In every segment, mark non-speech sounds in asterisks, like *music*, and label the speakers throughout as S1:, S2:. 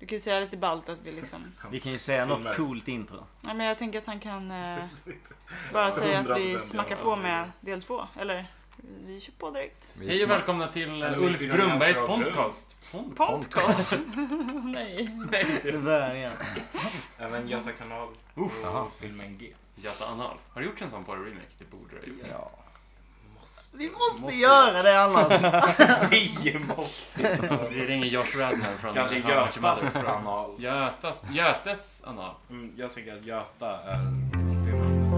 S1: kan ju säga lite ballt att vi liksom...
S2: Vi kan ju säga något
S3: Filmer.
S2: coolt
S4: *laughs*
S2: intro.
S1: Nej men jag tänker att han kan eh, bara säga att
S3: 100%
S1: vi
S3: ja.
S1: smackar på med del två. Eller vi kör på direkt.
S4: Vi
S5: Hej och
S4: snack-
S5: välkomna till eh,
S3: Eller
S5: Ulf
S3: Ulf Brunnbergs
S5: Brunnbergs
S3: Brunn.
S5: podcast. Pod-
S1: Podcast. *laughs* Nej.
S2: Det börjar igen.
S3: Även Göta kanal
S5: Uff,
S3: och
S4: jaha.
S3: filmen G.
S5: *laughs* Göta Anal. Har du gjort en sån på remake? Det borde du ha gjort.
S4: Ja.
S2: Vi måste, göra det annars.
S3: *laughs* Vi måste!
S5: Vi ringer Josh Radner från
S3: Kanske
S5: How Much Your Mother.
S3: Götas kanal.
S5: Götas, Götes Anal.
S3: Mm, Jag tycker att Göta är filmen.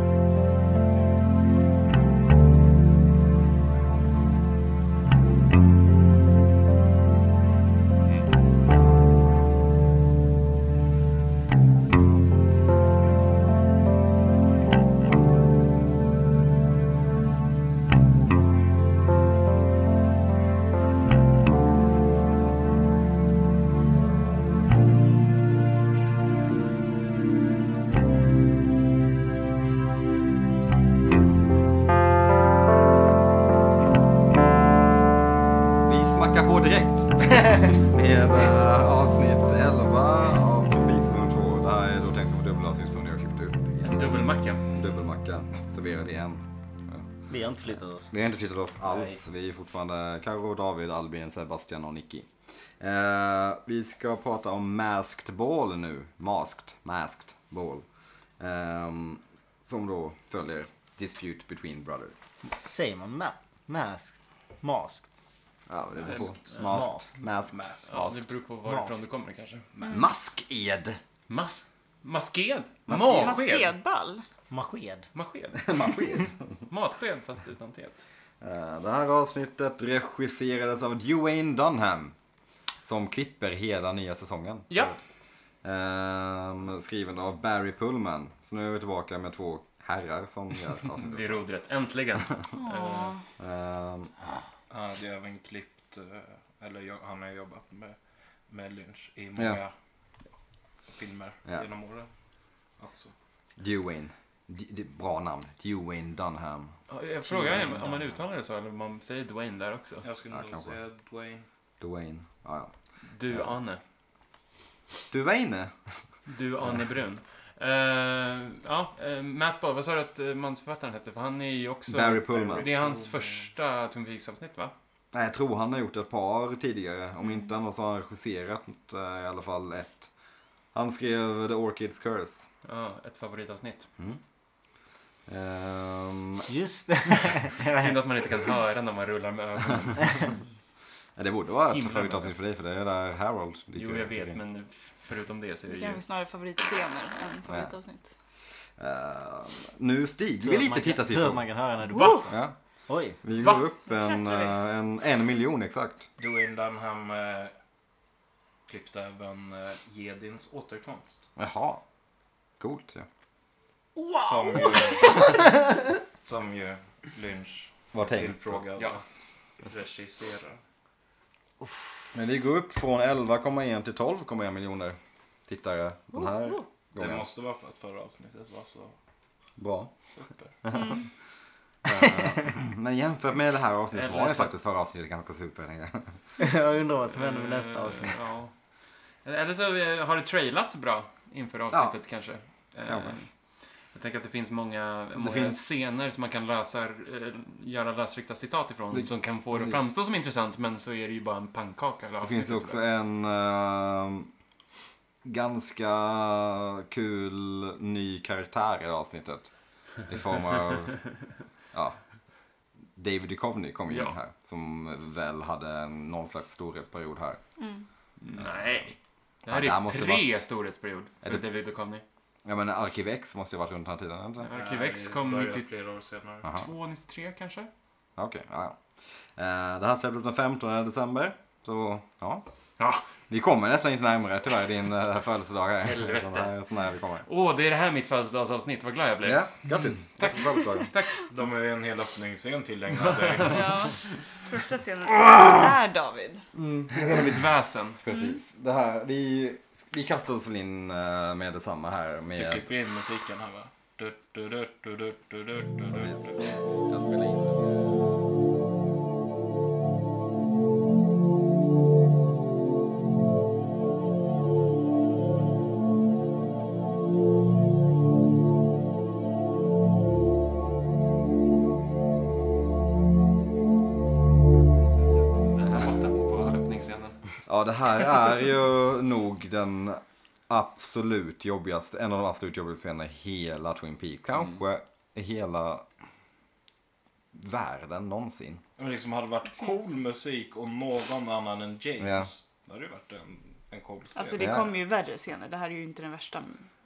S4: Vi smackar på direkt. Med eh, avsnitt 11 av Bison 2. Det här är då tänkt som ett dubbelavsnitt som ni har klippt upp i en
S5: Dubbelmacka.
S4: dubbelmacka. Serverad i en.
S2: *laughs* Vi har inte flyttat oss.
S4: Vi har inte flyttat oss alls. Vi är fortfarande Karo, David, Albin, Sebastian och Nicky. Eh, vi ska prata om Masked Ball nu. Masked, Masked Ball. Ehm, som då följer Dispute Between Brothers.
S2: Säger man ma- masked? Masked?
S4: Ja, det beror
S5: Masked.
S4: på. Masked. Masked.
S5: Mask. Alltså, det beror på varifrån
S2: Mask.
S5: du kommer kanske.
S4: Masked.
S5: Mas masked?
S4: Masked.
S5: Matsked?
S1: Maskedball.
S2: Masked?
S5: Masked?
S4: Masked.
S5: Matsked fast utan tet.
S4: Eh, Det här avsnittet regisserades av Dwayne Dunham. Som klipper hela nya säsongen.
S5: Ja.
S4: Ehm, skriven av Barry Pullman. Så nu är vi tillbaka med två herrar som gör
S5: Vid *laughs*
S4: avsnittet.
S5: rodret. Äntligen.
S1: Åh.
S4: Ehm,
S3: Han hade även klippt, eh, eller jag- han har jobbat med, med Lynch i många
S4: Ja.
S3: filmer
S4: Ja.
S3: genom åren. Alltså.
S4: Dwayne. D- d- bra namn. Dwayne Dunham.
S5: Jag frågar mig om man uttalar det så eller om man säger Dwayne där också.
S3: Jag skulle
S4: Ja,
S3: nog
S4: kanske.
S3: säga Dwayne.
S4: Dwayne. Ja, ja.
S5: Du Anne.
S4: Dwayne.
S5: Du Anne Brun. Eh, ja, uh, Maskball. Vad sa du att uh, mansförfattaren hette? För han är ju också...
S4: Barry Pullman.
S5: Det är hans första Twin Peaks-avsnitt va?
S4: Nej, Jag tror han har gjort ett par tidigare. Om inte annat så har han regisserat eh, i alla fall ett. Han skrev The Orchids Curse.
S5: Ja, ett favoritavsnitt.
S4: Ehm,
S2: Just
S4: *laughs*
S2: det.
S5: Synd att man inte kan höra när man rullar med ögonen.
S4: Ja, det borde vara ett
S5: Himla
S4: favoritavsnitt för dig, för det är där Harold dyker
S5: Jo, jag
S4: upp.
S5: vet, men förutom det så är det
S1: Det kanske
S5: ju...
S1: snarare favoritscener än favoritavsnitt.
S4: Ehm, nu stiger vi
S2: Tur att man kan-
S4: lite
S2: Tur att man
S4: tittarsiffror.
S2: kan höra när du
S5: Va?
S2: pratar.
S4: Ja,
S2: Oj.
S4: vi
S5: Va?
S4: går upp en,
S1: Jäklar.
S4: eh, en, en miljon exakt.
S3: Dwayne Dunham eh, klippte även eh, Jedins återkomst.
S4: Jaha. Coolt ja.
S3: Som ju, *laughs* som ju Lynch
S4: Vad
S3: tillfrågades
S5: Ja.
S3: att regissera.
S4: Men vi går upp från 11,1 till 12,1 miljoner tittare den här
S3: Det
S4: gången.
S3: måste vara för att förra avsnittet var så
S4: Bra.
S5: *laughs*
S3: super.
S4: Ehm, men jämfört med det här avsnittet så
S5: Eller
S4: var det
S5: så-
S4: faktiskt förra avsnittet ganska super. tänker jag.
S2: Jag undrar vad som händer med nästa avsnitt.
S5: Eh, Ja. Eller så eh, har det trailats bra inför avsnittet kanske. Eh,
S4: Kanske.
S5: Jag tänker att det finns många, många
S4: finns-
S5: scener som man kan lösa, eh, göra lösryckta citat ifrån
S4: Det-
S5: som kan få det att
S4: precis.
S5: framstå som intressant men så är det ju bara en pannkaka. hela
S4: Det finns ju
S5: avsnittet,
S4: också
S5: va?
S4: en ehm, ganska kul ny karaktär i det här avsnittet. I form
S5: *laughs*
S4: av, ja, David Duchovny kom ju
S5: Ja.
S4: in här. Som väl hade en, någon slags storhetsperiod här.
S1: Mm.
S5: Nej. Det
S4: Ja,
S5: här
S4: det här
S5: är
S4: måste
S5: pre
S4: varit-
S5: storhetsperiod för
S4: Är det-
S5: David Duchovny.
S4: Jag menar Arkiv X måste ju ha varit runt den här tiden, eller? inte?
S5: Arkiv
S3: Nej,
S5: X
S3: det
S5: kom typ-
S3: började
S5: 92.
S3: flera år senare.
S4: Aha,
S5: 2,93 kanske?
S4: ja, okej. ja, ja. Eh, det här släpptes den 15 december. Så, ja.
S5: Ja.
S4: Vi kommer nästan inte närmare tyvärr din eh, födelsedag här.
S5: Helvete.
S4: Utan Det här är så nära vi kommer.
S5: Åh, det är det här mitt födelsedagsavsnitt. Vad glad jag blev.
S4: Ja, grattis. Tack för födelsedagen.
S5: Mm, Tack.
S3: De har ju en hel öppningsscen tillägnad typ
S1: Ja, första scenen är David.
S5: Hela mitt väsen.
S4: Precis. Mm. Det här, vi, vi kastar oss väl in eh, med detsamma här.
S3: Du
S4: Med,
S3: klipper in musiken här va? Du, du, du, du, du, du, du, du, du.
S4: jag spelar in Ja, det här är ju nog den absolut jobbigaste, en av de absolut jobbigaste scenerna i hela Twin Peaks. Kanske
S1: Mm.
S4: i hela världen någonsin.
S3: Men liksom hade det varit cool musik och någon annan än James. Då hade det varit en, en cool scen.
S1: Alltså det
S4: Ja.
S1: kommer ju värre scener. Det här är ju inte den värsta.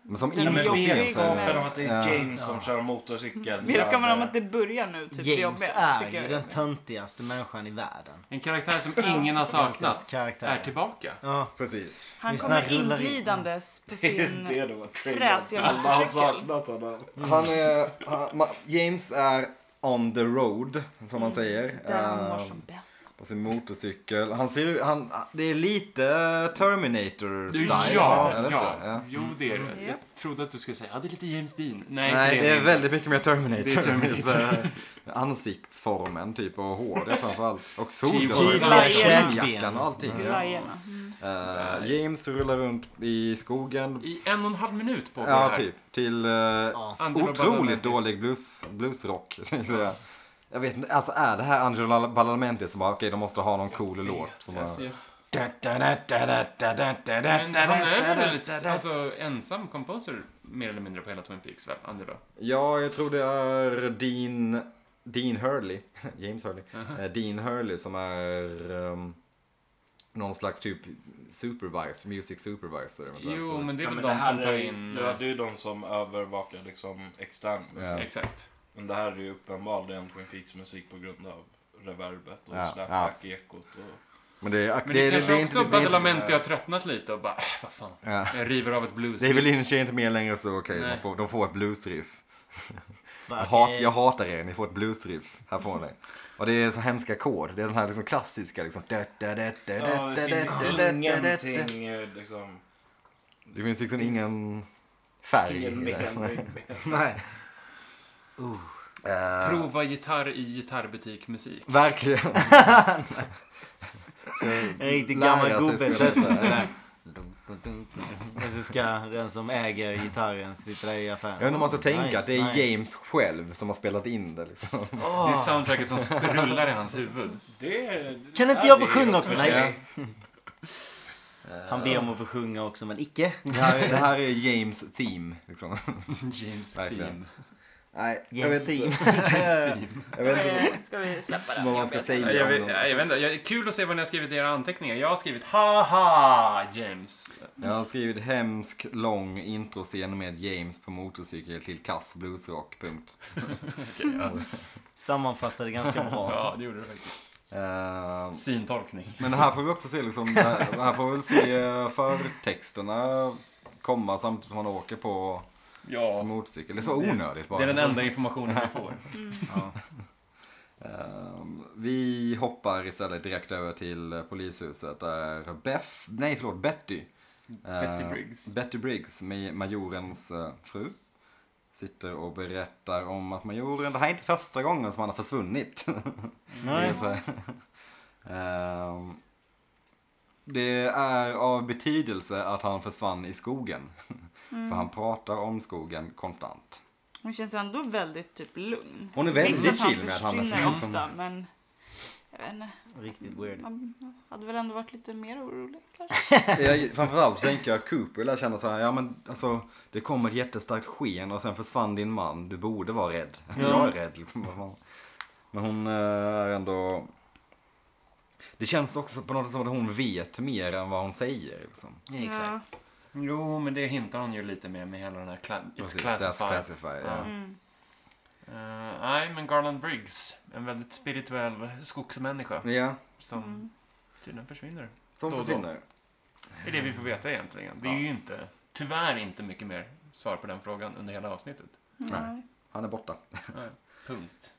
S4: Men som
S1: Den
S3: ja, men
S1: jobbig
S4: introducerar sig.
S3: vetskapen om att det är James som kör motorcykel.
S1: Vetskapen om att det börjar nu, typ det
S2: James
S1: jobbiga,
S2: är
S1: tycker
S2: ju
S1: jag.
S2: den töntigaste människan i världen.
S5: En karaktär som ingen har saknat
S2: karaktär.
S5: är tillbaka.
S2: Ja,
S1: Mm.
S4: Precis.
S1: Han
S2: Just
S1: kommer
S2: när han rullar in.
S1: inglidandes på
S3: Det är det
S1: sin...
S3: det var
S1: fräsiga
S3: Alla har
S1: motorcykel.
S3: saknat honom.
S4: Han är, han, ma- James är on the road, som man säger.
S1: Mm. Där han mår
S4: Eh,
S1: som bäst.
S4: På sin motorcykel. Han ser ju- han, det är lite
S5: Du,
S4: Terminator-style.
S5: ja,
S4: eller?
S5: ja,
S4: Ja.
S5: Jo, det är det.
S1: Mm.
S5: Jag trodde att du skulle säga, ja, det är lite James Dean. Nej,
S4: Nej, det är
S5: inte.
S4: väldigt mycket mer Terminator.
S5: Det är
S4: *laughs*
S5: Terminator.
S4: Så här, Ansiktsformen typ och håret framförallt. Och solglasögonen.
S5: Tyglar.
S1: Tyglar.
S4: Jackan och allting.
S1: Lajerna.
S4: Eh, James rullar runt i skogen.
S5: I en och en halv minut på det
S4: Ja,
S5: här.
S4: typ. Till eh,
S5: Angelo
S4: otroligt
S5: Badalamenti.
S4: dålig blues, bluesrock. *laughs* tänkte jag säga. Jag vet inte, alltså är det här Angelo Badalamenti som bara, okej de måste ha någon cool låt. Som bara,
S5: Alltså, jag- Men han är väl alltså, ensam composer mer eller mindre på hela Twin Peaks, väl? Angelo?
S4: Ja, jag tror det är Dean, Dean Hurley. *laughs* James Hurley. Eh, Dean Hurley som är um, någon slags typ supervisor, music supervisor. eventuellt.
S5: Jo,
S4: Så-
S5: men det är
S3: Ja,
S5: väl
S3: men
S5: de
S3: här
S5: som tar
S3: är-
S5: in... eh,
S3: Ja, det är ju de som övervakar liksom extern musik.
S4: Ja.
S5: Exakt.
S3: Men det här är ju uppenbarligen Twin Peaks musik på grund av reverbet och
S4: Ja, ja.
S3: slapback-ekot. Och...
S4: Men det, är-
S5: Men det, kanske
S4: är
S5: också
S4: inte- det är inte-
S5: Badalamenti har tröttnat lite och bara, äh, vad fan.
S4: Ja.
S5: Jag river av ett blues.
S4: Det är väl inte, inte mer längre så okej,
S5: Nej.
S4: man får- de får ett bluesriff. Jag,
S2: fuck eh,
S4: hat,
S2: it.
S4: jag hatar er, ni får ett bluesriff. Här får ni. Och det är så hemska ackord. Det är den här liksom klassiska liksom.
S3: Ja, det finns ingenting eh, liksom...
S4: Det finns liksom ingen färg.
S3: Ingen
S4: i det.
S3: mening.
S2: Nej.
S4: Eh,
S5: Prova gitarr i gitarrbutikmusik.
S4: Verkligen. Så
S2: En riktig
S4: lära
S2: gammal
S4: sig
S2: gubbe
S4: spela
S2: sätter
S4: gitarr.
S2: sig där. Och så ska den som äger gitarren sitta där i affären.
S4: Jag undrar om man ska tänka
S2: Nice,
S4: att det är
S2: nice.
S4: James själv som har spelat in det liksom.
S5: Det är soundtracket som sprullar i hans huvud.
S3: Det, är-
S2: Kan inte
S3: ja,
S2: jag
S3: det
S2: få
S3: är
S2: sjunga också?
S3: ju-
S2: Nej. Han ber om att få sjunga också men icke.
S4: Det här är, det här är James theme liksom.
S5: *laughs* James
S4: Verkligen.
S5: Dean.
S4: Nej, jag
S2: James
S4: vet
S2: Dean.
S4: inte, *laughs* jag vet inte
S1: Eh, Ska vi släppa den?
S4: vad man ska
S1: jobbiga
S4: säga.
S5: Ja, Jag vet,
S4: om
S5: ja, jag
S4: dem.
S5: vet inte, jag, kul att se vad ni har skrivit i era anteckningar. Jag har skrivit haha James.
S4: Jag har skrivit hemsk, lång introscen med James på motorcykel till kass bluesrock, punkt.
S2: Sammanfattade ganska bra.
S5: Ja, det gjorde du faktiskt.
S4: Eh,
S5: Syntolkning.
S4: Men här får vi också se liksom, här här får vi väl se eh, förtexterna komma samtidigt som man åker på
S5: Ja,
S4: sin motorcykel. Det är så onödigt bara.
S5: det är den enda informationen vi får.
S4: Ehm, vi hoppar istället direkt över till eh, polishuset där Beth, nej förlåt Betty.
S5: Betty
S4: eh,
S5: Briggs.
S4: Betty Briggs, ma- majorens eh, fru. Sitter och berättar om att majoren, det här är inte första gången som han har försvunnit. Det är
S2: Nej.
S4: så här. Ehm, Det är av betydelse att han försvann i skogen. För han pratar om skogen konstant.
S1: Hon känns ändå väldigt typ lugn.
S4: Hon är
S1: Alltså, visst
S4: väldigt
S1: att han
S4: chill med att han är
S1: försvinner
S4: fri som-
S1: ofta, men... Jag vet inte,
S2: Riktigt weird.
S1: man hade väl ändå varit lite mer orolig kanske.
S4: Jag, framförallt så tänker jag att Cooper lär känna så här, ja men alltså det kommer ett jättestarkt sken och sen försvann din man, du borde vara rädd. Jag är rädd liksom. vad fan. Men hon eh, är ändå... Det känns också på något sätt som att hon vet mer än vad hon säger. Liksom.
S2: Exakt.
S5: Jo, men det hintar hon ju lite med med hela den här cla- It's
S4: Precis, That's
S5: classified.
S4: classified ja.
S5: Ja.
S1: Mm.
S5: Eh, Nej, men Garland Briggs. En väldigt spirituell skogsmänniska
S4: ja,
S1: Mm.
S5: som tydligen försvinner.
S4: som
S5: Då och då.
S4: försvinner.
S5: Det är det vi får veta egentligen. Det är ju inte, tyvärr inte mycket mer svar på den frågan under hela avsnittet.
S1: Nej.
S4: Han är borta.
S5: Nej, Punkt.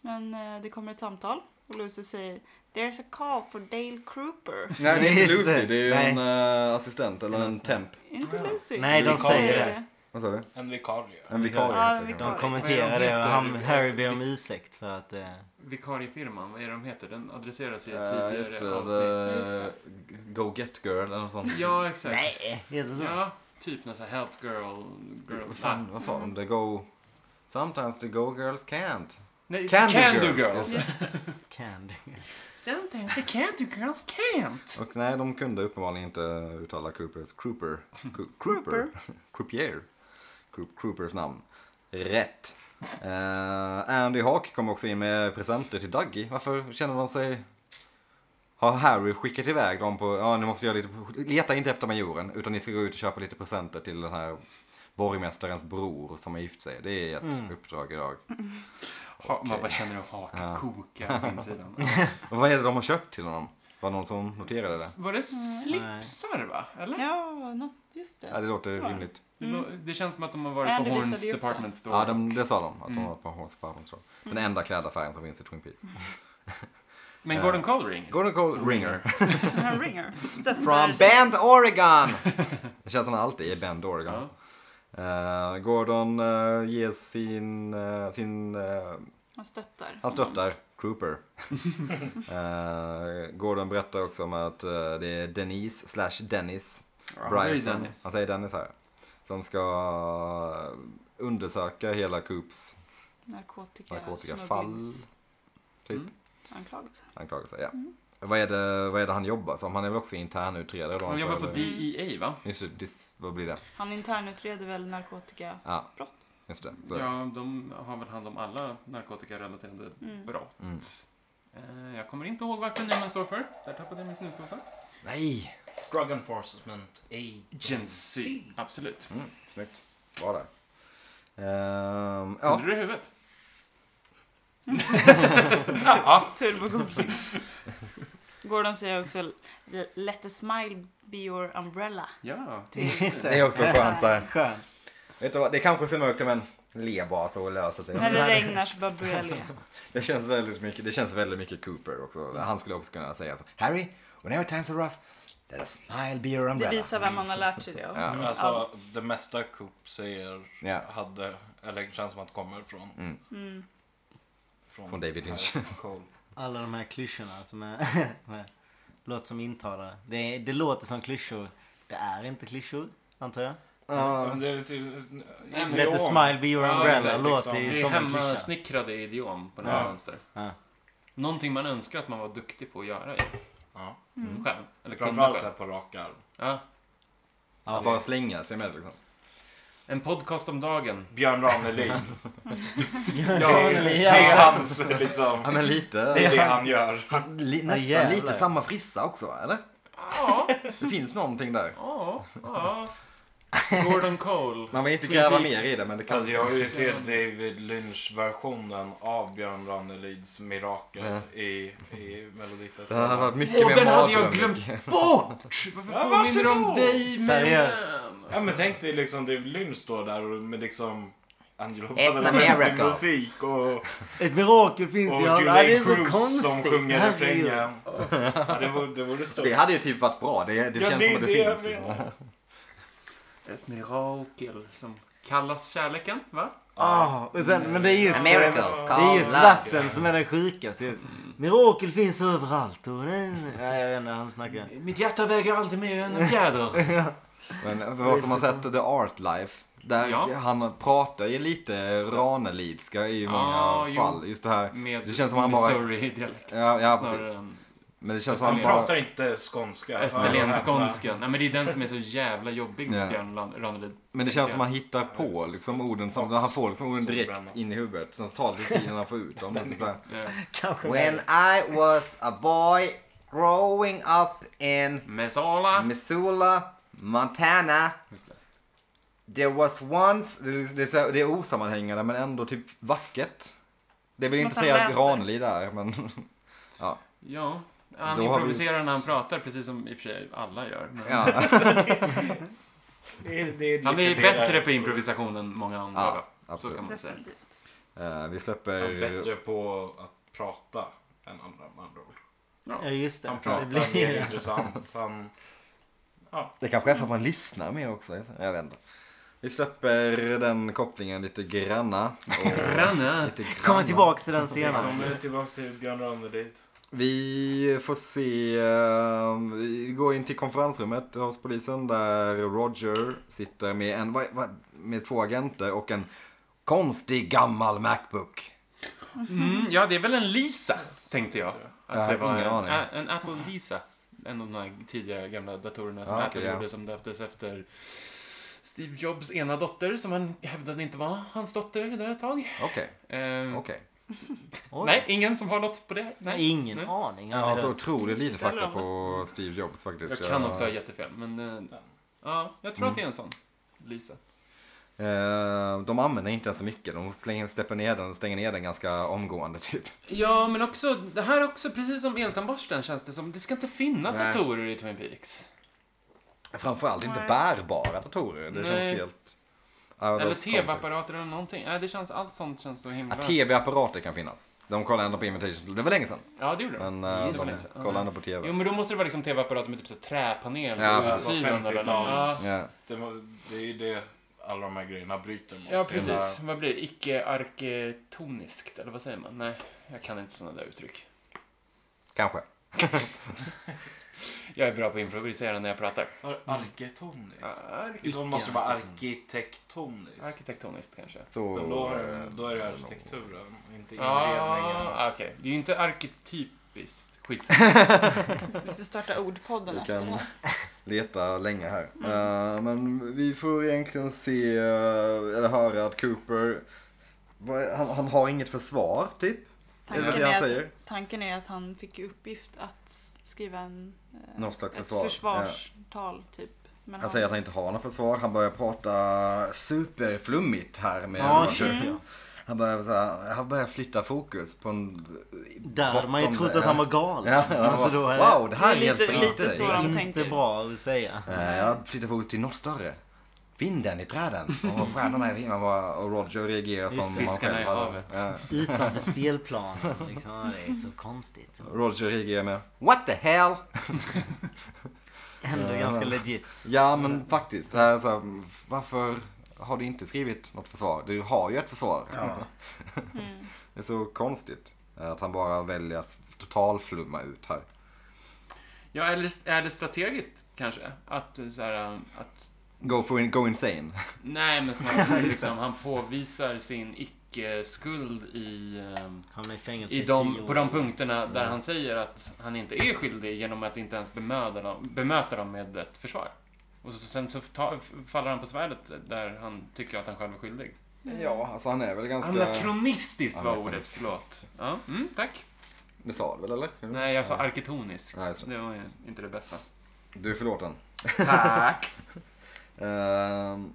S1: Men eh, det kommer ett samtal och Lucy säger There's a call for Dale Cooper.
S4: Nej, det är inte
S2: Just det.
S4: Lucy. Det är ju
S2: Nej.
S4: en eh, assistent eller en temp.
S1: Inte Lucy.
S2: Nej, de
S1: Lucy
S3: säger
S1: är
S2: det.
S4: Vad sa du?
S3: En vikarie.
S4: En vikarie.
S1: Ja, en
S4: heter det.
S1: vikarie.
S2: De kommenterar det och han, Harry ber om ursäkt för att... Eh,
S5: Vikariefirman, vad är det de heter? Den adresseras ju i ett
S4: Ja,
S5: tidigare
S4: Eh, just det.
S5: avsnitt.
S4: the- Go get girl eller något sånt.
S5: Ja, exakt.
S2: nej, heter det så?
S5: Ja, typ någon sån här help girl. girl
S4: Vad fan, vad sa de? The go... Sometimes the go girls can't.
S5: Nej,
S4: Candy
S5: Candy
S4: Girls.
S5: Girls.
S2: Candy.
S5: Sometimes the Candy Girls can't.
S4: Och nej, de kunde uppenbarligen inte uttala Coopers, Cooper, Coo- Cooper, *laughs* Croupier, Coop- Coopers namn rätt. Eh, Andy Hawk kom också in med presenter till Dougie. Varför känner de sig... Har Harry skickat iväg dem på... Ja, ni måste göra lite... Leta inte efter majoren, utan ni ska gå ut och köpa lite presenter till den här borgmästarens bror som har gift sig. Det är ett uppdrag idag.
S5: Ha, Man
S4: Okej.
S5: bara känner hur hakan
S4: Ja.
S5: kokar
S4: *laughs*
S5: på insidan.
S4: Och vad är det de har köpt till honom? Var det någon som noterade det?
S5: Var det slipsar va? Eller?
S1: Ja, något, just det.
S4: Ja, det låter rimligt.
S5: Det lå- Det känns som att de har varit
S1: Andy
S5: på Horns
S1: visade ju upp Mm. det.
S5: Department Store.
S4: Ja, de, det sa de. Att
S5: Mm.
S4: de var på Horse Farmers Row. Den enda klädaffären som finns i Twin Peaks.
S5: Men Gordon Colring?
S4: Gordon Cole Ringer.
S5: *laughs*
S1: Han ringer. Stöttar-
S4: From Bend,
S5: *laughs*
S4: Oregon! Det känns som han alltid är i Bend, Oregon.
S5: Ja.
S4: Eh, Gordon eh, ger sin... eh, sin eh,
S1: Han stöttar.
S4: han stöttar
S5: *laughs*
S4: Cooper. Eh, Gordon berättar också om att eh, det är Denise slash Dennis
S5: han säger
S4: Bryson.
S5: Dennis.
S4: Han säger Dennis här. Som ska eh, undersöka hela Coops
S1: Narkotika,
S4: narkotikafall.
S1: smugglings-
S4: Typ.
S5: Mm.
S1: anklagelse.
S4: Anklagelse, ja. Vad, är det, vad är det han jobbar som? Han är väl också internutredare då?
S5: Han
S4: antar
S5: jobbar på
S4: jag, eller?
S5: DEA va?
S4: Just det, dis, vad blir det?
S1: Han internutreder väl narkotika.
S4: Ja.
S1: Brott.
S4: Just det. Så.
S5: Ja, de har väl hand om alla narkotikarelaterade
S1: Mm.
S5: brott.
S4: Mm.
S5: Eh, Jag kommer inte ihåg vad akronymen står för. Där tappade jag min snusdosa.
S4: Nej!
S3: Drug Enforcement Agency.
S5: Agency. Absolut.
S4: Mm, snyggt. Var där. Ehm, ja.
S5: Kunde du det i huvudet?
S1: Turbo googling. Gordon säger också Let the smile be your umbrella.
S5: Ja.
S2: Just
S4: Det är också skönt så här.
S2: Skön.
S4: Vet du vad, det kanske ser mörkt ut men le bara så alltså, löser
S1: När
S4: sig.
S1: det regnar så bara börjar jag le.
S4: Det känns väldigt mycket, det känns väldigt mycket Cooper också. Han skulle också kunna säga så. Harry, whenever times are rough, let a smile be your
S1: Det
S4: umbrella.
S1: visar vem man har lärt sig det av.
S4: Ja.
S3: Men Alltså, det mesta Coop säger
S4: Ja.
S3: hade, eller känns som att kommer från...
S4: Mm.
S1: Mm.
S4: Från David Lynch.
S3: Cole.
S2: Alla de här klyschorna som är... *laughs* med- låter som intalare. Det, är- det låter som klyschor. Det är inte klyschor, antar jag.
S3: Men
S4: Ja,
S3: det är typ...
S2: Let the smile be your
S3: Ja,
S2: umbrella
S3: exakt, liksom.
S2: låter
S5: Det
S2: ju
S5: är
S2: som en klyscha.
S5: hemmasnickrade idiom på den här
S3: Ja.
S5: vänster.
S2: Ja.
S5: Någonting man önskar att man var duktig på att göra ju.
S3: Ja.
S5: Själv. Eller kunde
S3: Framförallt så
S5: själv.
S3: här på rak arm.
S5: Ja.
S4: att bara slänga sig med liksom.
S5: En podcast om dagen.
S3: Björn Ranelid. *laughs*
S2: Ja, eller
S3: Det är
S2: ja.
S3: hans liksom...
S4: Ja men lite.
S3: Det är det han gör.
S4: Han, li,
S2: Ja,
S4: nästan
S2: jävlar.
S4: lite samma frissa också, va? eller?
S5: Ja,
S4: Det finns någonting där.
S5: ja, ja. Gordon Cole.
S4: Man vill inte
S5: Twin
S4: gräva
S5: Peaks.
S4: mer i det, men det kan...
S3: Alltså jag har ju sett David Lynch-versionen av Björn Rannelids mirakel
S4: Ja.
S3: i, i
S4: Det hade varit
S3: Melodifestivalen.
S4: mycket
S5: Åh,
S4: mer
S5: den hade jag
S4: matdrömmig.
S5: glömt bort! Varför påminner du om
S3: varsågod.
S5: dig? min
S2: Seriöst.
S5: vän?
S3: Ja men tänk dig liksom David Lynch står där och med liksom Angelo
S4: It's a
S3: Badalamenti
S4: miracle.
S3: musik och, och
S2: Ett mirakel finns ju. Ja, det är
S3: Julian
S2: så
S3: Cruz
S2: konstigt.
S3: som sjunger
S2: Herregud.
S3: refrängen. Ja, det vore, det vore stort.
S4: Det hade ju typ varit bra. Det, det
S3: Ja,
S4: känns
S3: det är
S4: som att det,
S3: det jag
S4: finns. Liksom.
S5: Ett mirakel som kallas kärleken, va?
S2: Ja, Ah, och sen, men det är just, det,
S4: America,
S2: det är just Lassen som är den sjukaste. ju. Mirakel finns överallt. Och den, ja, jag vet inte, han snackar.
S5: Mitt hjärta väger alltid mer än en fjäder.
S4: *laughs* Men för oss som har sett The Art Life, där
S5: Ja.
S4: han pratar ju lite Ranelidska i många
S5: Ah, jo.
S4: fall. Just det här.
S5: Med
S4: Det känns som han bara-
S5: Missouri-dialekt.
S4: Ja, ja,
S5: snarare
S4: precis.
S5: än
S4: Men det känns som
S5: Alltså, Han
S4: han
S3: Han pratar
S4: bara...
S3: inte skånska.
S5: Österlenskånska. Nej, men det är den som är så jävla jobbig med
S4: Ja.
S5: Björn Lan- Ranelid.
S4: Men det känns som han hittar på liksom orden. Som, han får liksom orden direkt
S3: Solbränna.
S4: in i huvudet. Sen så tar det lite tid innan han får ut
S5: *laughs*
S4: dem. Lite så här.
S5: Eh,
S2: Kanske
S6: When I was a boy growing up in
S5: Mesala.
S4: Missoula, Montana.
S5: Ah. Just det.
S4: There was once... Det, det, är så här- det är osammanhängande men ändå typ vackert. Det vill
S1: Som
S4: inte
S1: att han
S4: säga
S1: läser.
S4: Ranelid där men...
S5: Ja. Han
S4: Då har vi-
S5: improviserar när han pratar, precis som i och för sig alla gör. Men...
S4: Ja.
S3: Det är, det är
S5: Han är
S3: lite det
S5: bättre
S3: där-
S5: på improvisation än många andra.
S4: Ja,
S5: va?
S4: absolut.
S5: Så kan man säga.
S1: Definitivt.
S4: Eh, vi
S3: Han
S4: släpper...
S3: är bättre på att prata än andra med andra ord.
S2: Ja, just det.
S3: Han pratar
S2: det blir,
S3: mer intressant. Han...
S4: Det kanske är för att man lyssnar mer också. Jag vet inte. Vi släpper den kopplingen lite granna. Och
S5: Granne!
S4: lite granna.
S2: Kommer tillbaks till den senare.
S3: Kommer tillbaka till Björn Ranelid.
S4: Vi får se. eh, Vi går in till konferensrummet hos polisen där Roger sitter med, en, vad- vad- med två agenter och en konstig gammal Macbook.
S5: Mm, ja, det är väl en Lisa, tänkte jag. Att
S4: Jag har
S5: det var
S4: ingen
S5: en,
S4: aning.
S5: ä- en Apple Lisa. En av de här tidiga gamla datorerna som
S4: Ja,
S5: Apple
S4: okej, ja.
S5: gjorde som döptes efter Steve Jobs ena dotter som han hävdade inte var hans dotter där ett tag.
S4: Okej,
S5: Ehm,
S4: okej.
S2: Oj.
S5: Nej, ingen som har något på det? Nej.
S2: Ingen
S5: Nej.
S2: aning.
S4: Jag har så otroligt lite
S1: Ställer
S4: fakta
S1: de
S4: på Steve Jobs faktiskt.
S5: Jag kan också ha jättefel, men eh, ja, jag tror att det är en sån. Lisa.
S4: Eh, de använder inte den så mycket. De slänger, släpper ner den, stänger ner den ganska omgående typ.
S5: Ja, men också, det här är också, precis som eltandborsten känns det som, det ska inte finnas
S4: Nej.
S5: datorer i Twin Peaks.
S4: Framförallt inte
S1: Nej.
S4: bärbara datorer. Det
S5: Nej.
S4: känns helt... out of
S5: Eller
S4: context.
S5: tv-apparater eller någonting. Nej, det känns, allt sånt känns så himla...
S4: Ja, tv-apparater kan finnas. De kollar ändå på Invitation. Det var länge sedan.
S5: Ja, det gjorde de.
S4: Men eh,
S5: Just
S4: de
S5: det.
S4: kollar ändå på tv.
S5: Jo, men då måste det vara liksom tv-apparater med typ så här träpanel
S4: Ja,
S5: och
S4: precis.
S5: utsidan eller något. Ja,
S3: 50-tals.
S4: Ja.
S3: Det, var- det är ju det alla de här grejerna bryter mot.
S5: ja,
S3: Det
S5: precis.
S3: är
S5: Vad blir det? Icke-arketoniskt, eller vad säger man? Nej, jag kan inte sådana där uttryck.
S4: Kanske.
S5: Jag är bra på att improvisera när jag pratar.
S3: bara- Arketoniskt.
S5: Ark-
S3: Så måste det vara arkitektoniskt.
S5: arkitektoniskt kanske.
S4: Så,
S3: Men då,
S4: eh,
S3: då är det arkitekturen, inte inredningen.
S5: Ja, Ah, okej. Det är ju inte arketypiskt.
S4: *laughs*
S5: Skit.
S1: Vi får starta ordpodden
S4: Vi
S1: efter
S4: kan-
S1: det här.
S4: leta länge här.
S3: Mm.
S4: Eh, men vi får egentligen se, eh, eller höra att Cooper, vad- han, han har inget försvar typ.
S1: Tanken,
S4: är det
S1: är
S4: han
S1: att,
S4: säger?
S1: tanken är att han fick i uppgift att skriva en, eh,
S4: Någon slags
S1: ett
S4: försvar.
S1: försvarstal typ. Men
S4: Han säger att han inte har något försvar. Han börjar prata superflummigt här med
S2: Ja,
S4: Roger.
S2: shit ja.
S4: Han börjar, så här, han börjar flytta fokus på en...
S2: Där hade man ju
S4: bortom
S2: trott
S4: det.
S2: att han var galen.
S4: Ja, ja,
S2: alltså då är
S4: Wow, det här
S1: Det är lite-
S4: hjälper
S1: lite
S4: inte
S1: så
S4: dig.
S1: de
S2: det inte
S1: tänker.
S2: bra att säga.
S4: Eh, Jag flyttar fokus till något större. Vinden i träden och stjärnorna i himlen var- och Roger reagerar som
S2: Just
S4: han
S5: fiskarna
S4: själv
S5: i
S4: hade.
S5: havet.
S4: Ja.
S2: Utanför spelplanen. Liksom. Ja, Det är så konstigt.
S4: Roger reagerar med What the hell?
S2: Ändå
S4: Ja,
S2: ganska
S4: men-
S2: legit.
S4: Ja men faktiskt, det här är så här, varför har du inte skrivit något försvar? Du har ju ett försvar.
S1: Mm.
S4: Det är så konstigt eh, att han bara väljer att totalflumma ut här.
S5: Ja, eller är det strategiskt kanske? Att så här, um, att...
S4: Go, for in, go insane.
S5: Nej,
S4: *laughs*
S5: men snarare liksom, han påvisar sin icke-skuld i... ehm,
S2: Han är i fängelse
S5: i
S2: tio
S5: de,
S2: år.
S5: på de punkterna där han säger att han inte är skyldig genom att inte ens bemöda dem, bemöta dem med ett försvar. Och så, sen så ta, faller han på svärdet där han tycker att han själv är skyldig.
S4: Ja, alltså han är väl ganska...
S5: Anakronistiskt var ordet,
S4: Anakronistiskt.
S5: förlåt. Ja, mm, tack.
S4: Det sa du väl eller?
S5: Nej, jag sa arketoniskt.
S4: Mm. Nej, så.
S5: Det var ju inte
S4: *laughs*
S5: det bästa.
S4: Du är förlåten.
S5: Tack.
S4: Ehm,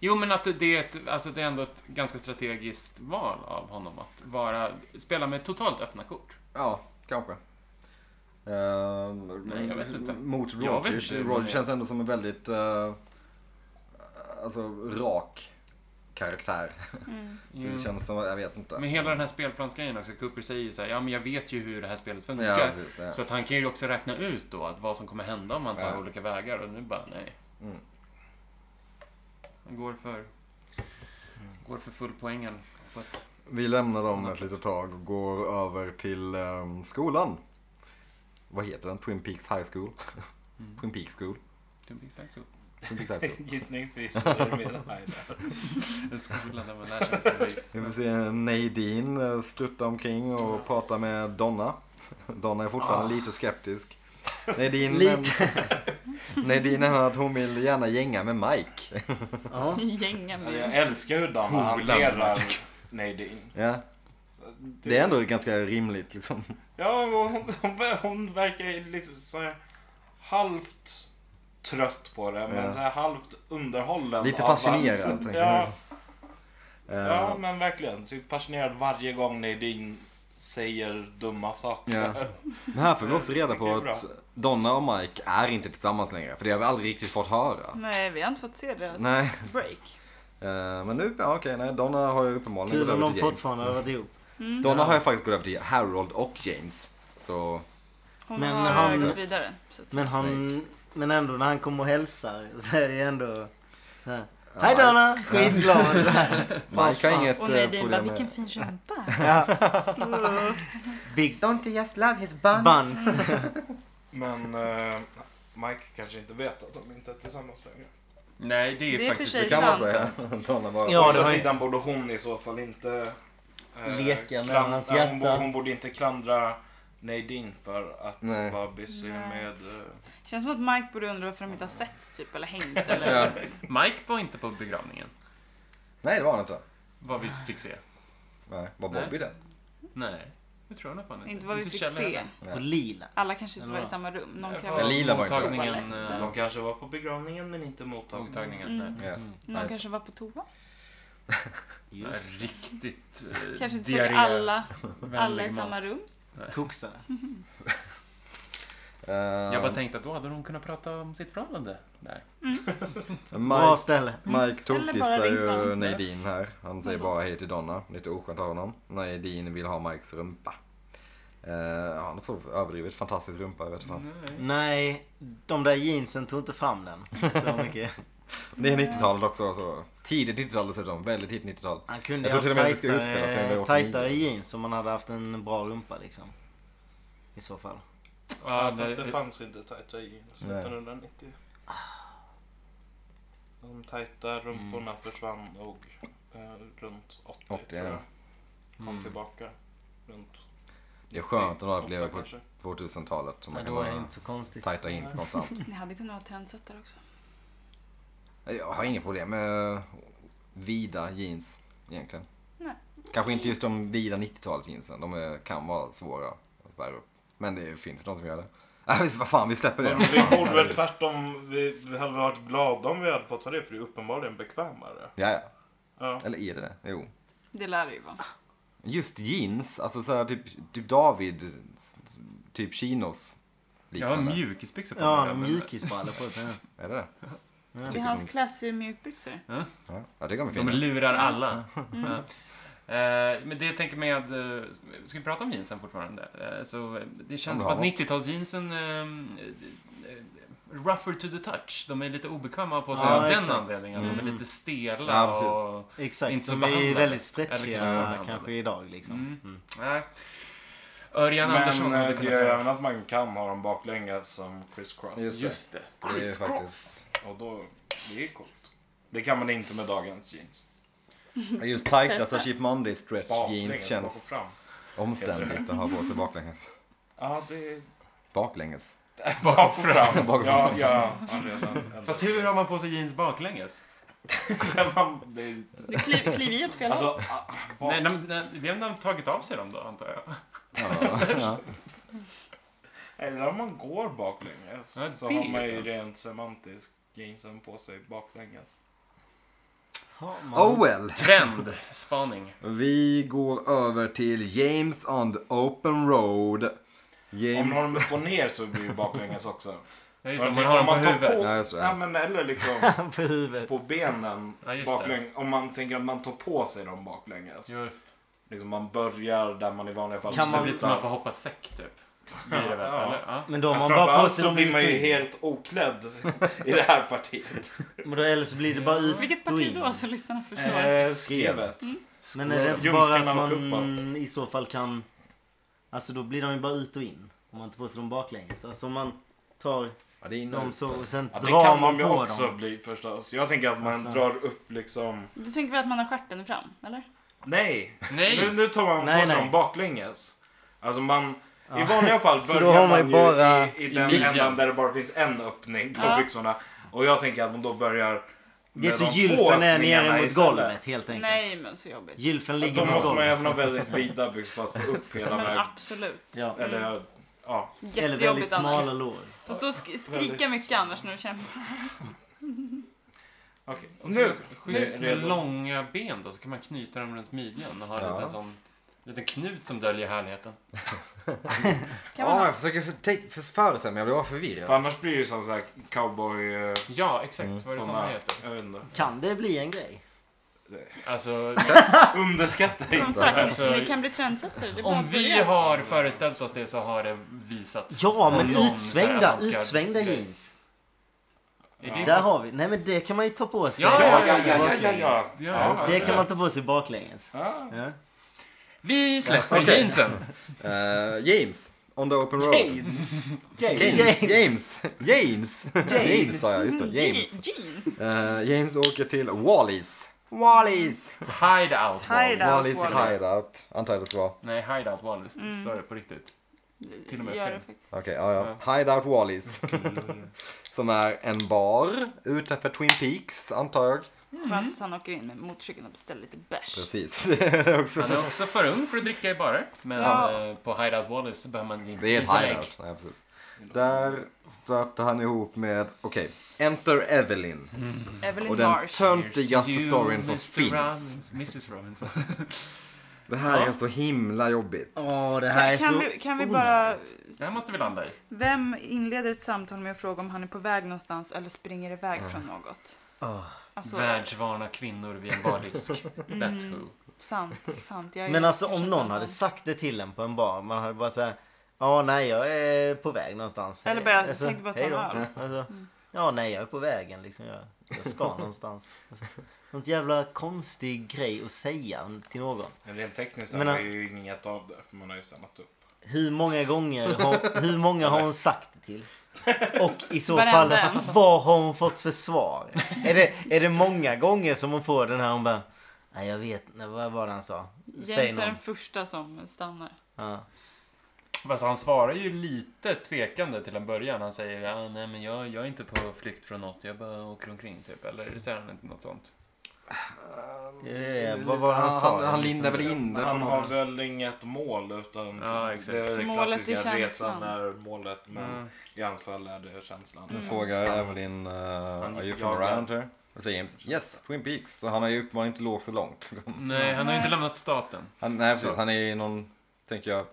S5: Jo, men att det är, ett, alltså det är ändå ett ganska strategiskt val av honom att vara, spela med totalt öppna kort.
S4: ja, kanske. Ehm,
S5: Nej, jag vet inte.
S4: Mot
S5: Jag vet
S4: Roger.
S5: inte, men-
S4: Roger känns ändå som en väldigt eh, alltså, rak karaktär.
S1: Mm.
S4: Det känns som, jag vet inte.
S5: Men hela den här spelplansgrejen också. Cooper säger ju så här, ja men jag vet ju hur det här spelet funkar.
S4: Ja, precis, ja.
S5: Så att han kan ju också räkna ut då att vad som kommer hända om man tar
S4: Ja.
S5: olika vägar. Och nu bara, nej.
S4: Mm.
S5: Han går för, går för full poängen. På ett,
S4: Vi lämnar dem ett litet tag och går över till ehm, skolan. Vad heter den? Twin Peaks High School?
S5: Mm.
S4: Twin Peaks School?
S5: to be sexual.
S4: Twin Peaks High School.
S3: *laughs* Gissningsvis är det mer Hyde.
S4: Mm.
S5: *laughs* en skola där man lär sig att
S4: Vi får se Nadine eh, strutta omkring och prata med Donna. *laughs* Donna är fortfarande
S3: *laughs*
S4: lite skeptisk. Nadine, lite. *laughs* Nadine nämner att hon vill gärna gänga med Mike.
S1: *laughs*
S2: Ja.
S1: Gänga
S3: Alltså,
S1: med.
S3: Jag älskar hur de hanterar Nadine.
S4: Ja, det är ändå ganska rimligt liksom.
S3: Ja, och hon, hon, hon verkar ju lite så här halvt trött på det, men
S4: Ja.
S3: så här halvt underhållen.
S4: Lite
S3: av
S4: fascinerad,
S3: allt.
S4: tänker
S3: Ja,
S4: Eh,
S3: ja, men verkligen. Typ fascinerad varje gång Nadine säger dumma saker.
S4: Ja. Men här får vi också reda
S3: tycker
S4: på
S3: det är bra.
S4: att Donna och Mike är inte tillsammans längre. För det har vi aldrig riktigt fått höra.
S1: Nej, vi har inte fått se deras
S4: Nej.
S1: break.
S4: Eh, Men nu, ja, okej, nej, Donna har ju uppenbarligen
S2: Kul
S4: gått
S2: om
S4: över
S2: de
S4: till James.
S2: fortfarande har varit ihop.
S4: Donna har ju faktiskt gått över till Harold och James. Så,
S1: Hon
S2: Men
S1: har
S2: han-
S1: gått vidare. Så att,
S2: Men, han, men ändå när han kommer och hälsar så är det ändå... så här,
S4: Ja,
S2: Hej
S4: Mike-
S2: Donna! *laughs* Skitglad! Så här.
S4: Mike har inget
S1: och
S4: eh,
S1: Nadine bara,
S4: problem
S1: vilken
S4: med...
S1: fin rumpa.
S2: Big
S6: Don't you just love his buns?
S2: buns.
S6: *laughs*
S3: Men eh, Mike kanske inte vet att de inte är tillsammans längre.
S5: Nej, det är,
S1: Det är för
S5: faktiskt...
S1: sig
S4: Kan man
S1: sant.
S4: säga. *laughs* Donna bara...
S2: Ja,
S3: Å
S2: det
S3: andra
S2: har ju-
S3: sidan borde hon i så fall inte eh,
S2: Leka med
S3: klan-
S2: hans
S3: nej, hon,
S2: hjärta.
S3: bo- hon borde inte klandra Nadine för att
S6: Nej.
S3: vara busy
S1: Nej.
S3: med... eh,
S1: *laughs* Känns som att Mike borde undra varför de inte har setts typ, eller hängt
S4: *laughs*
S1: eller...
S5: Ja. Mike var inte på begravningen,
S4: Nej, det var han inte.
S5: vad vi fick se.
S4: Nej, var
S5: Nej.
S4: Bobby det?
S5: Nej, det tror jag nog fan inte.
S1: Inte vad vi fick
S5: Kjell
S1: se.
S5: heller.
S4: Ja.
S2: Och lila.
S1: Alla kanske inte
S2: Eller
S1: var i
S2: vad?
S1: samma rum. Någon
S5: Jag
S1: kan
S5: var
S1: vara,
S4: Men Lila var inte där.
S5: mottagningen, eh,
S3: De kanske var på begravningen men inte mottagningen.
S5: mottagningen.
S1: Mm.
S5: Nej.
S4: Ja.
S1: någon
S4: Nice.
S1: kanske var på toa.
S5: Det
S2: Just
S5: är riktigt eh,
S1: Kanske inte såg
S5: diarré-
S1: alla, alla i
S5: vänlig
S1: samma
S5: mat.
S1: rum.
S2: koksare.
S4: Eh,
S5: Mm. Jag bara tänkte att då hade hon kunnat prata om sitt förhållande där.
S2: Bra
S4: Mike,
S2: ställe.
S4: Mike
S1: Eller bara
S4: tokdissar
S1: ring
S4: ju
S1: fram.
S4: Nadine här. Han säger bara hej till Donna. Lite oskönt av honom. Nadine vill ha Mikes rumpa. Eh, han har så överdrivet fantastisk rumpa, jag vet fan.
S5: Nej.
S2: Nej, de där jeansen tog inte fram den. Så *laughs* mycket.
S4: Det är 90-talet också. Så. Tidigt 90-tal dessutom. Väldigt tidigt 90-tal.
S2: Han kunde
S4: Jag
S2: ju
S4: tror till och med det
S2: haft
S4: ska utspela sig under
S2: tajtare,
S4: 89.
S2: tajtare jeans om man hade haft en bra rumpa liksom. I så fall.
S5: Ja,
S3: Fast
S5: det- Ah.
S3: det fanns inte tajta jeans
S4: Nej.
S3: 1990. De tajta rumporna
S5: Mm.
S3: försvann nog eh, runt 80,
S4: 80,
S3: tror jag.
S4: ja.
S3: Kom
S5: Mm.
S3: tillbaka runt
S4: Det är skönt att
S3: 80
S4: de lever på
S3: kanske.
S4: 2000-talet. Så
S2: Men
S4: man kan
S2: då är det
S4: bara
S2: inte så konstigt.
S4: tajta jeans konstant.
S1: Ni hade kunnat vara trendsättare också.
S4: Jag har inga problem med eh, vida jeans egentligen.
S1: Nej.
S4: Kanske inte just de vida 90-talsjeansen. De är, kan vara svåra att bära upp. Men det finns de som gör det. *laughs* Äh, visst, vad fan, vi släpper det.
S3: Men vi borde *laughs* väl tvärtom, vi, vi hade varit glada om vi hade fått ta det för det är uppenbarligen bekvämare.
S4: Ja, ja.
S3: Ja.
S4: Eller är det det? Jo.
S1: Det lär det ju vara.
S4: Just jeans, alltså så här, typ, typ David, s- s- typ chinos.
S5: Jag har
S4: Liknande.
S5: mjukisbyxor på
S2: Ja, han
S5: mig.
S2: har
S5: men-
S2: mjukisbrallor på sig.
S4: Är det det? Jag
S1: Det är
S4: tycker
S1: hans
S4: de-
S1: klassiska mjukbyxor.
S4: Ja, jag tycker de är
S5: De
S4: fina.
S5: lurar alla. Ja. Eh, Men det jag tänker med, eh, ska vi prata om jeansen fortfarande? Eh, Så eh, det
S4: Om
S5: känns
S4: vi
S5: som
S4: har
S5: att 90-talsjeansen, eh, eh, rougher to the touch. De är lite obekväma på sig
S2: Ja,
S5: av den
S2: exakt.
S5: anledningen. De är
S2: Mm.
S5: lite stela
S4: Ja, precis.
S5: och...
S2: Exakt,
S5: Inte så
S2: de är ju
S5: behandlade.
S2: väldigt
S5: Eller
S2: stretchiga
S5: kanske
S2: kanske,
S5: förbehandlade.
S2: idag liksom.
S5: Mm.
S2: Mm.
S5: Nej. Örjan Andersson
S3: Men
S5: hade
S3: eh, det
S5: kunnat
S3: gör ju
S5: göra.
S3: även att man kan ha dem baklänges som Chris Cross.
S4: Just det.
S5: Just det.
S4: är
S5: Chris
S4: faktiskt-
S5: Cross.
S3: Och då, det är coolt. Det kan man inte med dagens jeans.
S4: Just tight, alltså Cheap Monday stretch jeans
S3: Baklänges, bak och
S4: känns
S3: fram.
S4: omständligt att ha på sig baklänges.
S3: Ja, det är
S4: Baklänges.
S3: bak och *laughs* fram.
S4: Bak och
S3: Ja,
S4: fram.
S3: ja, ja, redan.
S5: Fast hur har man på sig jeans baklänges?
S3: Man- det är-
S1: Du kliv, kliv i åt fel håll.
S3: Alltså, ah, bak-
S5: Nej, de, nej, det har de tagit av sig dem då, antar jag.
S4: Ja, ja.
S3: Eller om man går baklänges
S5: Ja,
S3: så
S5: det
S3: har
S5: är
S3: man ju
S5: sant.
S3: rent semantiskt jeansen på sig baklänges.
S2: Har man-
S4: Oh well.
S5: Trend, *laughs* spaning.
S4: Vi går över till James on the open road.
S3: Om man har
S4: James...
S3: dem upp och ner så blir det baklänges också.
S5: Ja, just *laughs* det,
S3: Men
S5: om man
S3: tänk
S5: har dem på
S3: tar På,
S5: huvudet.
S4: Ja, just det.
S3: ja, men eller liksom
S2: på huvudet.
S3: på benen
S5: *laughs* Ja, just det.
S3: baklänges. Om man tänker att man tar på sig dem baklänges.
S5: Jo,
S3: Liksom man börjar där man i vanliga fall
S2: Kan
S5: kan
S2: man-
S5: man... Det blir som att man får hoppa säck, typ. Blir det väl,
S3: Ja.
S5: eller? Ja.
S2: Men då
S3: Ja,
S2: har man bara på
S3: framförallt
S2: sig
S3: så
S2: dem
S3: blir man ju
S2: ut
S3: helt oklädd *laughs* i det här partiet.
S2: och in. Men då- Eller så blir det bara ut och
S1: Vilket parti
S2: in.
S1: då så lyssnarna förstår?
S3: Eh, Skrevet.
S2: Men är det inte bara
S3: Ljumskarna
S2: att
S3: och
S2: man
S3: uppåt.
S2: i så fall kan... Alltså då blir de ju bara ut och in. Om man inte får sig dem baklänges. Alltså om man tar
S4: Ja, det är
S2: dem
S4: inom...
S2: så och sen
S3: Ja, det
S2: drar
S3: kan
S2: man
S3: de ju
S2: på
S3: också
S2: dem.
S3: bli förstås. Jag tänker att man
S2: Alltså.
S3: drar upp liksom...
S1: Du tänker väl att man har stjärten fram, eller?
S3: Nej! Nu,
S5: Nej!
S3: nu tar man
S2: Nej,
S3: på sig
S2: nej.
S3: dem baklänges. Alltså man... I vanliga fall
S2: Så då
S3: börjar
S2: har
S3: man
S2: man
S3: ju
S2: ju bara-
S3: i, i den
S5: midjan.
S3: ändan där det bara finns en öppning på
S1: Ja.
S3: byxorna. Och jag tänker att man då börjar...
S2: Det är
S3: med
S2: så
S3: de två
S2: gylfen är
S3: öppningarna
S2: nere mot
S3: istället.
S2: golvet helt enkelt.
S1: Nej, men så jobbigt.
S2: Gylfen
S3: Då
S2: ligger mot
S3: måste man ju
S2: golvet.
S3: även ha väldigt vida byxor för att få upp hela
S5: Mm.
S1: Men
S3: vägen.
S1: absolut.
S2: Ja.
S3: Eller ja, ja.
S2: Eller
S1: Jättejobbigt
S2: väldigt smala
S1: annars.
S2: lår.
S1: Fast då sk- skrika
S3: Väldigt
S1: mycket
S3: smala.
S1: annars när du kämpar.
S3: Okej.
S5: Också
S3: Nu!
S5: ganska Schysst
S3: Nu,
S5: med
S3: redo.
S5: långa ben då, så kan man knyta dem runt midjan och ha
S4: Ja.
S5: en liten sån... Liten knut som döljer härligheten.
S1: Kan man
S4: Ja,
S1: ha?
S4: Ah, jag försöker för- tänk- för- föreställa mig, jag blir bara
S3: För
S4: förvirrad.
S3: annars blir det ju som så här cowboy... eh,
S5: Ja, exakt. Vad är det
S3: såna-
S5: som heter?
S3: Jag vet inte.
S2: Kan det bli en grej?
S5: Alltså,
S3: Underskatta
S1: Som
S3: inte.
S1: sagt,
S5: Alltså-
S1: det kan bli trendsättare. Det är bara
S5: om
S1: att
S5: vi
S1: börja.
S5: har föreställt oss det så har det visats.
S2: Ja, men
S5: någon så här
S2: utsvängda,
S5: avantgarde
S2: utsvängda
S5: grej.
S2: jeans.
S5: Är det-
S2: Där har vi. Nej men det kan man ju ta på sig.
S5: Ja,
S3: Ja, ja, ja, ja, ja,
S2: baklänges.
S3: ja.
S5: Ja,
S2: Alltså, det kan man ta på sig baklänges.
S3: Ja.
S2: Ja.
S5: Vi släpper
S4: Okej.
S5: jeansen.
S4: Eh, James on the open road. James! James! James! James sa jag, just det. James.
S1: Jeans.
S4: Eh, James åker till Wallis. Wallis!
S5: Hideout
S1: Hideout.
S5: Wallis.
S4: Wallis
S1: Wallis.
S4: hideout, antar jag det ska vara.
S5: Nej, hideout Wallis. Det står det på riktigt. Till och med
S1: Gör
S5: fem.
S1: det faktiskt.
S4: Okej, ja, ja. Hideout Wallis. Som är en bar utanför Twin Peaks, antar jag.
S1: Skönt Mm. att han åker in med motorcykeln och beställer lite bärs.
S4: Precis, *laughs* det är också...
S5: Han är också för ung för att dricka i barer. Men
S1: Ja.
S5: eh, på hideout Wallis så behöver man inte
S4: Det är ett hideout. Ja, precis. Där stötte han ihop med, okej, Enter Evelyn.
S1: Evelyn
S4: Och den
S1: Marsh.
S4: töntigaste storyn som finns.
S5: Mrs Robinson.
S4: Det här är
S5: Ja.
S4: så himla jobbigt.
S2: Åh, det här är
S1: Kan,
S2: så...
S1: kan, vi, kan vi bara...
S5: Det här måste vi landa i.
S1: Vem inleder ett samtal med att fråga om han är på väg någonstans eller springer iväg från något?
S2: Åh.
S1: Alltså,
S5: Världsvana kvinnor vid en *laughs* bardisk. That's who.
S1: sant, sant. Jag är-
S2: Men alltså
S1: jag
S2: om
S1: köper en
S2: någon hade
S1: sån.
S2: sagt det till en på en bar, man hade bara såhär Ja nej jag är på väg någonstans.
S1: Eller bara,
S2: Alltså,
S1: tänkte bara ta
S2: hej då.
S1: en öl.
S2: Alltså, Ja nej jag är på vägen liksom. Jag, jag ska någonstans. Alltså, något jävla konstig grej att säga till någon.
S3: Rent tekniskt
S2: Men,
S3: har vi ju inget av det för man har ju stannat upp.
S2: Hur många gånger har, hur många har hon sagt det till? Och i så fall,
S1: Varenda en.
S2: vad har hon fått för svar? Är det, är det många gånger som hon får den här hon bara Nej jag vet inte, vad var det han sa? Säg
S1: Jens är
S2: någon.
S1: den första som stannar.
S2: Ja.
S5: Fast han svarar ju lite tvekande till en början. Han säger ah, nej men jag, jag är inte på flykt från något, jag bara åker omkring typ. Eller säger han inte något sånt?
S2: Det är det, Eh, Vad var det han sa? Liksom.
S4: Han, han lindar väl in det på
S3: Han har
S4: något.
S3: väl inget mål utan
S5: Ja, exakt.
S3: det är den
S1: Målet är
S3: klassiska
S1: känslan.
S3: resan är målet men
S5: Mm.
S3: i hans fall är det känslan.
S4: Nu frågar Evelyn, uh, are you from
S3: jagar.
S4: around here? Och säger James, yes, Twin Peaks. Så han har ju uppenbarligen inte lågt så långt. *laughs*
S5: Nej, han har ju inte lämnat staten.
S4: Han, nej, precis. Han är ju någon, tänker jag,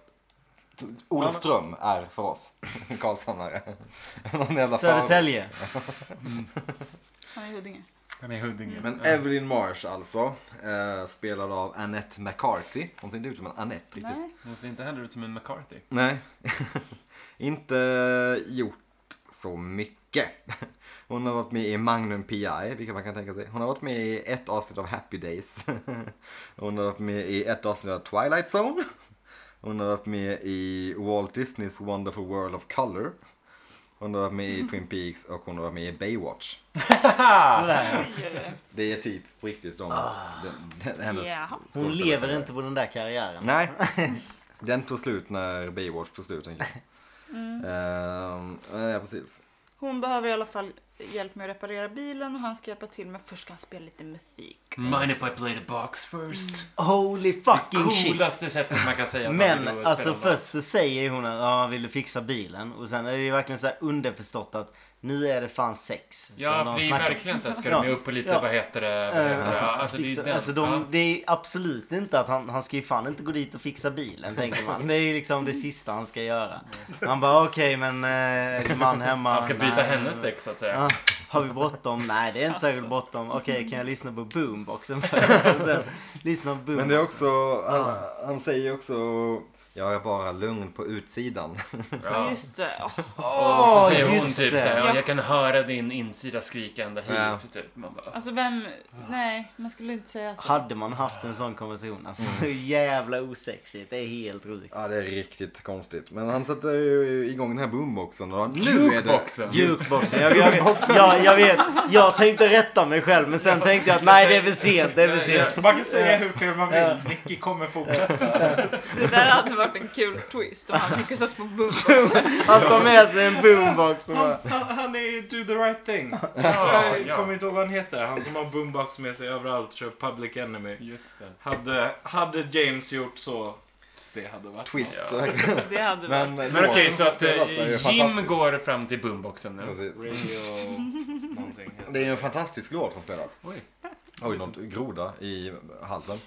S4: t- Olofström är för *laughs* oss Karlshamnare. *laughs* någon jävla farbror.
S2: Södertälje.
S1: Han är i Huddinge.
S5: Han är i Huddinge.
S4: Men Evelyn Marsh alltså, eh, spelad av Annette McCarthy. Hon ser inte ut som en Annette riktigt.
S1: Nej.
S5: Hon ser inte heller ut som en McCarthy.
S4: Nej. *laughs* inte gjort så mycket. *laughs* Hon har varit med i Magnum P.I. vilket man kan tänka sig. Hon har varit med i ett avsnitt av Happy Days. *laughs* Hon har varit med i ett avsnitt av Twilight Zone. Hon har varit med i Walt Disneys Wonderful World of Color. Hon har varit med i Twin Peaks och hon har varit med i Baywatch.
S2: Sådär.
S1: Oj, oj, oj.
S4: Det är typ på riktigt de, den, den, hennes
S1: Ja.
S2: Ah. Hon lever
S4: skådespelarkarriär.
S2: inte på den där karriären. *laughs*
S4: Nej, den tog slut när Baywatch tog slut tänker jag. Ehm, ja, precis.
S1: Hon behöver i alla fall hjälp med att reparera bilen och han ska hjälpa till men först ska han spela lite musik.
S5: Mind if I play the box first?
S2: Holy fucking shit.
S5: Coolaste sättet man kan säga att man vill
S2: Men
S5: spela
S2: alltså
S5: en låt.
S2: först så säger hon att ah, vill du fixa bilen? Och sen är det ju verkligen så här underförstått att nu är det fan sex.
S5: Ja,
S2: som de
S5: för det är ju
S2: snackar om.
S5: verkligen så här, ska
S2: Ja,
S5: du med upp och lite,
S2: ja.
S5: vad heter det? Vad heter
S2: Eh,
S5: det? Ja, alltså, det är ju
S2: fixa-
S5: den.
S2: Alltså de, det är absolut inte att han, han ska ju fan inte gå dit och fixa bilen tänker man. Det är ju liksom det sista han ska göra. Han bara okej men eh, är din man hemma?
S5: ja. Han ska byta
S2: Nej.
S5: hennes däck så att säga.
S2: Ja, har vi bråttom? Nej det är inte särskilt bråttom. Okej kan jag lyssna på
S5: *laughs*
S2: boomboxen först? Och sen lyssna på boomboxen.
S4: Men det är också, han, han säger också, jag är bara lugn på utsidan. *laughs*
S1: Ja.
S5: Ja.
S1: Just det. Åh,
S5: Och så
S2: Åh,
S5: säger hon
S2: just
S5: typ
S2: det.
S5: så här, ja,
S1: Jag-
S5: jag kan höra din insida skrikande hit.
S4: Ja.
S5: Typ. Man bara,
S1: Alltså vem...
S4: Ah.
S1: Nej, man skulle inte säga så.
S2: Hade man haft en sån konversation, alltså
S5: Mm.
S2: så jävla osexigt. Det är helt rukt.
S4: Ja, det är riktigt konstigt. Men han sätter ju igång den här boomboxen och nu är det...
S5: Jukeboxen!
S2: Jukeboxen, jag, jag, jag, jag vet. Jag tänkte rätta mig själv men sen tänkte jag att nej det är väl sent, det är väl sent.
S3: Man kan säga hur fel man vill. Nicky kommer fortsätta.
S1: Det där hade varit en kul twist om han lyckas satt på boombox.
S2: Han tar med sig en boombox och bara,
S3: Han, han är ju do the right thing.
S5: Ja,
S3: Jag kommer
S5: ja.
S3: inte ihåg vad han heter. Han som har boombox med sig överallt. Kör Public Enemy.
S5: Just det.
S3: Hade, hade James gjort så, det hade varit
S4: Twist.
S5: Ja.
S4: verkligen.
S1: Det hade varit...
S4: *laughs* Men,
S5: Men okej, så att
S4: spelas är ju
S5: eh, Jim
S4: fantastisk.
S5: går fram till boomboxen nu.
S4: Precis.
S3: Radio... Någonting heter
S4: Det är en fantastisk låt som spelas.
S5: Oj.
S4: Oj, någon groda i halsen.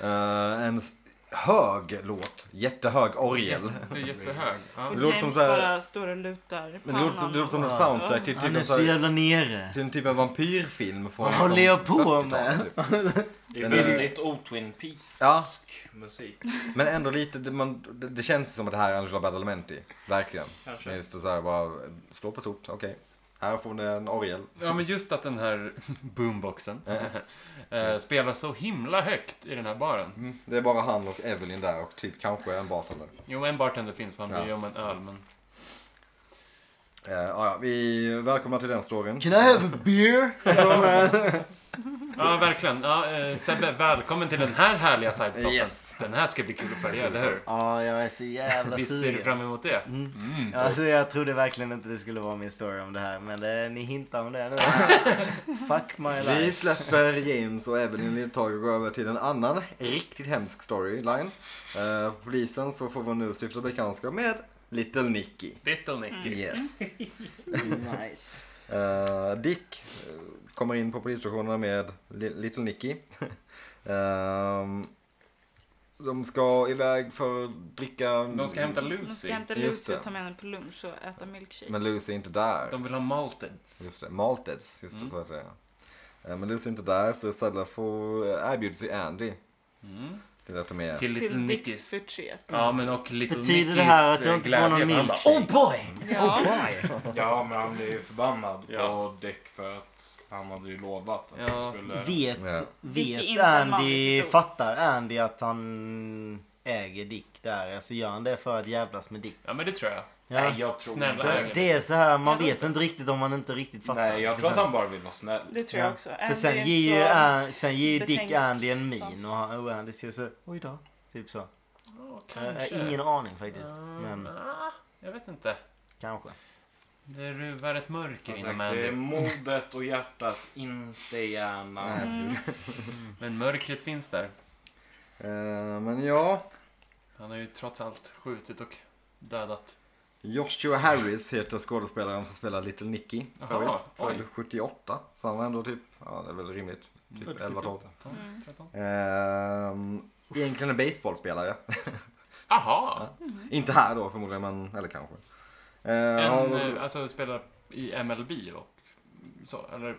S4: Eh, en s- hög låt, jättehög orgel.
S5: Det är jättehög. Ja.
S1: Och
S4: Det låter
S1: James
S4: som så här-
S1: bara står och lutar
S4: Men det låter som, det låter som en soundtrack till typ
S2: han är
S4: en,
S2: så
S4: så här,
S2: jävla nere.
S4: till en typ av vampyrfilm. Från
S2: Vad håller jag på
S4: 40-talet,
S2: med? *laughs*
S4: typ.
S3: Det är
S4: Den är-
S3: väldigt o-Twin Peaks
S4: Ja,
S3: musik.
S4: men ändå lite, det, man, det, det känns som att det här är Angela Badalamenti. Verkligen.
S3: Kanske.
S4: Men just det så här, bara slå på stort, okej. Här får ni en orgel.
S5: ja, men just att den här boomboxen *laughs* eh, spelar så himla högt i den här baren.
S4: Mm, det är bara han och Evelyn där och typ kanske en bartender.
S5: Jo, en bartender finns, man bryr
S4: Ja.
S5: om en öl, men...
S4: Eh, ja, ja, vi välkomnar till den storyn.
S2: Can I have a beer?
S5: Ja, Ja, verkligen. Ja, eh, Sebbe, välkommen till den här härliga sideproppen.
S4: Yes.
S5: Den här ska bli kul att följa, eller hur?
S2: Ja, jag är så jävla
S5: Visst ser du
S2: sugen.
S5: fram emot det?
S2: Ja, Alltså, jag trodde verkligen inte det skulle vara min story om det här, men det, ni hintar om det nu. Fuck my
S4: Vi
S2: life.
S5: *laughs*
S4: släpper James och Evelyn i ett tag och går över till en annan riktigt hemsk storyline. Eh, polisen så får vi nu stifta bekantskap med Little Nicky.
S5: Little Nicky. *laughs*
S4: Yes.
S2: Nice.
S4: Eh, Dick eh, kommer in på polisstationen med Li- Little Nicky. *laughs* Ehm, de ska iväg för att dricka...
S5: Mm. De ska hämta
S1: De
S5: Lucy.
S1: ska hämta
S4: Just
S1: Lucy
S4: det.
S1: och ta med henne på lunch och äta milkshake.
S4: Men Lucy är inte där.
S5: De Mm. vill ha malteds.
S4: Just det, Malteds. Just det, så heter det. Eh, Men Lucy är inte där så istället får, erbjuder sig Andy.
S5: Mm.
S4: Till att de är... Ah.
S5: Till Little
S1: Till
S5: Nicky.
S1: Dicks förtret.
S5: Ja, men och Little
S2: Betyder
S5: Nickys
S2: det här att jag
S5: eh,
S2: inte får någon
S5: glädje. Han bara,
S2: milkshake?
S6: Oh boy!
S1: Ja.
S3: Ja, men han blev ju förbannad
S5: Ja.
S3: på Dick för att han hade ju lovat att
S5: Ja.
S3: han skulle...
S2: Vet,
S4: Ja.
S1: Vilket
S2: vet
S1: inte är en vanlig
S2: Andy,
S1: historia.
S2: fattar Andy att han äger Dick där? Alltså gör han det för att jävlas med Dick?
S5: Ja, men det tror jag.
S2: Ja.
S3: Nej, jag tror
S5: Snälla.
S3: inte.
S2: För det är så här, man vet inte riktigt om man inte riktigt fattar.
S3: Nej, jag tror att han bara vill vara snäll.
S1: Det tror jag också.
S2: För
S1: Andy är
S2: sen
S1: inte
S2: ger ju,
S1: så-
S2: An- sen ger ju Dick
S1: betänkt
S2: Andy en
S1: som-
S2: min och han, och Andy ser så, oj då. Typ så. Jag
S5: Kanske.
S2: har ingen aning faktiskt.
S5: Mm,
S2: Men
S5: ah, jag vet inte.
S2: kanske.
S5: Det ruvar ett mörker
S3: Som
S5: inom
S3: sagt, det är
S5: Andy.
S3: modet och hjärtat, inte hjärnan.
S4: Nej,
S1: Mm,
S4: precis.
S5: Men mörkret finns där.
S4: Eh, men ja,
S5: Han har ju trots allt skjutit och dödat.
S4: Joshua Harris heter skådespelaren som spelar Little Nicky. för
S5: Jaha,
S4: övrigt. Född
S5: oj.
S4: 78, så han var ändå typ, ja det är väl rimligt, typ 11-12.
S5: 12, 13.
S4: Ehm, egentligen en baseballspelare.
S5: Mm. Aha!
S4: Inte här då förmodligen, men eller kanske. Eh,
S5: En,
S4: har-
S5: eh, alltså spelar i MLB och så, eller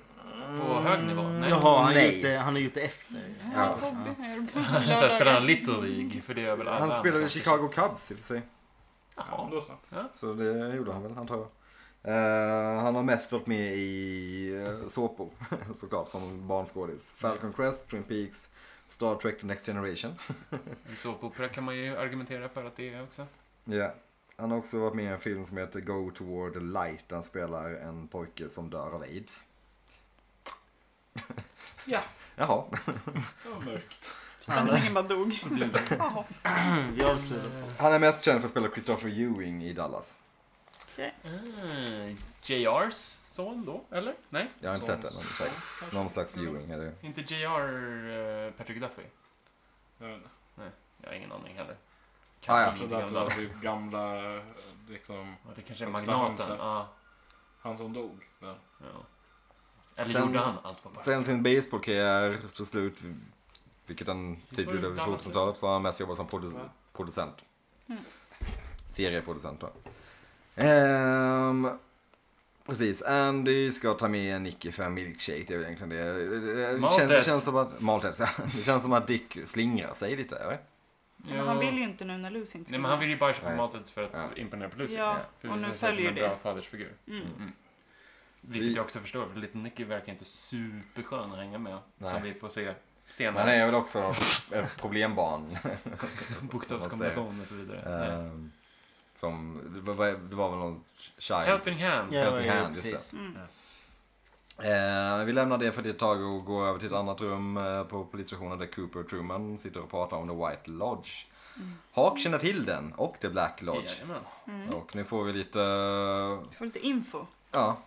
S5: på hög nivå? Nej.
S2: Jaha, han,
S4: Nej.
S2: gjort det, han har gjort det efter.
S1: Hans hobby är
S4: *laughs*
S1: på
S5: Sen spelar
S1: lördagar.
S5: han Little League, för det är väl alla
S4: han spelade i
S5: andra
S4: Chicago Cubs i och för sig.
S3: Ja,
S5: Jaha.
S3: då så.
S4: Så det gjorde han väl, antar jag. Eh, han har mest varit med i uh, såpor, *laughs* såklart, som barnskådis. Falcon Crest, Twin Peaks, Star Trek The Next Generation.
S5: En såpopera kan man ju argumentera för att det är också.
S4: Ja. Han har också varit med i en film som heter Go Toward the Light, där han spelar en pojke som dör av aids.
S3: Ja.
S4: *laughs* Jaha.
S3: Det var mörkt.
S1: Stämningen bara
S4: *laughs*
S1: dog. Jaha.
S2: Mm, Vi avslutar på.
S4: Han är mest känd för att spela Christopher Ewing i Dallas.
S5: Mm, JRs son då, eller? Nej,
S4: Jag har inte
S3: Som-
S4: sett den, men säkert. Någon slags Ewing är det.
S5: inte JR eh, Patrick Duffy.
S3: Jag vet inte.
S5: Jag har ingen aning heller.
S4: Ah, ja.
S3: Jag trodde att det var typ gamla, liksom,
S5: Ja, det kanske är
S3: Högsta
S5: magnaten.
S3: handset.
S5: Ja,
S3: han som dog. där.
S5: ja. Eller
S4: Sen-
S5: gjorde han allt för bara?
S4: Sen sin baseballkarriär tog slut, vilket han
S5: Så
S4: typ
S5: var det
S4: gjorde över
S5: Dallas,
S4: 2000-talet, så har han mest jobbat som produ-
S3: Ja.
S4: producent.
S1: Mm.
S4: Serieproducent då. Ehm, precis, Andy ska ta med Nicky för en milkshake. Det är väl egentligen det. Det, det, det, känns, det
S5: Maltets.
S4: känns som att Maltets, ja. Det känns som att Dick slingrar sig lite, eller?
S1: Men han vill
S5: Ja.
S1: ju inte nu när Lucy inte ska
S5: Nej, men han vill ju bara köpa
S4: Nej.
S5: matet för att
S4: Ja.
S5: imponera på Lucy.
S1: Ja,
S5: För
S1: och
S5: Lucy
S1: nu
S5: känns som
S1: följer
S5: en
S1: det.
S5: bra fadersfigur.
S1: Mm.
S5: Vilket
S4: Vi-
S5: jag också förstår, för Little Nicky verkar inte superskön att hänga med.
S4: Nej.
S5: Som vi får se
S4: Men han
S5: *laughs* senare.
S4: är väl också ett
S1: *laughs*
S4: problembarn.
S5: Bokstavskombination och så vidare. Nej.
S4: Ehm, som, det var, det var väl någon child
S5: Helping hand.
S4: Ja.
S2: Ja,
S4: Helping
S2: ja,
S4: hand, just
S2: precis.
S1: Mm.
S4: Eh, vi lämnar det för det ett tag och går över till ett annat rum eh, på polisstationen där Cooper och Truman sitter och pratar om The White Lodge.
S5: Mm.
S4: Hawk känner till den och The Black Lodge.
S5: Jajamän.
S4: Och nu får vi lite, eh,
S1: mm. Får lite info.
S4: ja,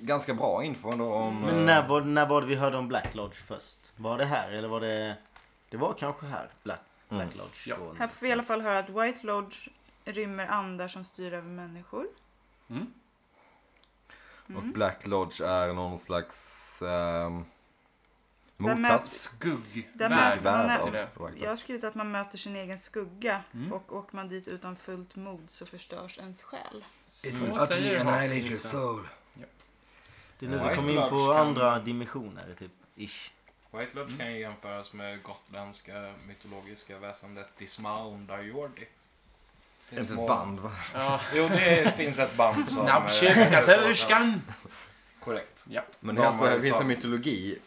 S4: ganska bra info ändå om... eh,
S2: Men när var, när var det vi hörde om Black Lodge först? Var det här eller var det... Det var kanske här. Black,
S4: Mm.
S2: Black Lodge.
S5: Ja.
S2: då.
S1: Här får vi i alla fall höra att White Lodge rymmer andar som styr över människor.
S5: Mm.
S4: Och Black Lodge är någon slags eh,
S1: Där
S4: motsats.
S5: Skugg.
S1: Där
S5: Värld.
S1: möter man-
S4: Värld
S1: där-
S4: av
S5: till
S4: The
S5: det.
S4: White
S1: Jag
S4: Lodge.
S1: har skrivit att man möter sin egen skugga
S5: Mm.
S1: och åker man dit utan fullt mod så förstörs ens själ.
S5: Så säger han.
S4: soul.
S2: Det är nu vi
S3: White
S2: kommer in
S3: Lodge
S2: på
S3: kan-
S2: andra dimensioner typ. Ish.
S3: White Lodge kan ju jämföras med gotländska mytologiska väsendet Dismaundar Jordi. Det är
S4: Inte
S3: små-
S4: ett band va?
S5: Ja.
S3: Jo, det finns ett band som... eh,
S5: Snabbköpskassörskan!
S3: Korrekt.
S5: Ja,
S4: Men
S3: De
S4: det, är alltså,
S3: har
S4: det
S3: ju
S4: finns en
S3: tagit-
S4: mytologi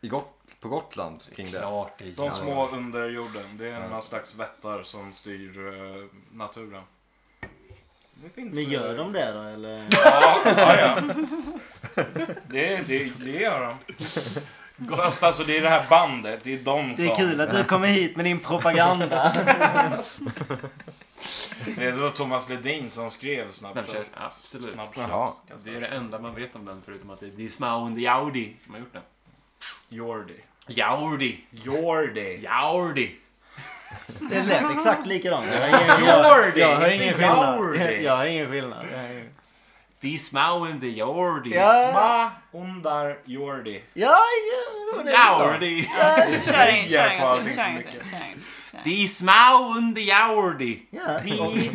S4: i Got- på Gotland kring det.
S5: klart det gör.
S3: De små under jorden, det är
S4: Ja.
S3: någon slags vättar som styr eh, naturen. Det finns...
S2: Men gör
S3: eh,
S2: de det då eller? *laughs*
S3: Ja, ja, ja. Det, det, det gör de. Fast alltså det är det här bandet, det är de som...
S2: Det är kul att du kommer hit med
S3: *laughs*
S2: din propaganda.
S3: Det var Thomas Ledin som skrev Snapchat.
S5: Snapchat, absolut.
S3: Snapchat.
S4: Jaha.
S5: Det är det enda man vet om den förutom att det är Dismount Jaudi som har gjort den.
S3: Jordi.
S5: Jaudi!
S3: Jordi.
S5: Jaudi!
S2: Det lät exakt likadant. Jag har ingen, jag, jag har ingen skillnad. Jag har ingen skillnad. Jag har ingen-
S5: Dismount Jaudi!
S2: Ja.
S3: Ma undar Jordi.
S2: Ja, ja, det var det
S5: Jaudi!
S1: Kör in, kör
S3: Jag
S1: en
S3: på
S1: gång
S3: allting
S1: till. Kör en
S3: för
S1: gång till. kör en gång till.
S5: Dismount Jaudi!
S2: du sa. Ja.
S3: Di.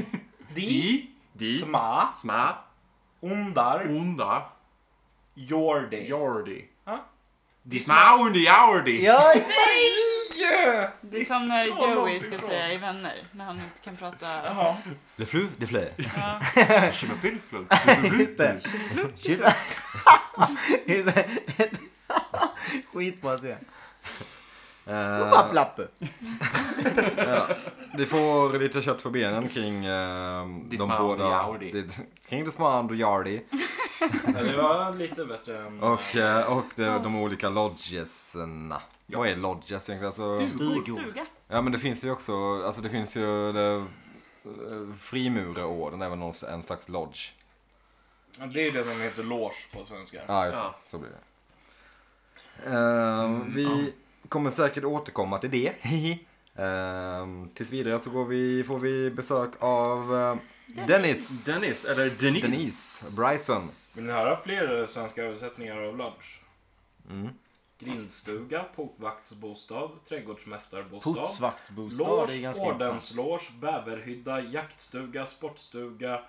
S3: Di.
S5: Di, di,
S3: Sma.
S5: sma,
S3: Undar.
S5: onda,
S3: Jordi.
S5: Jaudi.
S3: Ja.
S5: Dismount Jaudi!
S2: Ja,
S1: Det är som när
S3: så långt
S1: Joey ska
S3: ifrån.
S1: säga i Vänner, när han inte kan prata.
S3: Jaha.
S4: Le flu, le flö.
S1: Ja.
S2: *laughs* just det. Just det. Skitbra serie.
S4: Eh,
S2: Papplappe.
S4: vi får lite kött på benen kring eh, de
S5: Dismount
S4: båda.
S5: Jaudi.
S4: Det- Kring Dismount och Yardi.
S3: Ja, Det var lite bättre än...
S4: Och, eh, och de, de olika lodgesna. Vad är lodges egentligen? Alltså,
S2: Stugor.
S1: Stuga.
S4: ja men det finns ju också, alltså det finns ju det, eh, frimureorden är väl någon, en slags lodge.
S3: Ja, Det är ju det som heter loge på svenska.
S4: Ja, just det.
S5: Ja.
S4: Så blir det. Ehm, vi kommer säkert återkomma till *laughs* det. Ehm, tills vidare så går vi, får vi besök av eh, Dennis.
S5: Dennis, eller Denise.
S4: Denise Bryson.
S3: Vill ni höra fler svenska översättningar av lodge?
S4: Mm.
S3: Grindstuga, portvaktsbostad, trädgårdsmästarbostad.
S2: Putsvaktbostad. Det är
S3: Loge,
S2: ganska intressant.
S3: ordenslås, bäverhydda, jaktstuga, sportstuga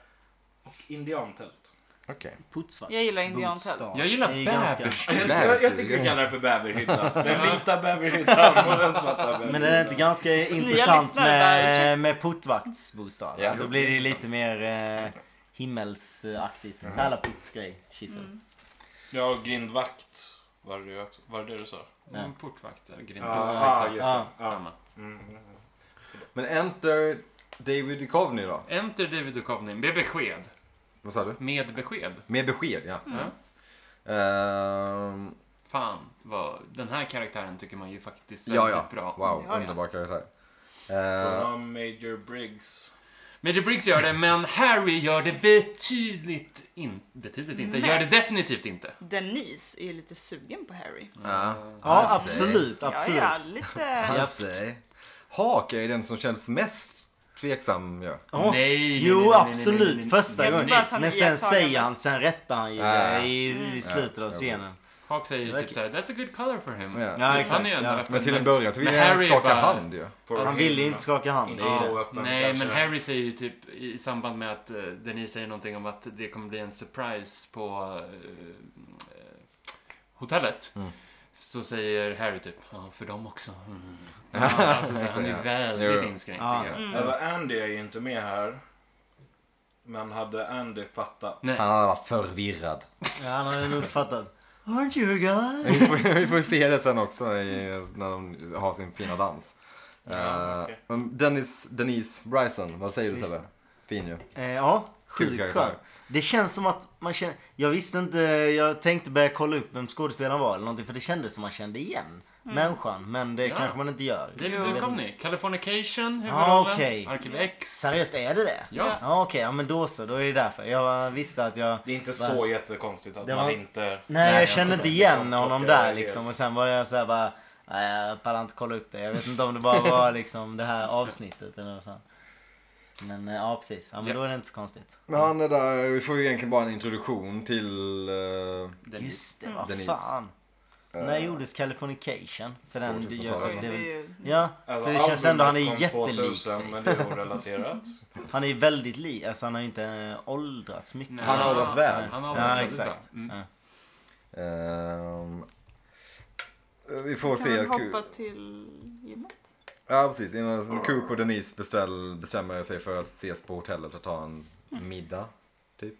S3: och indiantält.
S4: Okej.
S2: Putsvakt.
S1: Jag gillar indiantält.
S2: bostad.
S5: Jag gillar
S2: Det är ganska-
S5: bävers.
S3: Jag, jag,
S4: Bäverstuga.
S3: jag tycker vi kallar det för bäverhydda. *laughs* Den vita bäverhyddan och den svarta bäverhyddan.
S2: Men det är inte ganska intressant
S1: lyssnar bara.
S2: med, med portvaktsbostad?
S3: Ja.
S2: Då blir det lite mer eh, himmelsaktigt. Alla putsgrej, kissel.
S1: Mm.
S3: Ja, och grindvakt var det, ju också. var det det du sa?
S5: Mm, Portvakt eller
S3: Ja,
S5: grindvakt.
S3: ah,
S5: exakt.
S3: just det.
S2: Ja.
S3: Ja.
S5: Samma.
S3: Mm.
S4: Men enter David Duchovny då.
S5: Enter David Duchovny med besked.
S4: Vad sa du?
S5: Med besked.
S4: Med besked, ja.
S2: Mm.
S5: Ja.
S4: Ehm,
S5: Fan, vad, den här karaktären tycker man ju faktiskt väldigt
S4: ja, ja.
S5: bra.
S4: Wow,
S1: Ja, ja.
S4: underbar karaktär.
S2: Eh,
S4: Ehm,
S3: Från Major Briggs.
S5: Major Briggs gör det, men Harry gör det betydligt inte. Betydligt inte. Gör det definitivt inte.
S1: Denise är ju lite sugen på Harry.
S6: Ja,
S2: Ja,
S6: I'd say.
S2: absolut.
S1: Ja,
S2: absolut.
S1: ja, lite.
S6: I'd say.
S4: Hake är den som känns mest tveksam ju.
S2: Ja.
S5: Nej, nej, nej, nej,
S2: Jo,
S5: nej, nej, nej,
S2: absolut.
S5: nej.
S2: Första
S1: Jag tror
S2: gången.
S1: bara att han
S2: Men
S1: är
S2: sen
S1: iakttagande.
S2: säger han, sen rättar han ju
S4: Ja.
S2: det i, i slutet av
S4: Ja,
S2: scenen.
S5: Hawk säger ju
S2: Verkligen.
S5: typ såhär, that's a good color for him.
S4: Ja.
S2: Ja,
S5: Han
S2: exakt.
S5: är ju ändå
S2: Ja.
S5: öppen.
S4: Men till en början så vill
S5: men
S4: han
S5: Harry
S4: skaka
S5: bara-
S4: hand ju.
S3: For
S2: Han
S3: him.
S2: ville ju inte skaka hand. Det
S3: Inte
S2: är-
S3: så öppen
S5: Nej,
S3: kanske.
S5: men Harry säger ju typ i samband med att eh, Denise säger någonting om att det kommer bli en surprise på eh, hotellet.
S4: Mm.
S5: Så säger Harry typ, ja, för dem också.
S4: *laughs*
S5: Mm. Alltså, så han är
S4: Ja.
S5: väldigt
S4: Jo.
S5: inskränkt
S2: Ja.
S5: tycker jag.
S3: Alltså Andy är ju inte med här. Men hade Andy fattat.
S4: Han hade varit förvirrad.
S2: Ja, han hade nog fattat. Aren't you a guy?
S4: *laughs* vi, får, vi får se det sen också i, när de har sin fina dans.
S3: Ja,
S4: Eh,
S3: okej.
S4: men Dennis, Denise Bryson, vad säger du
S2: Just
S4: Sebbe? Fin ju.
S2: Eh, ja,
S4: Kul
S2: sjukt
S4: karaktär.
S2: skön. Det känns som att man känner... Jag visste inte, jag tänkte börja kolla upp vem skådespelaren var eller någonting för det kändes som man kände igen människan. Men det
S5: Ja.
S2: kanske man inte gör.
S5: David Duchovny, Californication,
S2: Ja,
S5: huvudrollen,
S2: okej.
S5: Arkiv X.
S2: Seriöst, är det det?
S5: Ja.
S2: Ja, okej, ja, men då så. Då är det därför. Jag visste att jag...
S3: Det är inte så jättekonstigt att
S2: Det
S3: man
S2: var-
S3: inte...
S2: Nej, jag
S3: jag
S2: kände
S3: kommer
S2: inte igen
S3: liksom
S2: honom
S3: plocka
S2: där
S3: det.
S2: liksom. Och sen var jag så här bara... Nej, jag pallar inte kolla upp det. Jag vet inte om det
S5: *laughs*
S2: bara var liksom det här avsnittet eller vad fan. Men eh, ja, precis. Ja, men
S5: Ja.
S2: då är det inte så konstigt.
S4: Men han är där, vi får ju egentligen bara en introduktion till... eh,
S5: Denise.
S2: Just det, vad
S4: Denise.
S2: fan.
S4: Eh.
S2: När gjordes Californication? För den... Det
S4: 2000-talet.
S2: görs,
S1: Oj,
S2: det
S1: alltså, det är
S2: är väl,
S1: ju...
S2: ja,
S3: Alltså,
S2: för det känns ändå han är
S3: albumet kom
S2: jättelik
S3: 2000,
S2: sig.
S3: Men det är
S2: *laughs*
S3: orelaterat.
S2: Han är väldigt lik. Alltså han har inte eh, åldrats mycket.
S5: Nej.
S4: Han har åldrats väl.
S5: Han har
S2: Ja,
S5: åldrats väldigt
S2: exakt.
S5: bra. Mm.
S4: ehm, eh, vi får
S1: Kan
S4: se.
S1: man
S4: Ku-
S1: hoppa till gymmet?
S4: Ja, precis. Innan Coop och Denise beställ, bestämmer sig för att ses på hotellet och ta en middag. Typ.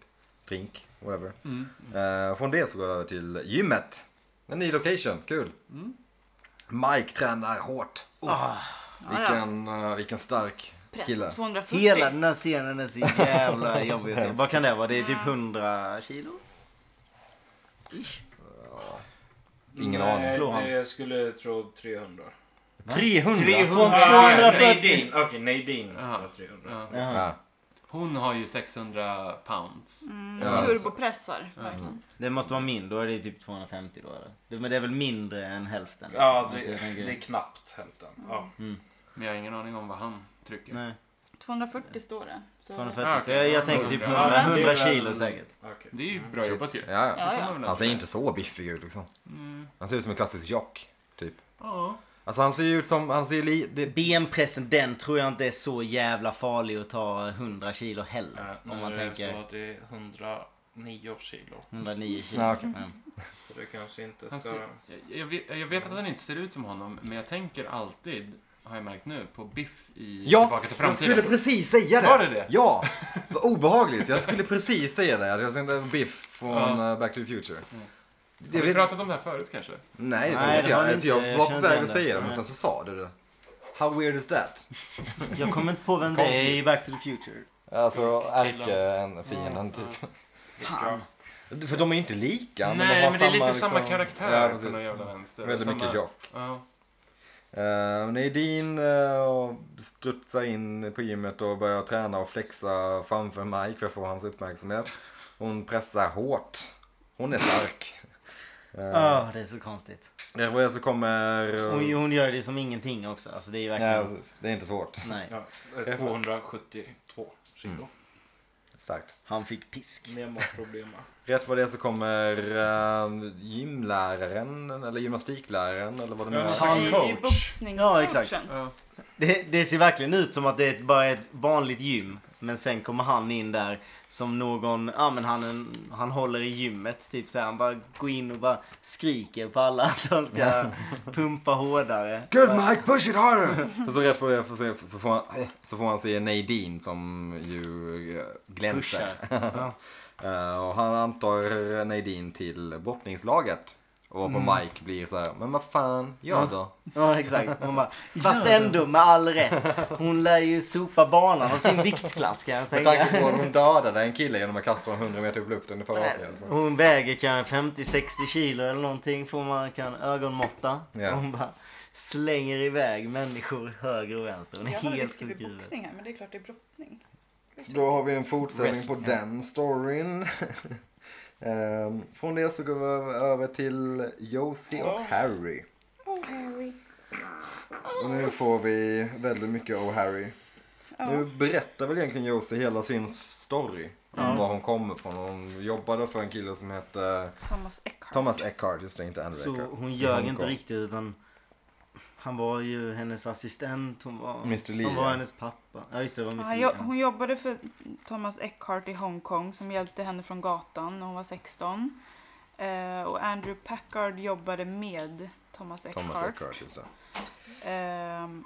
S4: Drink, whatever.
S5: Mm.
S4: Eh, från det så går jag över till gymmet. En ny location, kul. Mike tränar hårt. Oh,
S1: Ja, ja.
S4: vilken, eh, vilken stark kille.
S1: Press 240.
S2: Hela den här scenen är så jävla jobbig.
S4: *laughs*
S2: att se. Vad kan det vara? Det är typ 100 kilo? Ish.
S4: Ingen aning.
S3: Nej,
S2: Slå han.
S3: det skulle jag tro 300.
S2: 300?
S3: 300.
S2: Från
S3: Ah,
S2: 240?
S3: Nadine. Okej, Nadine.
S5: Ja.
S3: Ja. 300.
S5: Ja.
S2: Jaha.
S4: Ja.
S5: Hon har ju 600 pounds.
S1: Mm,
S4: Ja,
S1: turbopressar, verkligen.
S2: Det måste vara mindre, då är det typ 250 då eller? Det- Men det är väl mindre än hälften?
S3: Ja,
S2: liksom.
S3: det,
S2: Alltså, jag tänker-
S3: det är knappt hälften. Ja.
S5: Men jag har ingen aning om vad han trycker.
S2: Nej,
S1: 240 står det. Så...
S2: 250.
S5: Ah,
S2: Så
S5: okej.
S2: jag, jag
S5: Ja,
S2: tänker typ
S5: hundra.
S2: 100,
S3: Ja, det är
S2: 100
S3: väl-
S2: kilo säkert.
S3: okej.
S5: Det är ju bra jobbat ju.
S4: Ja, ja.
S5: Det får man väl ändå
S4: Han ser
S5: säga.
S4: inte så biffig ut liksom.
S5: Mm.
S4: Han ser ut som en klassisk jock, typ.
S5: Ja.
S4: Alltså han ser ju ut som, han ser li... Det...
S2: Benpressen, den tror jag inte är så jävla farlig att ta 100 kilo
S3: Eh,
S2: heller.
S3: nu
S2: om
S3: är
S2: man
S3: det så
S2: tänker
S3: att det är 109 kilo.
S2: 109 kilo.
S4: Ja, okej.
S2: Mm.
S3: Så det kanske inte
S5: Han
S3: ska...
S5: ser, jag, jag, vet, jag vet att han inte ser ut som honom, men jag tänker alltid, har jag märkt nu, på Biff i Tillbaka till
S4: jag skulle
S5: framtiden.
S4: precis säga det.
S5: Var det det?
S4: Ja, vad obehagligt. Jag skulle precis säga det. Att Jag kände biff från
S5: Ja.
S4: eh, Back to the Future.
S5: Mm.
S4: Det-
S5: Har
S4: Jag
S5: vi
S4: vet,
S5: pratat om det här förut kanske?
S4: nej, det
S2: Nej,
S4: tror
S2: det
S4: inte
S2: har
S4: jag.
S2: vi inte.
S4: Alltså, jag
S2: Jag
S4: var på
S2: kände
S4: väg
S2: inte
S4: att säga det,
S2: det.
S4: men sen så sa du det. How weird is that?
S2: Jag kommer inte på vem det är i Back to the Future.
S4: Alltså
S3: killen.
S4: ärkefienden typ.
S2: Fan.
S4: För de är ju inte lika. men de
S5: Nej,
S4: har
S5: men det är lite
S4: liksom-
S5: samma karaktär
S4: Ja,
S5: på någon
S4: precis.
S5: jävla vänster.
S4: Väldigt
S5: samma,
S4: mycket jock.
S5: Ja.
S4: Uh, Nadine uh, strutsar in på gymmet och börjar träna och flexa framför Mike för att få hans uppmärksamhet. Hon pressar hårt. Hon är stark. Eh,
S2: Ah, det är så konstigt.
S4: Efter det så kommer... eh,
S2: Hon, hon gör det som ingenting också. Alltså det är ju
S4: nej,
S2: verkligen...
S4: precis. det är inte svårt.
S2: Nej.
S3: Ja, eh, 272 kilo.
S4: Starkt.
S2: Han fick
S4: Mm.
S2: pisk.
S3: Mer matproblem.
S4: Rätt vad det är så kommer eh, gymläraren eller gymnastikläraren eller vad det nu
S2: Ja,
S4: är.
S2: han-
S1: Alltså, Det är ju
S2: Ja, exakt.
S1: boxningscoachen.
S5: Ja.
S2: Det, det ser verkligen ut som att det är ett, bara ett vanligt gym. Men sen kommer han in där som någon, ja men han, en- han håller i gymmet typ så här. Han bara går in och bara skriker på alla att han ska pumpa hårdare.
S4: Good Mike, push it harder! *laughs* så, så rätt vad det är får se- så får, han, så får han se Nadine som ju eh, glänser.
S2: Ja.
S4: *laughs* Eh, och han antar Nadine till brottningslaget. Och på
S2: Mm.
S4: Mike blir så här, men vad fan, gör då.
S2: Ja exakt. Man bara, fast ändå med all rätt. Hon lär ju sopa banan av sin viktklass kan jag
S4: Med
S2: tänka.
S4: tanke på att hon dödade en kille genom att kasta honom 100 meter upp i luften i förra avsnittet. så.
S2: Hon väger kanske 50-60 kilo eller någonting får man kan ögonmåtta.
S4: Ja.
S2: Hon bara slänger iväg människor höger och vänster. Hon är
S1: Jag hade
S2: helt
S1: skrivit
S2: sjuk i huvudet.
S1: boxning här, men det är klart det är brottning.
S4: Så då har vi en fortsättning på den storyn. *laughs* Ehm, Från det så går vi över- över till Josie och Harry.
S1: Oh, Harry.
S4: Och nu får vi väldigt mycket av Harry. Nu berättar väl egentligen Josie hela sin story. Om var hon kommer ifrån. Hon jobbade för en kille som hette
S1: Thomas Eckhart.
S4: Thomas Eckhart, just det, inte Andrew
S2: Så
S4: Eckhart.
S2: hon
S4: I
S2: ljög
S4: Hongkong.
S2: inte riktigt utan han var ju hennes assistent. Hon var,
S4: Mr. Lee,
S2: han var
S4: ja.
S2: hennes pappa. Ja just det, det var
S1: Ja,
S2: Mr.
S1: han
S2: Lee.
S1: jo- hon jobbade för Thomas Eckhart i Hongkong som hjälpte henne från gatan när hon var 16. Eh, och Andrew Packard jobbade med Thomas Eckhart.
S4: Thomas Eckhart, just det.
S1: Ehm,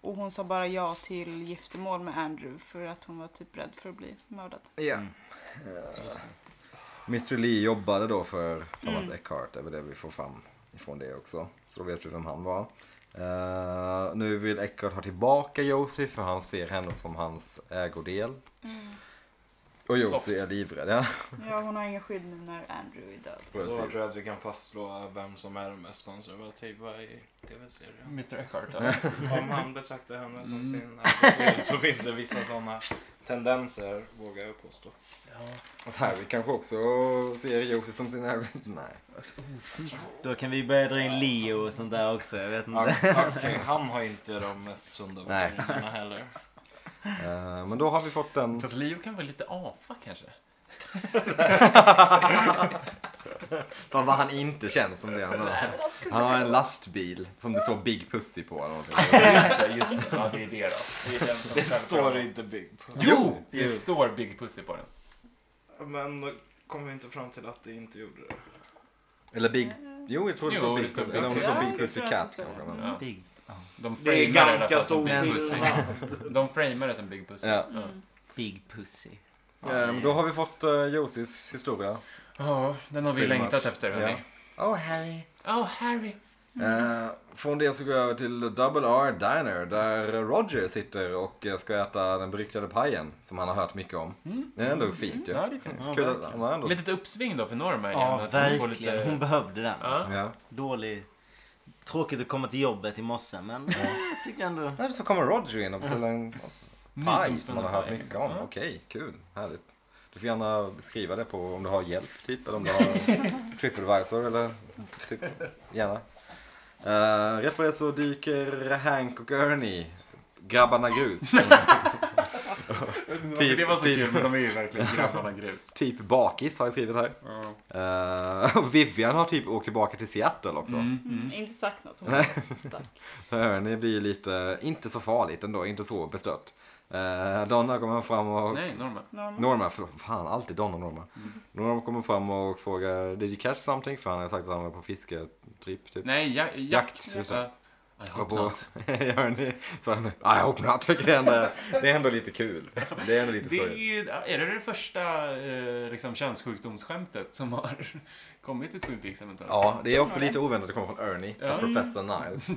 S1: och hon sa bara ja till giftermål med Andrew för att hon var typ rädd för att bli mördad.
S4: Ja. Mr Mm. Lee jobbade då för Thomas Eckhart, det är väl det vi får fram ifrån det också. Så då vet vi vem han var. Eh, nu vill Eckhart ha tillbaka Josie för han ser henne som hans ägodel. Och Josie är livrädd. Ja.
S1: Ja, hon har ingen skydd nu när Andrew är död.
S3: Så tror
S4: *laughs* Precis.
S3: jag att vi kan fastslå vem som är den mest konservativa i tv-serien.
S5: Mr Eckhart, eller?
S3: *laughs* Om han betraktar henne som
S5: Mm.
S3: sin arbetsgivare så finns det vissa sådana tendenser, vågar jag påstå.
S4: Att Harry kanske också ser Josie som sin ägodel. Nej.
S2: Då kan vi börja dra in Leo och sånt där också. Jag vet inte.
S3: Okej, han har inte de mest sunda
S4: Mm. Nej.
S3: värderingarna heller.
S4: Eh, men då har vi fått den.
S5: Fast Leo kan vara lite afa kanske?
S4: Fan vad han inte känns som det han är. Han har en lastbil som det står Big Pussy på. Eller någonting.
S5: Just det, just det. Ja, det är det då. Det, är den som
S3: *laughs* Det
S5: ställer
S3: står
S5: fram.
S3: inte Big Puss.
S4: Jo!
S5: Det står Big Pussy på den.
S3: Men då kom vi inte fram till att det inte gjorde det.
S4: Eller Big... Jo, jag tror det
S5: Jo,
S4: står
S5: det
S4: Big
S5: står
S4: Pussy.
S5: Big
S4: Eller om det
S5: Pussy.
S4: står
S1: Eh, Ja, jag
S4: Big Pussy
S1: tror att
S4: Cat
S1: det står det.
S4: kanske. men-
S5: Ja.
S2: Big.
S5: De
S3: Det är
S5: framar i alla
S3: ganska
S5: fall
S3: stor
S5: som Big Pussy.
S3: skillnad.
S5: *laughs* De framar det som Big Pussy.
S4: Ja.
S5: Ja.
S2: Big Pussy.
S4: Ehm, Då har vi fått uh, Josies historia.
S5: Ja, den har vi
S4: Pretty
S5: längtat
S4: much.
S5: efter hörni.
S4: Oh Harry.
S5: Oh Harry.
S4: Eh, från det så går jag över till Double R Diner där Roger sitter och eh, ska äta den beryktade pajen som han har hört mycket om.
S1: Mm.
S4: Det är ändå fint ju.
S5: Mm. Ja, det är fint.
S4: Kul att han har ändå...
S5: Litet uppsving då för Norma igen.
S2: Ja,
S5: att hon får
S2: verkligen. Hon
S5: lite...
S2: behövde den. Alltså.
S4: Ja.
S2: Dålig... Tråkigt att komma till jobbet i morse, men *laughs* jag tycker ändå...
S4: Nej, Så kommer Roger in och beställer en paj som man har hört
S5: paj,
S4: mycket
S5: liksom.
S4: om.
S5: Ja.
S4: Okej, kul. Härligt. Du får gärna skriva det på om du har hjälp typ eller om du har tripadvisor eller typ. Gärna. Eh, rätt vad det är så dyker Hank och Ernie, grabbarna grus.
S5: Typ, det var så
S4: typ.
S5: kul, men de är ju
S4: *laughs*
S5: verkligen grabbarna grus.
S4: typ bakis har jag skrivit här.
S5: Ja.
S4: Eh, och Vivian har typ åkt tillbaka till Seattle också.
S5: Mm.
S3: Mm.
S1: Mm. Inte sagt något. Hon
S4: Nej.
S1: är stark.
S4: Så Ernie blir lite, inte så farligt ändå, inte så bestört. Eh, Donna kommer fram och
S5: Nej, Norma.
S1: Norma.
S4: Norma, förlåt, fan alltid Don och Norma.
S5: Mm.
S4: Norma kommer fram och frågar, did you catch something? För han har sagt att han var på fisketripp typ.
S5: Nej, ja, jakt.
S4: Jakt, just det.
S5: Ja. I
S4: Och
S5: hope
S4: på, *laughs*
S5: not.
S4: gör ni, så han, I hope not, vilket är ändå, det är ändå lite kul. Det är ändå lite
S5: Det är,
S4: skoj.
S5: ju, är det det första eh, liksom, könssjukdomsskämtet som har *laughs* kommit i Twin Peaks eventuellt?
S4: Ja, det är också lite oväntat att det kommer från Ernie,
S5: Ja. Mm.
S4: the Professor Niles.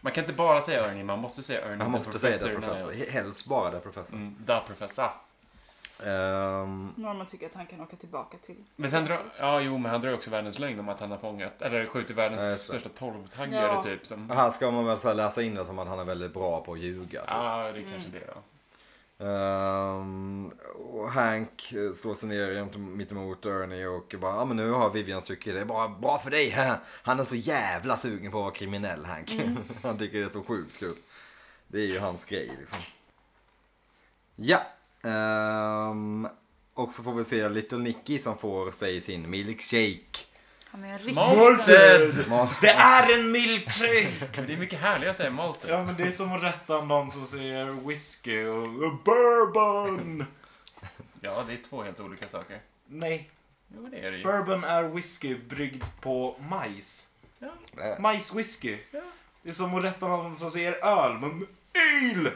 S5: Man kan inte bara säga Ernie, man måste säga Ernie.
S4: Han
S5: the
S4: måste säga det
S5: Professor
S4: Professor,
S5: Niles.
S4: helst bara det Professor.
S5: Mm, da Professor. Mm.
S4: Ehm,
S1: Norma tycker att han kan åka tillbaka till...
S5: Men sen drar, ja jo men han drar ju också världens lögn om att han har fångat, eller skjutit världens
S4: Ja, just det.
S5: största tolvtaggare
S1: Ja.
S5: typ. Som,
S4: här ska man väl så här läsa in det som att han är väldigt bra på att ljuga. typ.
S5: ja, det är kanske det då.
S4: Ehm, och Hank eh, slår sig ner jämt- mittemot Ernie och bara, ja ah, men nu har Vivian stycke det är bara bra för dig. *laughs* hä." Han är så jävla sugen på att vara kriminell Hank. *laughs* han tycker det är så sjukt kul. Det är ju hans grej liksom. Ja. ehm, och så får vi se Little Nicky som får sig sin milkshake.
S1: Han är en riktig...
S3: Malted!
S4: Man-
S2: Det är en milkshake!
S5: Men det är mycket härligare att säga Malta.
S3: Ja, men det är som att rätta någon som säger whisky och bourbon.
S5: Ja, det är två helt olika saker.
S3: Nej,
S5: Jo, det är det ju.
S3: bourbon är whisky bryggd på majs.
S5: Ja.
S3: Majswhisky.
S5: Ja.
S3: Det är som att rätta någon som säger öl, men öl!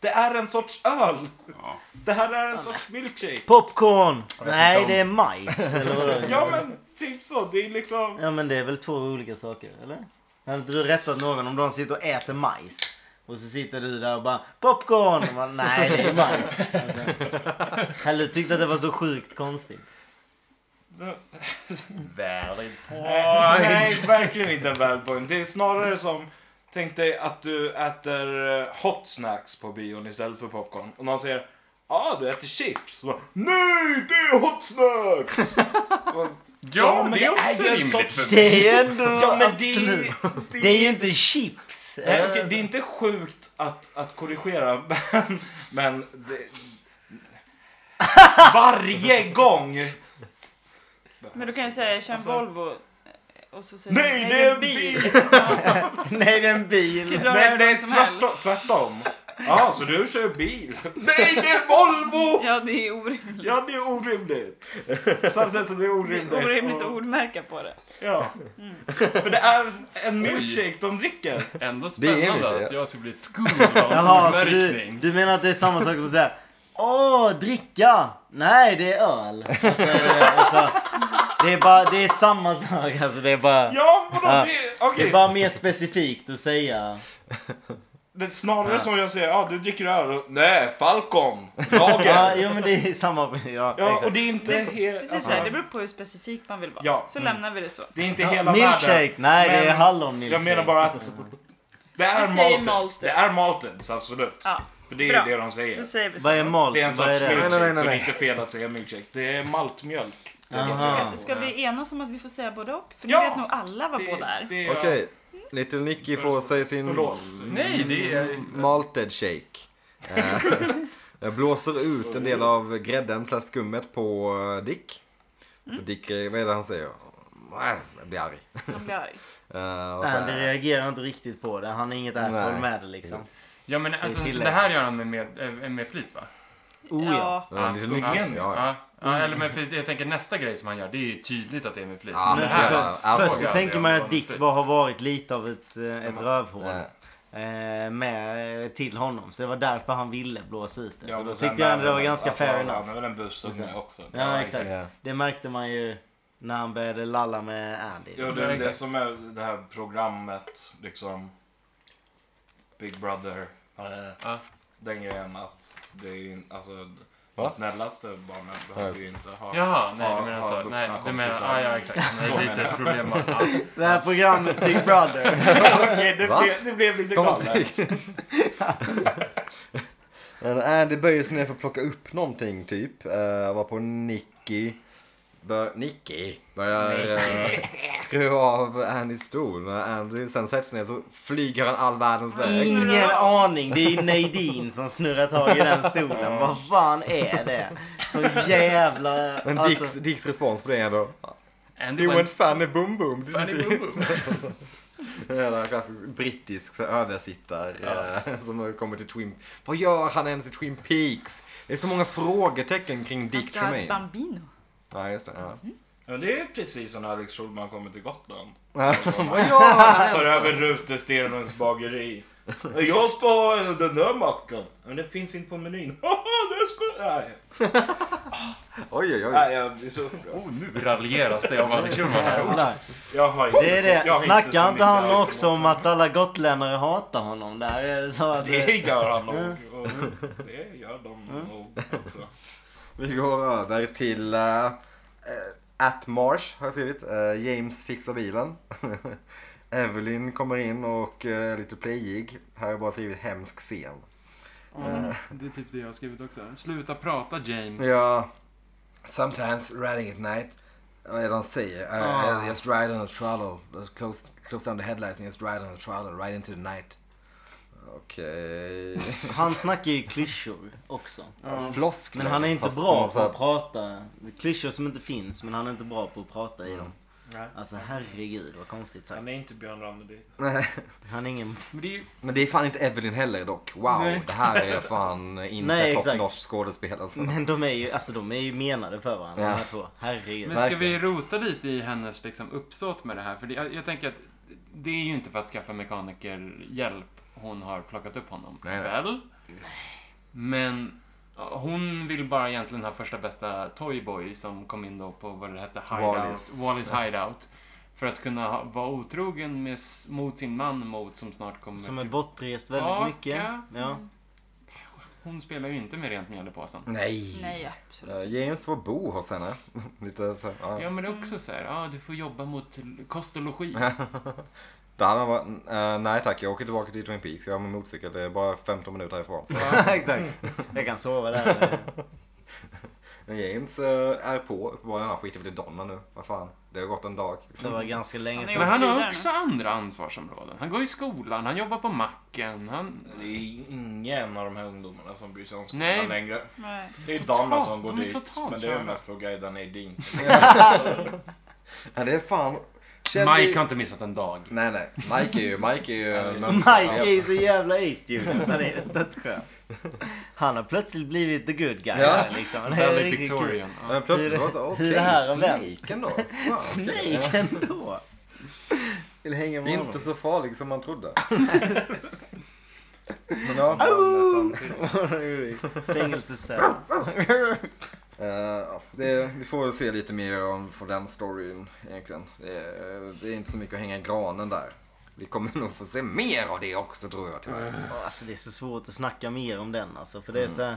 S3: Det är en sorts öl!
S5: Ja.
S3: Det här är en sorts milkshake.
S2: Popcorn!
S5: vet inte
S2: Nej,
S5: om-
S2: det
S3: *laughs*
S2: är majs. Eller vad?
S3: Ja, men typ så. Det är liksom...
S2: Ja men det är väl två olika saker, eller? Hade inte du rättat någon om de sitter och äter majs? Och så sitter du där och bara popcorn! Och man, Nej det
S3: *laughs*
S2: är majs. Alltså, eller du tyckte att det var så sjukt konstigt.
S5: Valid
S3: Nej,
S5: point!
S3: nej, verkligen inte en bad point. Det är snarare som... Tänk dig att du äter eh, hot snacks på bion istället för popcorn. Och någon säger Ja, ah, du äter chips. Och bara, Nej, det är hot *laughs* snacks! Och,
S5: Ja, men det är också
S3: ju en
S5: rimligt
S3: sorts-
S5: för
S2: Det är ju ändå
S3: Ja, men det är,
S2: absolut.
S3: det
S2: Det är ju inte chips.
S3: Nej, okej, det är inte sjukt att, att korrigera, *laughs* men... men det, varje gång!
S1: Men du kan ju säga, kör en
S3: Alltså-
S1: Volvo. eh, Och så säger
S3: Nej,
S1: du,
S3: det är en bil.
S2: Nej det är en
S1: Du kan
S2: bil.
S1: dra
S3: Nej,
S1: hur
S3: nej
S1: långt som
S3: tvärtom.
S1: helst.
S3: tvärtom. Ja, så du kör bil? Nej, det är Volvo!
S1: Ja, det är orimligt.
S3: Ja, det är orimligt. På samma sätt som det är
S1: Det är
S3: orimligt.
S1: orimligt att
S3: och-
S1: ordmärka på det.
S3: Ja. För det är en milkshake de dricker.
S5: Ändå
S4: Det är
S5: spännande
S4: det, ja.
S5: att jag ska bli skolad
S2: *laughs*
S5: av
S2: Jaha, så du,
S5: ordmärkning.
S2: du menar att det är samma sak som att säga Åh, dricka! Nej, det är öl. Alltså, det, alltså, det, är bara, det är samma sak. Alltså, det är bara...
S3: Ja, vadå?
S2: Ja.
S3: Det,
S2: Det
S3: okej,
S2: är bara mer specifikt att säga.
S3: det är snarare som jag säger, ja, du dricker öl. och- Nej, Falcon. Lager.
S2: Ja, jo men det är samma. Ja,
S3: Ja, och
S2: exakt.
S3: det är inte helt...
S1: Precis så här, det beror på hur specifik man vill vara.
S3: Ja, Mm.
S1: Så lämnar vi det så.
S3: det är inte hela
S2: milkshake.
S3: världen.
S2: Nej, det är
S3: men
S2: hallonmilkshake.
S3: Jag menar bara att det är
S1: Vi säger
S3: malteds.
S1: malted.
S3: Det är malteds, absolut.
S1: Ja,
S3: För det är
S1: Bra.
S3: ju det de
S1: då
S3: säger.
S1: säger vi så.
S2: Vad är malt?
S3: Det är en
S2: Vad
S3: sorts
S2: är det?
S3: milkshake,
S4: Nej, nej, nej,
S3: så det är
S4: nej.
S3: inte fel att säga milkshake. Det är maltmjölk.
S2: Aha.
S1: Ska vi enas om att vi får säga både och? För nu
S3: Ja.
S1: vet nog alla vad
S3: Det-
S1: båda är.
S3: det
S4: Okej, Mm. Little Nicky får sig sin
S3: Förlåt.
S5: Nej, det är...
S4: Mm. malted shake. Eh, *laughs* Jag blåser ut en del av grädden slash skummet på eh, Dick. Dick, eh, vad är det han säger? Eh, Jag blir arg.
S1: Han blir arg.
S4: Eh, och så-
S2: Andy reagerar inte riktigt på det. Han är inget asshole
S4: Nej.
S2: med det liksom.
S5: Ja, men alltså,
S2: tilläggas.
S5: det här gör han med, med, eh, med flit, va?
S2: Oh ja.
S4: Ja, Little Nicky.
S3: ungen.
S4: Ja, ja.
S5: Ja, ja, eller men för jag tänker nästa grej som han gör, det är ju tydligt att det är med flit.
S4: Ja,
S5: Men
S2: Men
S5: det
S4: här-
S2: för,
S4: alltså,
S2: först så
S5: jag-
S2: tänker
S5: jag-
S2: man
S5: jag-
S2: att Dick bara har varit lite av ett, eh, ett rövhål.
S4: Nej.
S2: eh, Med till honom. Så det var därför han ville blåsa ut det.
S3: Ja,
S2: Så då
S3: men
S2: tyckte
S3: sen
S2: jag ändå det var
S3: är-
S2: ganska Liksom.
S3: alltså,
S2: fair
S3: Han
S2: enough.
S4: Eh,
S3: är väl en busunge också.
S2: Ja exakt.
S4: Ja.
S2: Det märkte man ju När han började lalla med Andy.
S3: Ja, det
S5: Ja,
S3: är det
S5: exakt.
S3: som är det här programmet, liksom. Big Brother. eh,
S5: Ja.
S3: Den grejen att det är in, alltså,
S4: Va?
S3: de snällaste barnen behöver ju inte ha...
S5: Jaha, nej
S3: ha-
S5: du menar
S3: ha
S5: så.
S3: vuxna
S5: Nej, du menar,
S3: kompisar.
S5: ah, ja exakt. Nej,
S3: Så
S5: det är
S3: menar
S5: lite
S3: jag.
S5: problem bara. Ja.
S2: Det här programmet Big Brother.
S3: *laughs* Okej, det,
S4: Va?
S3: blev, det blev lite galet.
S4: *laughs* Men Andy böjer sig ner för att plocka upp någonting typ. Uh, var på Nicky. Bör, Nicky börjar eh, skruva av Andys stol. När Andy sen sätter sig ner så flyger han all världens väg.
S2: Ingen aning. Det är Nadine som snurrar tag i den stolen. Vad fan är det? Så jävla...
S4: Men
S2: alltså-
S4: Dicks, Dicks respons på det är då.
S5: Andy
S4: You went
S5: went
S4: fanny boom boom.
S5: fanny boom boom.
S4: En jävla klassisk brittisk så här översittar eh, som har kommit till Twin... Vad gör han ens i Twin Peaks? Det är så många frågetecken kring
S1: Han
S4: Dick
S1: ska ha ett Mm.
S4: Tremaine.
S1: bambino.
S4: Ja, just det. Ja.
S3: Ja, det är precis som när Alex Schulman kommer till Gotland.
S4: Vad gör han ens?
S3: Tar över Rute Stenungs
S2: *laughs*
S3: bageri. Jag ska ha en- den där mackan. Men den finns inte på menyn. *laughs* Haha, det ska... Nej,
S4: Oj, oj, oj.
S3: Nej jag blir så upprörd.
S5: Oh, nu raljeras det av Alex Schulman här.
S2: Jävlar.
S3: Jag har inte
S2: Det
S3: så-
S2: är
S3: jag
S2: det.
S3: har så
S2: Snackar inte
S3: mycket
S2: han
S3: Alex
S2: också om att alla gotlänningar hatar honom? Där är det så att... Mm.
S3: Det gör han nog. Och det gör de nog också.
S4: Vi går över till uh, At Marsh har jag skrivit. Eh, James fixar bilen. *laughs* Evelyn kommer in och eh, är lite playig. Här har jag bara skrivit hemsk scen.
S5: Det är typ det jag har skrivit också. Sluta prata James.
S4: Ja. Sometimes riding at night. Vad är det han säger? I,
S2: Ah.
S4: I- I just ride on a throttle. Just Close, close down the headlights and just ride on a throttle. Right into the night. Okej. *laughs*
S2: Han snackar ju klyschor också.
S4: Floskler.
S2: Men han är inte
S4: Fast
S2: bra
S4: de så
S2: på
S4: här-
S2: att prata. Det är Klyschor som inte finns, men han är inte bra på att prata i dem.
S3: Nej.
S2: Alltså herregud vad konstigt sagt.
S3: Han är inte Björn Ranelid.
S4: Nej,
S2: Han är ingen...
S5: Men det är ju
S4: Men det är fan inte Evelyn heller dock. Wow,
S2: Nej.
S4: det här
S2: *laughs*
S4: är fan inte
S2: Nej,
S4: top
S2: exakt.
S4: notch
S2: *laughs*
S4: skådespelerska.
S2: Men de är ju, alltså, de är ju menade för varandra
S4: Ja.
S2: de här två. Herregud.
S5: Men ska vi
S4: Verkligen.
S5: rota lite i hennes liksom, uppsåt med det här? För det, jag, jag tänker att det är ju inte för att skaffa mekanikerhjälp hon har plockat upp honom.
S4: Nej, nej.
S5: Väl? Men ja, hon vill bara egentligen ha första bästa Toyboy som kom in då på vad det hette, Hideout.
S4: Wallis.
S5: Wallis, hideout. För att kunna ha, vara otrogen med, s- mot sin man mot som snart kommer
S2: Som är
S5: till-
S2: bortrest väldigt
S5: Baka.
S2: mycket. Ja.
S4: Mm.
S5: Hon spelar ju inte med rent mjöl i påsen.
S4: Nej.
S1: Nej, absolut.
S4: Eh, James var bo hos henne. *laughs* Lite så här, ja.
S5: Ja men det är också så här, ah, du får jobba mot l- kost och logi.
S4: Där hade han bara, eh, nej tack jag åker tillbaka till Twin Peaks, jag har min motorcykel, det är bara 15 minuter härifrån. Så.
S2: *laughs* Exakt. Jag kan sova där.
S4: Men James eh, är på uppenbarligen, han skiter väl i Donna nu. Vad fan, det har gått en dag.
S2: Det var ganska länge
S1: Han är
S2: sedan.
S5: Men han har
S1: vidare.
S5: också andra ansvarsområden. Han går i skolan, han jobbar på macken, han...
S3: Det är ingen av de här ungdomarna som bryr sig om skolan
S5: Nej.
S3: längre.
S1: Nej.
S3: Det är
S5: Totalt-
S3: Donna som går
S5: de är
S3: dit.
S5: totalt
S3: Men det är
S5: körda.
S3: mest för att guida ner
S2: *laughs*
S3: din.
S4: Ja, det är fan...
S5: Mike har inte missat en dag.
S4: Nej nej, Mike är ju, Mike är ju...
S2: *laughs* Mike är ju så jävla A-student. Han är störtskön. Han har plötsligt blivit the good guy.
S4: Ja.
S2: här, Liksom. Det är
S5: Väldigt
S2: riktigt kul.
S5: Victorian. Ja.
S4: Men plötsligt var det så,
S2: Hur-
S4: okej,
S2: hur det här har vänt.
S4: Snake ändå. Wow, okej.
S2: Snake ändå. Vill hänga med honom.
S4: Inte så farlig som man
S2: *laughs*
S4: trodde. Men ja,
S2: *laughs* Fängelsecell.
S4: eh, det, vi får väl se lite mer om från den storyn egentligen. Det, är- det är inte så mycket att hänga i granen där. Vi kommer nog få se mer av det också tror jag tyvärr.
S2: Åh, Alltså det är så svårt att snacka mer om den alltså. För det
S4: Mm.
S2: är så här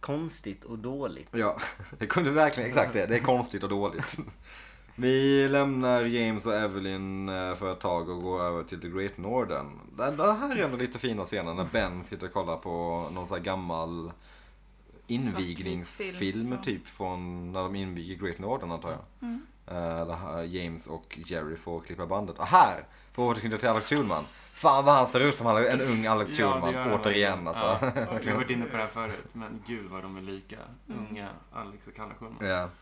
S2: konstigt och dåligt.
S4: Ja, *laughs* det kunde verkligen, exakt det. Det är konstigt och dåligt.
S5: *laughs*
S4: Vi lämnar James och Evelyn eh, för ett tag och går över till The Great Northern. Det, det här är ändå lite fina scener när Ben sitter och kollar på någon sån här gammal invigningsfilm
S1: Svartvit film,
S4: typ från när de inviger Great Northern antar jag. Eh, där här James och Jerry får klippa bandet. Och här, för att återknyta till Alex Schulman. Fan vad han ser ut som han är en ung Alex
S5: Ja, det
S4: Schulman
S5: gör han verkligen.
S4: återigen alltså.
S5: Ja.
S4: *laughs*
S5: Vi har varit inne på det här förut, men gud vad de är lika. Unga Alex och Kalle Schulman.
S4: *laughs*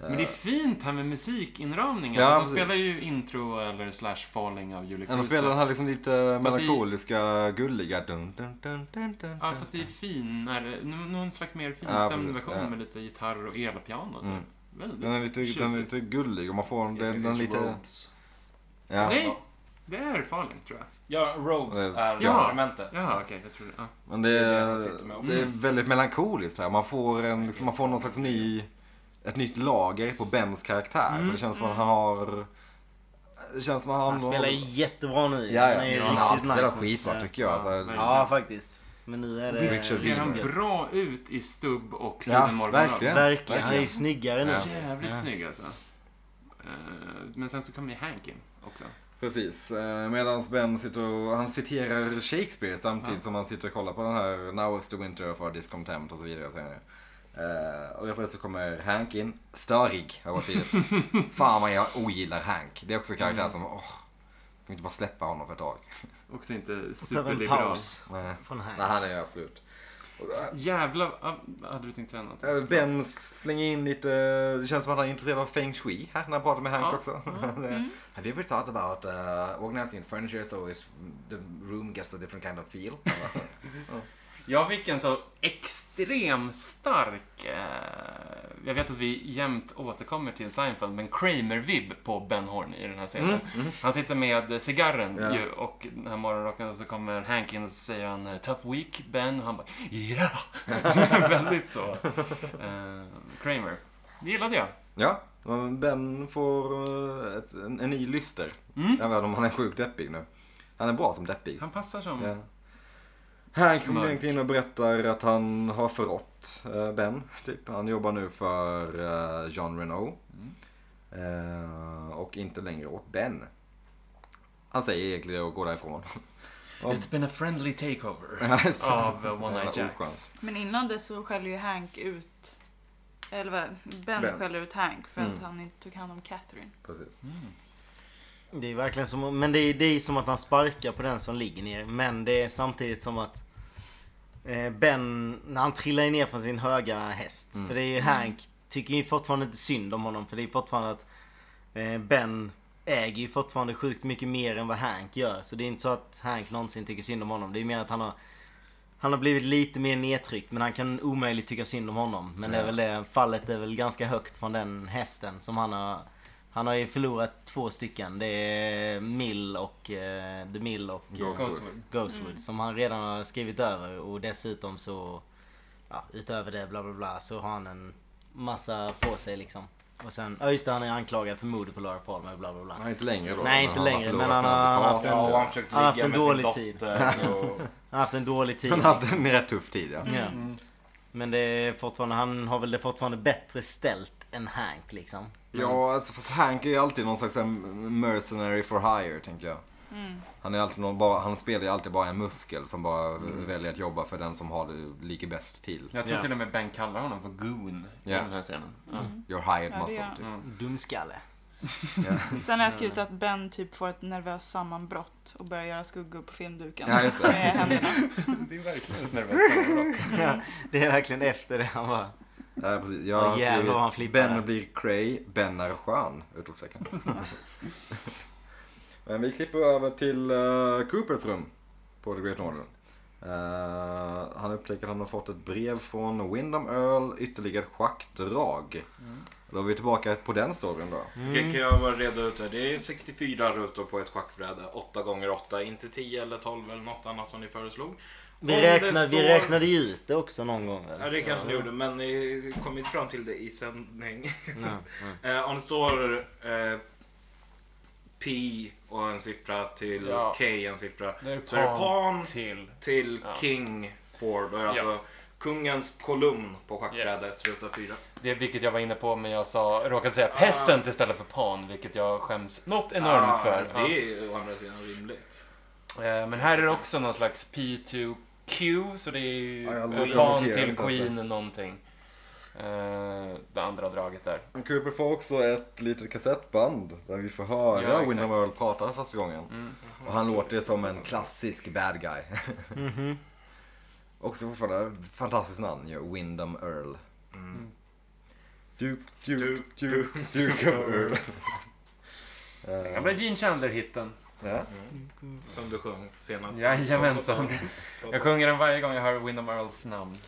S4: Ja.
S5: Men det är fint här med musikinramningen.
S4: Ja,
S5: de
S4: precis.
S5: spelar ju intro eller slash falling av Julie
S4: Ja, de spelar den
S5: Kruse.
S4: här liksom lite
S5: Fast det-
S4: melankoliska, gulliga. Dun, dun, dun, dun, dun,
S5: Ja,
S4: dun.
S5: fast det är finare, n- någon slags mer
S4: Ja,
S5: finstämd
S4: precis.
S5: version
S4: Ja.
S5: med lite gitarr och elpiano typ.
S4: Mm.
S5: Väldigt
S4: Den är lite, den är
S5: tjusigt.
S4: lite gullig och man får den, den, den lite...
S3: Rhodes.
S4: Ja.
S5: Nej, det är Falling tror jag.
S3: Ja, Rhodes är
S5: Ja.
S3: instrumentet.
S5: Jaha, okej, jag tror det. Ja.
S4: Men det
S3: Det är det
S4: är,
S3: han sitter med.
S4: det är väldigt melankoliskt här. Man får, en, liksom, man får någon slags ny ett nytt lager på Bens karaktär. För det känns som att han har... Det känns som att han...
S2: Han spelar ju jättebra nu.
S4: Ja, ja.
S2: Han är ju
S4: ja, han har alltid
S2: riktigt nice
S4: spelat
S2: nu.
S4: skitbra
S2: Ja.
S4: tycker jag. Alltså,
S2: Ja, faktiskt. Men nu är det...
S4: Richard
S5: Visst ser han
S4: Widmark.
S5: bra ut i stubb och
S4: Ja,
S5: sidenmorgonrock?
S4: verkligen.
S2: Verkligen. Han är ju snyggare nu.
S4: Ja.
S5: Jävligt
S2: Ja.
S5: snygg alltså. Eh, Men sen så kom ju Hank in också.
S4: Precis, Eh, medan Ben sitter och, han citerar Shakespeare samtidigt som han sitter och kollar på den här Now is the winter for discontent och så vidare. Och, så vidare. Eh, och efter det så kommer Hank in, störig har jag bara skrivit. Fan vad jag ogillar Hank. Det är också en karaktär som, åh, kan vi inte bara släppa honom för ett tag?
S5: Också inte
S2: Behöver en
S5: superliberal.
S2: paus.
S4: Nej,
S2: Från här.
S4: nej han är ju absolut.
S5: Jävla... ah, Hade du tänkt säga något?
S4: Eh, Ben slänger in lite, det känns som att han är intresserad av feng shui här när han pratar med Hank
S5: Ja.
S4: också. *laughs* Have you ever thought about uh, organizing furniture so it, the room gets a different kind of feel?
S5: Jag fick en så extrem stark... Eh, jag vet att vi jämt återkommer till Seinfeld, men Kramer-vibb på Ben Horn i den här scenen. Han sitter med cigarren
S4: Mm, Ja.
S5: ju, och den här morgonrocken och så kommer Hank in och så säger han eh, “Tough week, Ben” och han bara “Ja!” *laughs* Väldigt så. Eh, Kramer. Det gillade jag.
S4: *laughs* Ja, men Ben får eh, ett, en, en ny lyster. Även om han är sjukt deppig nu. Han är bra som deppig.
S5: Han passar som...
S4: Ja. Hank kommer
S5: Mörk.
S4: egentligen in och berättar att han har förrått eh, Ben. Typ. Han jobbar nu för eh, Jean Renault. Eh, och inte längre åt Ben. Han säger egentligen det och går därifrån.
S5: “It's been a friendly takeover”
S4: *laughs* Ja, just det.
S5: av eh, One Eye
S4: Jävla
S5: Jacks.
S4: oskönt.
S1: Men innan det så skäller ju Hank ut... Eller vad, ben,
S4: Ben.
S1: skäller ut Hank för att
S4: Mm.
S1: han inte tog hand om Catherine.
S4: Precis.
S2: Det är verkligen som... Men det är, det är som att han sparkar på den som ligger ner. Men det är samtidigt som att... eh, Ben, när han trillar ju ner från sin höga häst. För det är ju Hank, tycker ju fortfarande inte synd om honom. För det är fortfarande att eh, Ben äger ju fortfarande sjukt mycket mer än vad Hank gör. Så det är inte så att Hank någonsin tycker synd om honom. Det är mer att han har... Han har blivit lite mer nedtryckt men han kan omöjligt tycka synd om honom. Men det är väl det, fallet är väl ganska högt från den hästen som han har... Han har ju förlorat två stycken. Det är Mill och... eh, The Mill och... eh,
S4: Ghost.
S5: Ghostwood.
S2: Ghostwood
S3: Mm.
S2: som han redan har skrivit över och dessutom så ja, utöver det bla bla bla så har han en massa på sig liksom. Och sen, ja just det, han är anklagad för mordet på Laura Palmer bla bla bla.
S4: Nej, inte längre då.
S2: Nej, inte
S4: han har
S2: längre,
S4: förlorat
S2: men
S4: sina
S2: han har-
S4: advokater.
S3: Ja, och han försökte
S2: Han har haft
S3: ligga
S2: en
S3: med sin
S2: dålig tid.
S3: dotter. Och...
S2: Han har haft en dålig tid.
S4: Han har haft en rätt tuff tid ja.
S2: Ja.
S3: Mm.
S2: Men det är fortfarande, han har väl det fortfarande bättre ställt än Hank liksom.
S4: Ja, alltså, fast Hank är ju alltid någon slags så här mercenary for hire, tänker jag. Han, är alltid någon, bara, han spelar ju alltid bara en muskel som bara väljer att jobba för den som har det ligger bäst till.
S5: Jag tror
S2: Ja.
S5: till och med Ben kallar honom för Goon
S4: Ja.
S5: i den här scenen. Mm. Ja.
S1: Mm.
S4: Your hired
S1: Ja, det gör
S4: muscle,
S1: han.
S4: typ.
S2: Dumskalle.
S4: Mm.
S1: Sen har jag skrivit att Ben typ får ett nervöst sammanbrott och börjar göra skuggor på filmduken.
S4: Ja, just det.
S1: Med
S4: *laughs*
S1: händerna.
S5: Det är verkligen ett nervöst sammanbrott.
S3: Mm.
S2: Ja, *laughs* det är verkligen efter det han var.
S4: Ja, precis. Jag har
S2: Åh, jävlar vad han
S4: skrivit
S2: flippar där.
S4: Ben blir cray, Ben är skön!
S2: *laughs*
S4: Utropstecken. Men vi klipper över till eh, Coopers rum på The Great Northern. Eh, han upptäcker att han har fått ett brev från Windham Earl, ytterligare ett schackdrag.
S2: Mm.
S4: Då är vi tillbaka på den storyn då.
S3: Okej,
S5: Mm.
S3: kan jag bara reda ut det? Det är 64 rutor på ett schackbräde. 8 gånger 8 inte 10 eller 12 eller något annat som ni föreslog.
S2: Vi,
S3: Om det
S2: räknade,
S3: står-
S2: vi räknade ju ut det också någon gång
S3: Ja,
S2: väl?
S3: det kanske ni gjorde, men ni kom inte fram till det i sändning. *laughs*
S2: Ja,
S3: Eh, om det står eh, pi och en siffra till
S5: Ja.
S3: k en siffra.
S5: Det är
S3: så är det pan
S5: pan till...
S3: till
S5: Ja.
S3: king four. Då är det alltså kungens kolumn på schackbrädet,
S5: Yes.
S3: ruta fyra.
S5: Det är vilket jag var inne på, men jag sa, råkade säga peasant istället för pan, vilket jag skäms Ah. något enormt
S3: Ah,
S5: för. Ja.
S3: Det är ju å andra sidan rimligt.
S5: Eh, Men här är det också någon slags P2Q, så det är ju
S4: Ja, jag
S5: eh,
S4: låter
S5: pan
S4: notera
S5: till
S4: inte
S5: queen någonting. Eh, Det andra draget där.
S4: Cooper får också ett litet kassettband där vi får höra
S5: Ja, exakt.
S4: Windham Earl prata för första gången.
S5: Mm.
S4: Och han låter som en klassisk bad guy.
S5: Mhm.
S4: *laughs* Också fortfarande fantastiskt namn ju, Windham Earl.
S3: Mm.
S4: Duke, Duke, Duke, Duke of
S5: *laughs*
S4: Earl.
S5: Den gamla Gene Chandler-hitten.
S4: Eh, Ja.
S3: Som du sjöng senast.
S5: Alltså, *laughs* Jajamensan. Jag sjunger den varje gång jag hör Windham Earls namn.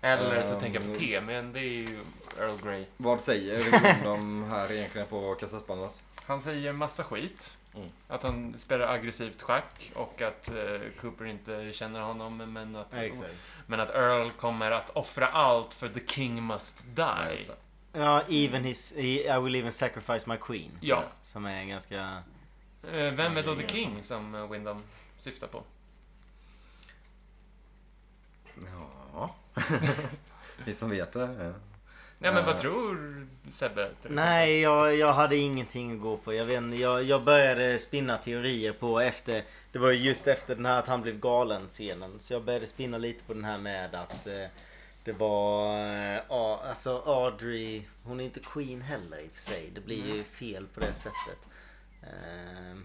S5: Eller så
S4: Ehm.
S5: tänker jag på P, men det är ju Earl Grey.
S4: Vad säger Windham här egentligen på kassettbandet?
S5: Han säger massa skit.
S4: Mm.
S5: Att han spelar aggressivt schack och att eh, Cooper inte känner honom men att,
S2: exakt.
S5: men att Earl kommer att offra allt för the king must die.
S4: just det.
S2: Ja, even his, I will even sacrifice my queen.
S5: Ja.
S2: Som är ganska...
S5: Eh, Vem är då The King som eh, Windham syftar på?
S4: *laughs* Ja. Ni som vet det. eh.
S5: Nej men vad
S4: Eh.
S5: tror Sebbe? till exempel?
S2: Nej, jag, jag hade ingenting att gå på. Jag, vet, inte, jag, jag började spinna teorier på efter... Det var ju just efter den här att han blev galen scenen. Så jag började spinna lite på den här med att eh, det var... Eh, A- alltså Audrey, hon är inte Queen heller i och för sig. Det blir ju fel på det sättet. Eh,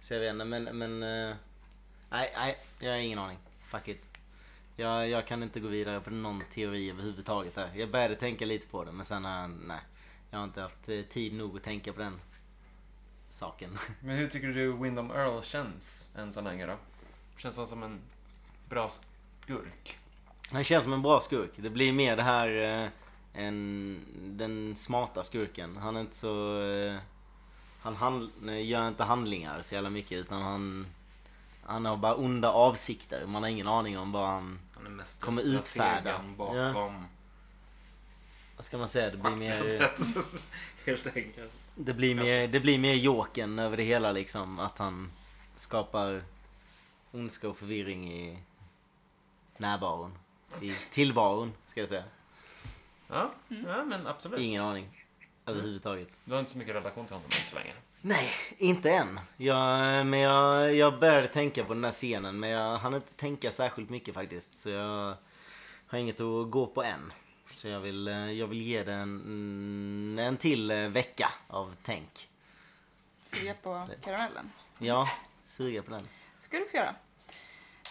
S2: så jag vet inte, men... men eh, nej, nej, jag har ingen aning. Fuck it. Jag, jag kan inte gå vidare på någon teori överhuvudtaget. Där. Jag började tänka lite på det men sen har jag, nej. Jag har inte haft eh, tid nog att tänka på den saken. *laughs*
S5: Men hur tycker du Windham Earl känns än så länge då? Känns han som en bra skurk?
S2: Han känns som en bra skurk. Det blir mer det här eh, en, den smarta skurken. Han är inte så... Eh, han hand, nej, gör inte handlingar så jävla mycket utan han... Han har bara onda avsikter. Man har ingen aning om vad han...
S3: Han är mest
S2: Kommer utfärda.
S3: strategen bakom
S2: Vad ska man säga? Det blir
S3: *laughs*
S2: mer...
S3: Helt enkelt.
S2: Det blir mer, det blir mer joken över det hela liksom. Att han skapar ondska och förvirring i närvaron. I tillvaron, ska jag säga.
S5: Ja, ja men absolut.
S2: Mm. Ingen aning. Överhuvudtaget.
S5: Du har inte så mycket relation till honom än så länge.
S2: Nej, inte än. Jag, men jag, jag började tänka på den här scenen men jag hann inte tänka särskilt mycket faktiskt. Så jag har inget att gå på än. Så jag vill, eh, jag vill ge den mm, en till eh, vecka av tänk.
S1: Suga på karamellen.
S2: Ja, suga på den.
S1: ska du få göra.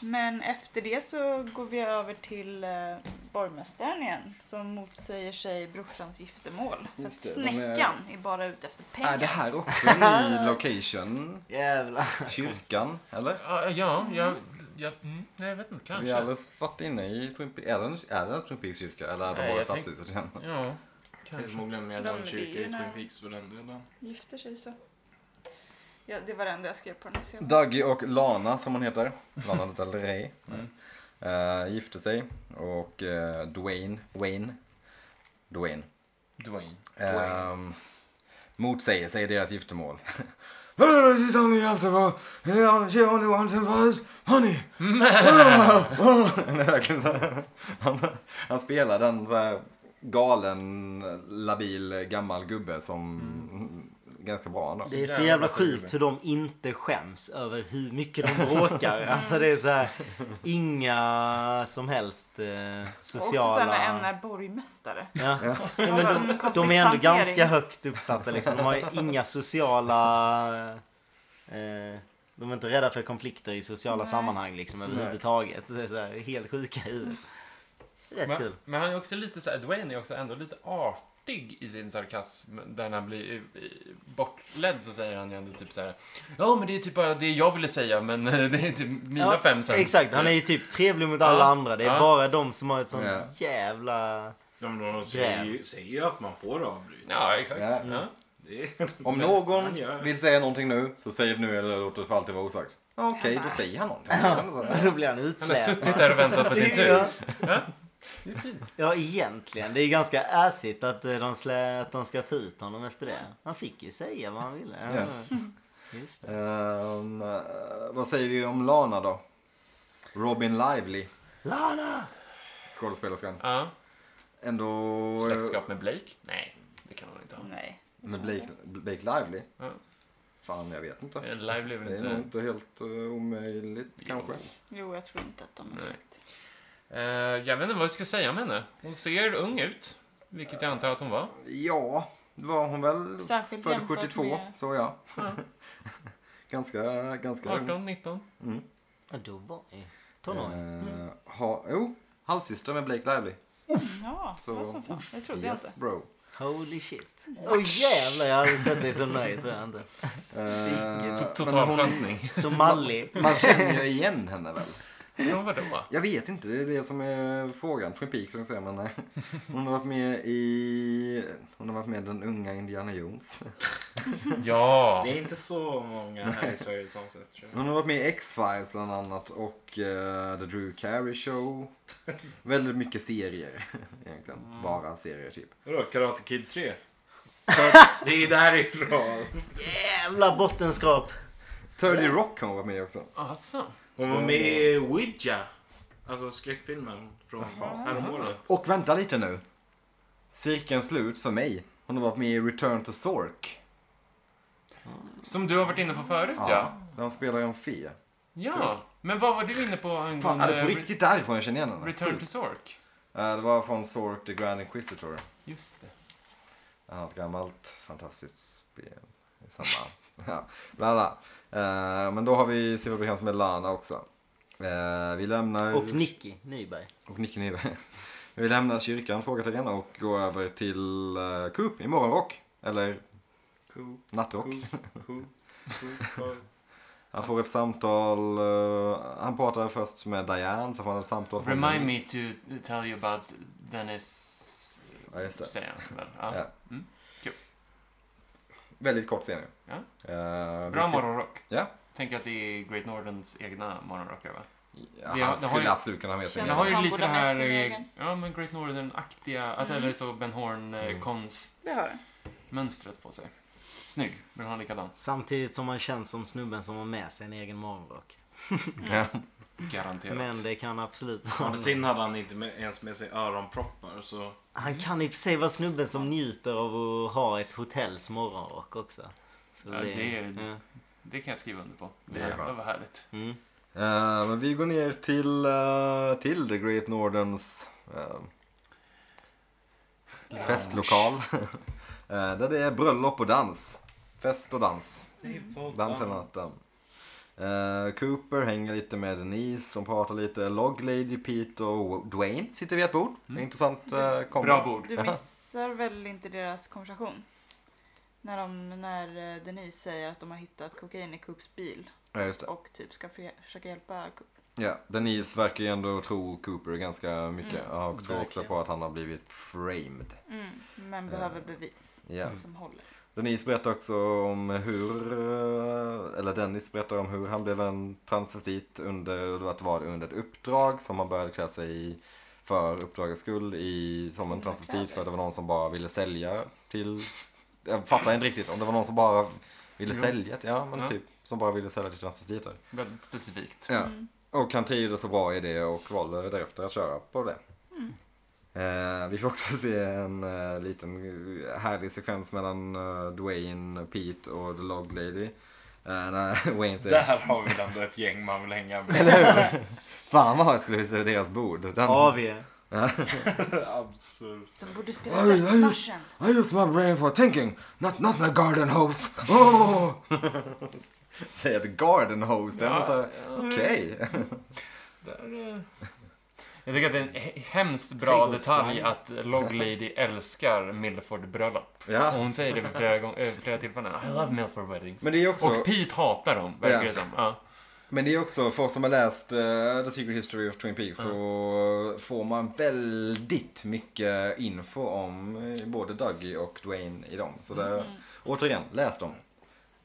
S1: Men efter det så går vi över till eh, borgmästaren igen som motsäger sig brorsans giftermål. För
S4: Just det, de är-
S1: snäckan är bara ute efter pengar.
S4: Är det här också en ny location?
S2: Jävlar.
S4: Kyrkan, eller?
S5: Ja, ja jag, jag, mm, nej, jag vet inte.
S4: Vi
S5: Kanske.
S4: har alldeles varit inne i Twin Peaks. Är det, är det en Twin Peaks kyrka eller är
S5: Nej,
S4: det bara
S5: jag tänk-
S4: stadshuset igen?
S5: Ja,
S3: Det finns
S5: kanske.
S3: förmodligen mer
S1: De-
S3: den kyrka
S1: det är
S3: i
S1: ju
S3: Twin
S1: när-
S3: Peaks för den delen.
S1: Gifter sig så. Ja, det var det enda jag skrev på den här scenen.
S4: Daggy och Lana som hon heter, Lana Del Rey, eh, gifte sig och eh, Dwayne, Wayne, Dwayne,
S5: Dwayne.
S4: ehm, motsäger sig i deras giftermål. This is only after all. Yeah, She only wants and wants money. Ah, ah. Det är verkligen så här. han, *laughs* han spelar den så här galen, labil, gammal gubbe som ganska bra ändå.
S2: Det är så
S5: jävla
S2: jävla
S5: suger.
S2: sjukt hur de inte skäms över hur mycket de bråkar. Alltså det är så här, inga som helst eh,
S1: Och Också sen när en
S2: sociala...
S1: är borgmästare. Alltså,
S2: Ja.
S1: Ja, men de,
S2: De är ändå ganska högt uppsatta liksom. De har ju inga sociala... Eh, de är inte rädda för konflikter i sociala
S1: Nej.
S2: sammanhang liksom överhuvudtaget. Det är så här, helt sjuka i huvudet. Rätt
S5: Men,
S2: kul.
S5: men han är också lite så här, Dwayne är också ändå lite artig i sin sarkasm. Där han blir eh, bortledd så säger han ju ändå typ så här. Ja, men det är typ bara det jag ville säga, men *laughs* eh, det är typ mina
S2: Ja,
S5: fem cent.
S2: Exakt, han är ju typ trevlig mot alla
S5: Ja.
S2: andra. Det är
S5: Ja.
S2: bara de som har ett sånt
S4: Ja.
S2: jävla...
S3: Ja, men de
S2: säger
S3: säger
S2: ju-
S3: ju, att man får avbryta.
S5: Ja, exakt.
S4: Ja.
S5: Ja.
S4: Om
S3: Men
S4: någon
S3: han gör-
S4: vill säga någonting nu så säg det nu eller låt det för alltid vara osagt. Ja, Okej, då säger han någonting.
S2: Då blir han
S5: Han har
S2: utsläppt.
S5: suttit där och väntat på sin tur.
S2: *laughs* Ja.
S5: Ja, det är fint.
S2: Ja, egentligen. Det är ganska assigt att eh, de, slä, att de ska ta ut honom efter det. Han fick ju säga vad han ville. Ja. Just det.
S4: Ehm, eh, vad säger vi om Lana då? Robin Lively,
S2: Lana!
S4: skådespelerskan.
S5: Ja.
S4: Ändå... eh,
S5: Släktskap med Blake? Nej, det kan hon inte ha.
S1: Nej.
S4: Med Blake, Blake Lively?
S5: Ja.
S4: Fan, jag vet inte.
S5: Eh, Live blev väl
S4: Det är nog
S5: inte...
S4: inte helt eh, omöjligt kanske.
S1: Jo, jag tror inte att de är
S5: Nej.
S1: släkt.
S5: Eh, jag vet inte vad jag ska säga om henne. Hon ser ung ut, vilket jag antar att hon var.
S4: Ja, var hon väl
S1: Särskilt
S4: född
S1: jämfört
S4: 72,
S1: med-
S4: så ja.
S5: Ja.
S4: *laughs* ganska, ganska ung.
S5: 18, 19.
S2: Ja, Då var jag tonåring.
S4: Eh, ha, jo, halvsyster med Blake Lively.
S1: Ja,
S4: Så-
S1: vad som fan. Det trodde jag inte.
S4: Yes bro.
S2: Holy shit. Åh jävlar, jag hade sett dig så nöjd tror jag inte.
S4: Eh, men
S5: Total
S4: hon-
S5: chansning.
S4: *laughs*
S2: Så mallig.
S4: Man känner ju igen henne väl?
S5: Men vadå?
S4: Jag vet inte, det är det som är frågan. Twin Peaks, som jag säger, men eh, hon har varit med i... Hon har varit med i den unga Indiana Jones.
S5: Ja.
S3: Det är inte så många här i Sverige som sett tror jag.
S4: Hon har varit med i X-Files bland annat och eh, The Drew Carey Show. Väldigt mycket serier *laughs* egentligen. Bara serier typ.
S3: Vadå, Karate Kid 3? För det är därifrån.
S2: Jävla bottenskrap.
S4: 30 Rock har hon varit med i också.
S5: Alltså.
S3: Hon var med i Ouija. Alltså skräckfilmen från häromåret.
S4: Och vänta lite nu. Cirkeln sluts för mig. Hon har varit med i Return to Zork.
S5: Som du har varit inne på förut ja.
S4: Där hon spelar en fe.
S5: Ja. Men vad var du inne på angående
S4: Fan, är det på
S5: eh, Re-
S4: riktigt därifrån jag känner igen henne?
S5: Return to Zork?
S4: Eh, det var från Zork the Grand Inquisitor.
S5: Just det.
S4: Han har ett gammalt fantastiskt spel i samma... *laughs* ja, bla bla. Eh, men då har vi Silver Bekant med Lana också. Eh, vi lämnar...
S2: Och Nicky Nyberg.
S4: och Nick Nive. *laughs* vi lämnar kyrkan, frågetecken, och går över till uh, Coop i morgonrock. Eller
S3: Cool,
S4: nattrock.
S3: cool, cool, cool, cool.
S4: Han får ett samtal. eh, han pratar först med Diane, sen får han ett samtal från
S5: Remind me
S4: Denise.
S5: to tell you about Dennis...
S4: Ja, just det.
S5: Säger han väl. Ja.
S4: Ja. Väldigt kort scen ju.
S5: Ja.
S4: Eh,
S5: Bra
S4: vilket-
S5: morgonrock.
S4: Ja.
S5: Tänker att det är Great Nordens egna morgonrockare va?
S4: Ja,
S5: Det har-
S4: han
S5: det har
S4: skulle
S5: ju-
S4: absolut kunna ha med sig
S5: Jag
S1: Känns
S4: en.
S5: har ju
S1: som
S5: lite
S1: han
S5: det
S1: borde ha med
S5: här
S1: sin
S5: eh,
S1: egen.
S5: ja, men Great Northern-aktiga, alltså,
S1: Mm.
S5: eller så Ben
S4: Mm.
S1: Det har den.
S5: Horn-konstmönstret på sig. Snygg, vill ha likadan?
S2: Samtidigt som man känns som snubben som har med sig en egen morgonrock.
S4: Ja.
S5: Garanterat.
S2: Men det kan absolut vara...
S3: Men Sen hade han inte med, ens med sig öronproppar så...
S2: Han kan i och för sig vara snubben som njuter av att ha ett hotells morgonrock också. Så
S5: Ja, det är-
S2: ja.
S5: Det kan jag skriva under på.
S4: Det är
S5: Jävlar
S4: bra.
S5: vad härligt.
S2: Mm.
S4: Eh, men vi går ner till, eh, till The Great Nordens eh, festlokal. *laughs* Eh, där det är bröllop och dans. Fest och dans. Dans hela natten. Eh, Cooper hänger lite med Denise, de pratar lite. Log Lady, Pete och Dwayne sitter vid ett bord. Det är intressant uh, kombo.
S5: Bra bord.
S1: Du missar väl inte deras konversation? När, de, när eh, Denise säger att de har hittat kokain i Coops bil
S4: Ja, just det.
S1: och typ ska fe- försöka hjälpa Coop.
S4: Ja, Denise verkar ju ändå tro Cooper ganska mycket.
S1: Mm.
S4: Och tror också
S2: Verkligen.
S4: på att han har blivit framed.
S1: Mm, men behöver bevis
S4: Ja.
S1: som håller.
S4: Mm. Denise berättar också om hur, eh, eller Dennis berättar om hur han blev en transvestit under, att det var under ett uppdrag som han började klä sig i för uppdragets skull i, som en transvestit för att det var någon som bara ville sälja till, jag fattar inte riktigt om det var någon som bara ville
S5: Jo.
S4: sälja, till- ja men
S5: Ja.
S4: typ, som bara ville sälja till transvestiter.
S5: Väldigt specifikt.
S4: Ja.
S1: Mm.
S4: Och han trivdes så bra i det och valde därefter att köra på det. Eh, vi får också se en eh, liten eh, härlig sekvens mellan eh, Dwayne, Pete och The Log Lady. Eh, när *laughs* Wayne säger
S3: Där har vi ändå ett gäng man vill hänga med.
S4: Fan vad jag skulle vilja se deras bord. Den...
S2: AV. Ja,
S3: Absolut.
S1: De borde spela
S4: Oj, oj, oj.
S1: Sexmarschen.
S4: I use my brain for thinking, not, not my garden hose. Oh! *laughs* Säger att garden hose, den var så här, okej. *laughs*
S5: Jag tycker att det är en he- hemskt bra
S2: Trädgårdsslang.
S5: detalj att Log Lady älskar Milford bröllop.
S4: Ja.
S5: Och hon säger det vid flera, gång- eh, flera tillfällen. I love Milford weddings.
S4: Men det är också...
S5: Och Pete hatar dem, verkar
S4: Ja.
S5: det som. Ja.
S4: Men det är också, för oss som har läst eh, The Secret History of Twin Peaks så får man väldigt mycket info om eh, både Dougie och Dwayne i dem. Så där,
S1: Mm.
S4: återigen, läs dem.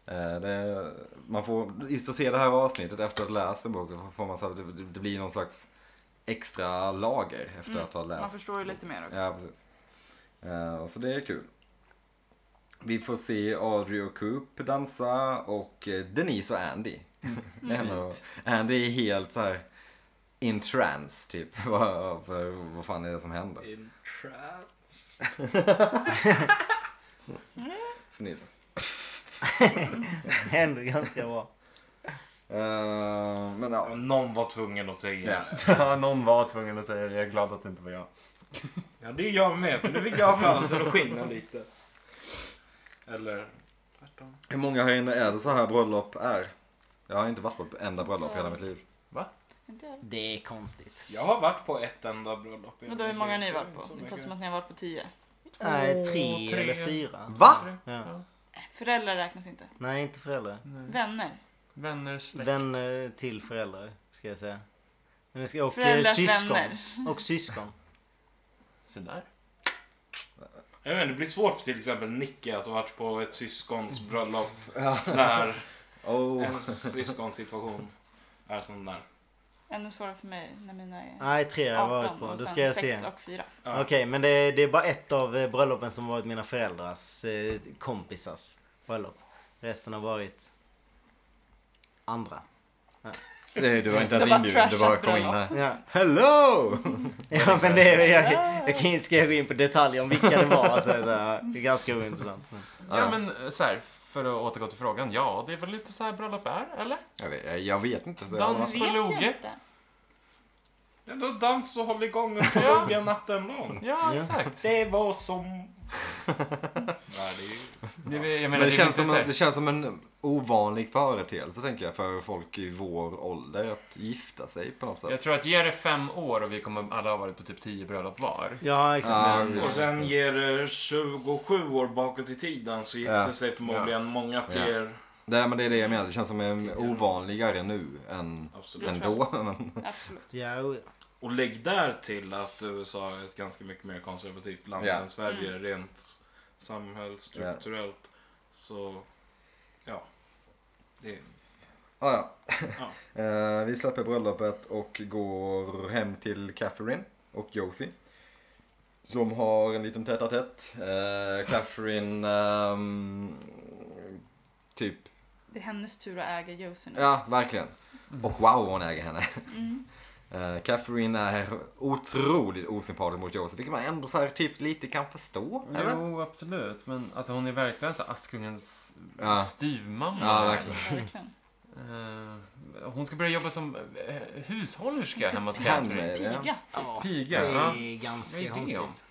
S4: Eh, det, man får, just att se det här avsnittet efter att ha läst en bok, då får man så här, det, det blir någon slags extra lager efter
S1: Mm,
S4: att ha läst.
S1: Man förstår ju lite mer också.
S4: Ja, precis. Eh, så det är kul. Vi får se Audrey och Coop dansa och eh, Denise och Andy.
S1: Mm.
S4: *laughs* Ändå, Andy är helt så här in trance typ. *laughs* vad, vad, vad fan är det som händer?
S3: In trance.
S4: Fniss.
S2: *laughs* Händer ganska bra.
S4: Eh, men ja.
S3: Om någon var tvungen att säga
S4: Ja.
S3: det.
S5: *laughs* Ja, någon var tvungen att säga det. Jag är glad att det inte var jag.
S3: Ja, det är jag med. För nu fick jag chansen att skina lite. Eller tvärtom.
S4: Hur många här inne är det så här bröllop är? Jag har inte varit på ett enda bröllop i hela mitt liv.
S1: Inte jag.
S2: Det är konstigt.
S3: Jag har varit på ett enda bröllop.
S1: Men då hur många har ni varit på?
S3: Så
S1: Det
S3: mycket.
S1: låter som att ni har varit på tio.
S2: Nej, tre,
S5: tre.
S2: eller fyra.
S4: Va?
S2: Ja.
S1: Föräldrar räknas inte.
S2: Nej, inte föräldrar.
S1: Vänner.
S5: Vänner, släkt.
S2: Vänner till föräldrar, ska jag säga. Men det ska- Och, eh,
S1: Föräldrars
S2: syskon.
S1: vänner.
S2: Och syskon.
S5: Så där.
S3: Jag menar, det blir svårt för till exempel Nicky att ha varit på ett syskons bröllop när
S4: Oh.
S3: ens syskonsituation är som den är.
S1: Ännu svårare för mig när mina är
S2: Nej, tre har jag varit
S1: 18
S2: på.
S1: och
S2: Då
S1: sen
S2: ska jag se.
S1: 6 och 4.
S3: Ja.
S2: Okej, men det, det är bara ett av eh, bröllopen som varit mina föräldrars eh, kompisars bröllop. Resten har varit andra.
S4: Nej, du var inte
S1: Det
S4: ens
S1: var
S4: inbjuden. Du bara
S1: trashat
S4: kom in
S1: bröllop.
S4: här.
S2: Ja,
S4: Hello!
S2: ja men det, är- jag, jag kan inte ska jag gå in på detaljer om vilka det var. Så det, är så här, det är ganska ointressant.
S5: Ja, men eh, så här, för att återgå till frågan. Ja, det är väl lite så här bröllop är, eller?
S4: Jag vet, jag vet inte. Det
S5: Dan-
S4: var-
S5: Dans på loge.
S3: Ja, då dans och håll igång
S4: *laughs*
S3: och plugga natten lång.
S5: Ja,
S2: Ja.
S5: *laughs* exakt.
S3: Det var som...
S2: *laughs*
S3: Nej, det är ju...
S5: Det, är- jag
S4: Men
S5: menar,
S4: det, känns
S5: lite
S4: som
S5: så här-
S4: en, det känns som en ovanlig företeelse tänker jag för folk i vår ålder att gifta sig på något sätt.
S5: Jag tror att ge det fem år och vi kommer alla ha varit på typ tio bröllop var.
S2: Ja, exakt.
S4: Ja,
S3: Och sen ger det 27 år bakåt i tiden så gifte
S4: Ja.
S3: sig förmodligen många fler.
S4: Nej men det är det jag menar, det känns som en ovanligare nu än,
S3: Absolut.
S4: än då. Men,
S1: Absolut.
S2: Ja, o-
S3: Och lägg där till att USA är ett ganska mycket mer konservativt land
S4: Ja. Mm.
S3: än Sverige rent samhällsstrukturellt. Så, ja. Det,
S4: ah, ja. *laughs* Eh, vi släpper bröllopet och går hem till Catherine och Josie. Som har en liten tätt tätt. Eh, Catherine ehm, typ
S1: Det är hennes tur att äga Josie nu.
S4: Ja, verkligen. Och wow, hon äger henne.
S1: Mm.
S4: Eh, Catherine är otroligt osympatisk mot Joseph, vilket man ändå så här typ lite kan förstå. Eller?
S5: Jo, absolut. Men alltså, hon är verkligen så här Askungens
S4: Ja.
S5: styvmamma.
S4: Ja, verkligen.
S1: Verkligen.
S5: Eh, hon ska börja jobba som eh, hushållerska hemma hos Catherine.
S4: Handmaid, ja.
S1: Piga.
S2: ja,
S5: Piga.
S2: det
S5: Ja.
S2: är
S5: Vad är
S2: ganska
S5: det om?
S2: konstigt.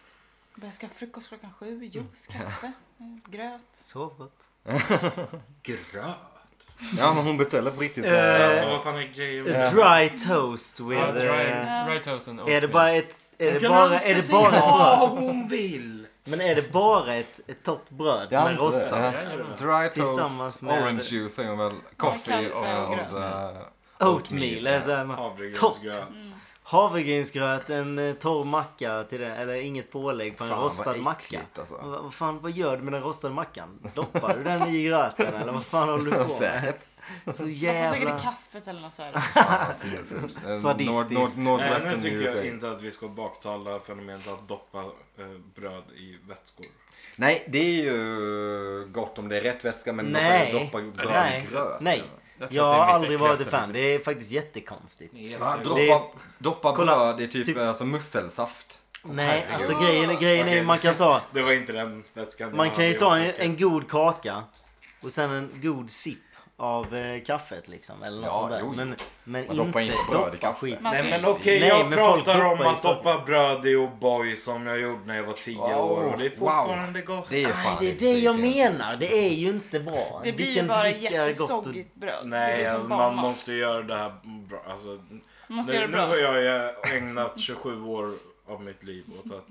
S1: Börjar ska ha frukost klockan sju, juice,
S3: Mm.
S1: kaffe, eh, gröt.
S2: Sov gott.
S3: Gröt?
S4: ja, men hon beställer på riktigt. eh,
S2: Eh,
S3: Alltså vad fan är grejen med
S4: Ja.
S2: Dry toast with...
S5: Ja,
S2: eh,
S5: dry, dry toast and
S2: Är det
S5: oatmeal.
S2: bara ett... Är det bara, är det bara ett bröd?
S3: hon vill!
S2: Men är det bara ett, ett torrt bröd
S4: Ja,
S2: som är
S4: inte-
S2: rostat?
S4: ja.
S5: Jajamän.
S4: Dry toast,
S2: Tillsammans med-
S4: orange juice säger hon väl. Coffee
S1: kaffe
S4: och,
S1: och
S4: och,
S1: gröt.
S4: eh,
S2: Oatmeal. Alltså, man-
S3: Havregrynsgröt.
S1: Mm.
S2: havregrynsgröt, en eh, torr macka till det. Eller inget pålägg på en
S4: Fan, vad
S2: rostad macka. Mm.
S4: äckligt, alltså.
S2: Vad, vad fan, vad gör du med den rostade mackan? Doppar du den i gröten eller vad fan håller du på med?
S4: Säkert.
S2: Så
S1: Man får säkert i
S2: jävla...
S1: kaffet eller något sådär.
S4: Fan,
S3: *laughs*
S4: sinnessjukt. Eh, Nord-
S2: Sadistiskt.
S4: Nord-
S3: Nej,
S4: Nordwestern
S3: nu tycker jag
S4: USA.
S3: inte att vi ska baktala fenomenet att doppa eh, bröd i vätskor.
S4: Nej, det är ju gott om det är rätt vätska men
S2: Nej.
S4: doppa doppa bröd i
S2: Nej.
S4: gröt.
S2: Nej.
S5: Jag tror
S2: Jag
S5: att det är
S2: har
S5: mitt
S2: aldrig varit
S5: äckligaste
S2: ett fan.
S5: faktiskt.
S2: Det är faktiskt jättekonstigt.
S4: Va?
S3: Det-
S2: Det-
S4: Doppa, doppa
S2: Kolla,
S4: bröd i typ,
S2: typ-
S4: eh, som musselsaft.
S2: Nej,
S4: herregud.
S2: alltså grejen, grejen är
S3: Okej.
S2: ju man kan ta...
S3: Det var inte den vätskan
S2: Man
S3: jag
S2: kan ju
S3: hade
S2: ta
S3: i
S2: en,
S3: åtanke.
S2: en god kaka och sen en god sipp av eh, kaffet liksom. Eller något
S4: Ja,
S2: sånt där.
S4: jo, jo.
S2: men men
S4: Man doppar
S2: inte
S4: inte bröd i
S2: doppa
S4: kaffe.
S2: skit.
S1: Man
S3: Nej
S1: ser-
S3: men okej,
S2: Nej,
S3: jag
S2: men folk
S3: pratar om
S2: doppar i
S3: att
S2: saker.
S3: doppa bröd i O'boy som jag gjorde när jag var 10 år och det är
S4: Wow.
S3: fortfarande gott.
S4: Det är fan
S2: Nej, det är
S4: inte
S2: det jag
S4: precis egentligen.
S3: *laughs*
S2: menar. Det är ju inte bra.
S1: Det blir
S2: Vilken
S1: ju bara
S2: dryck är gott och-
S1: jättesoggigt bröd. det
S3: Nej,
S1: blir som
S3: alltså, man
S1: barnmat.
S3: måste göra det här bra. Alltså,
S1: Man måste
S3: nu,
S1: göra det
S3: nu
S1: bra.
S3: har jag ju ägnat 27 år av mitt liv åt att...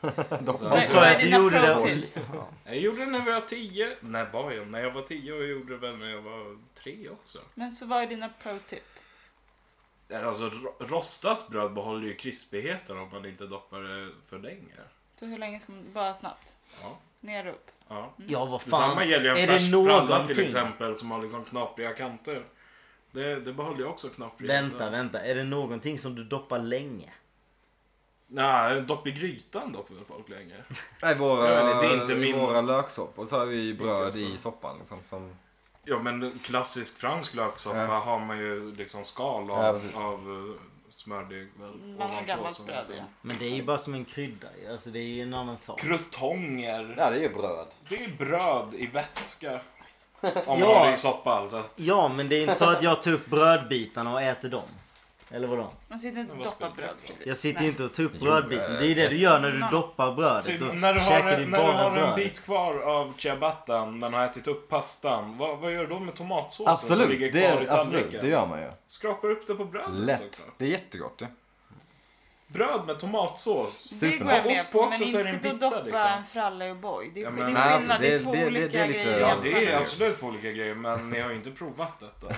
S2: Du
S1: Vad-
S2: sa
S1: vad är
S2: att du
S1: dina
S2: gjorde det.
S1: pro-tips?
S3: Jag gjorde det när jag var 10. När var jag? När jag var 10 och jag gjorde det väl när jag var 3 också.
S1: Men så vad är dina pro-tip?
S3: Alltså ro- rostat bröd behåller ju krispigheten om man inte doppar det för länge.
S1: Så hur länge ska man, bara snabbt?
S3: Ja.
S1: Ner och upp.
S3: ja.
S2: *laughs* Ja, vad
S3: Detsamma
S2: fan.
S3: gäller ju en
S2: är det
S3: färsk fralla till
S2: någonting?
S3: exempel som har liksom knapriga kanter. Det, det behåller ju också knapriga
S2: Vänta, vänta. Är det någonting som du doppar länge?
S3: Nej, dopp i grytan doppar väl folk länge.
S4: Nej, våra,
S3: Jag vet inte, det är inte min-
S4: våra löksoppor så har vi bröd
S3: Inte så.
S4: i soppan liksom. Som...
S3: Ja men klassisk fransk löksoppa
S4: Ja.
S3: har man ju liksom skal
S4: Ja,
S3: av,
S4: precis.
S3: av eh, smördeg väl.
S1: Man har
S3: ovanpå
S1: gammalt
S3: som
S1: bröd
S3: liksom-
S1: ja.
S2: Men det är ju bara som en krydda. Alltså det är ju en annan sak.
S3: Krutonger.
S4: Ja, det är ju bröd.
S3: Det är ju bröd i
S2: *laughs*
S3: vätska. Om
S2: Ja.
S3: man har det i soppa alltså.
S2: Ja, men det är inte så att jag tar upp brödbitarna och äter dem. Eller vadå?
S1: Man sitter inte och
S3: Men vad
S1: doppar
S3: spelar det
S1: bröd.
S3: för roll?
S2: Jag sitter
S1: Nej.
S2: ju inte och tar upp
S4: Jo,
S2: brödbiten. Det är ju det du gör när du doppar brödet.
S3: eh, Typ,
S2: Då
S3: när du har,
S2: käkar
S3: en-
S2: du
S3: när du
S2: bara
S3: har en
S2: bröd.
S3: bit kvar av ciabattan men har ätit upp pastan. Vad, vad gör du då med tomatsåsen som ligger
S4: Absolut,
S3: kvar
S4: det,
S3: i
S4: är, absolut,
S3: tallriken?
S4: det gör man ju.
S3: Skrapar upp det på brödet också.
S4: Lätt. Det är jättegott ju.
S3: Bröd med tomatsås.
S1: Det
S4: Super.
S1: går jag
S3: Och
S1: med
S3: ost på
S1: på,
S3: också
S1: men
S3: så är det
S1: inte
S3: en
S1: sitta och
S3: pizza,
S1: doppa
S3: liksom.
S1: en fralla i O'boy. Det är
S3: Ja,
S1: sk-
S3: men-
S1: det är
S4: Nej, alltså,
S1: skillnad,
S4: det-
S1: det är
S4: det-
S1: två
S4: det- det är
S1: olika
S4: lite-
S1: grejer.
S4: Ja,
S3: Ja, det är
S4: ju. *laughs*
S3: absolut två olika grejer men ni har ju inte provat detta.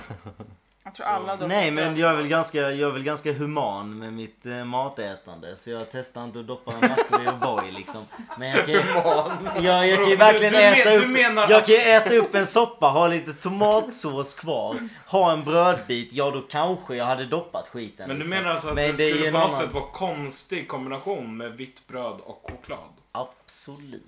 S1: Jag tror alla dock
S2: Nej,
S1: är
S2: men
S1: döda.
S2: jag är, väl ganska, jag är väl ganska human med mitt eh, matätande. Så jag testar inte att doppa en mackor i O'boy liksom. Men jag kan ju, jag, jag kan ju
S3: Du-
S2: verkligen
S3: du men-
S2: äta
S3: du
S2: upp...
S3: menar
S2: Jag
S3: att-
S2: kan ju äta upp en soppa, ha lite tomatsås kvar, ha en brödbit. Ja, då kanske jag hade doppat skiten.
S3: Men du
S2: liksom.
S3: menar alltså att
S2: Men
S3: det,
S2: det är ju
S3: skulle
S2: en
S3: på något
S2: annan-
S3: sätt vara konstig kombination med vitt bröd och choklad?
S2: Absolut.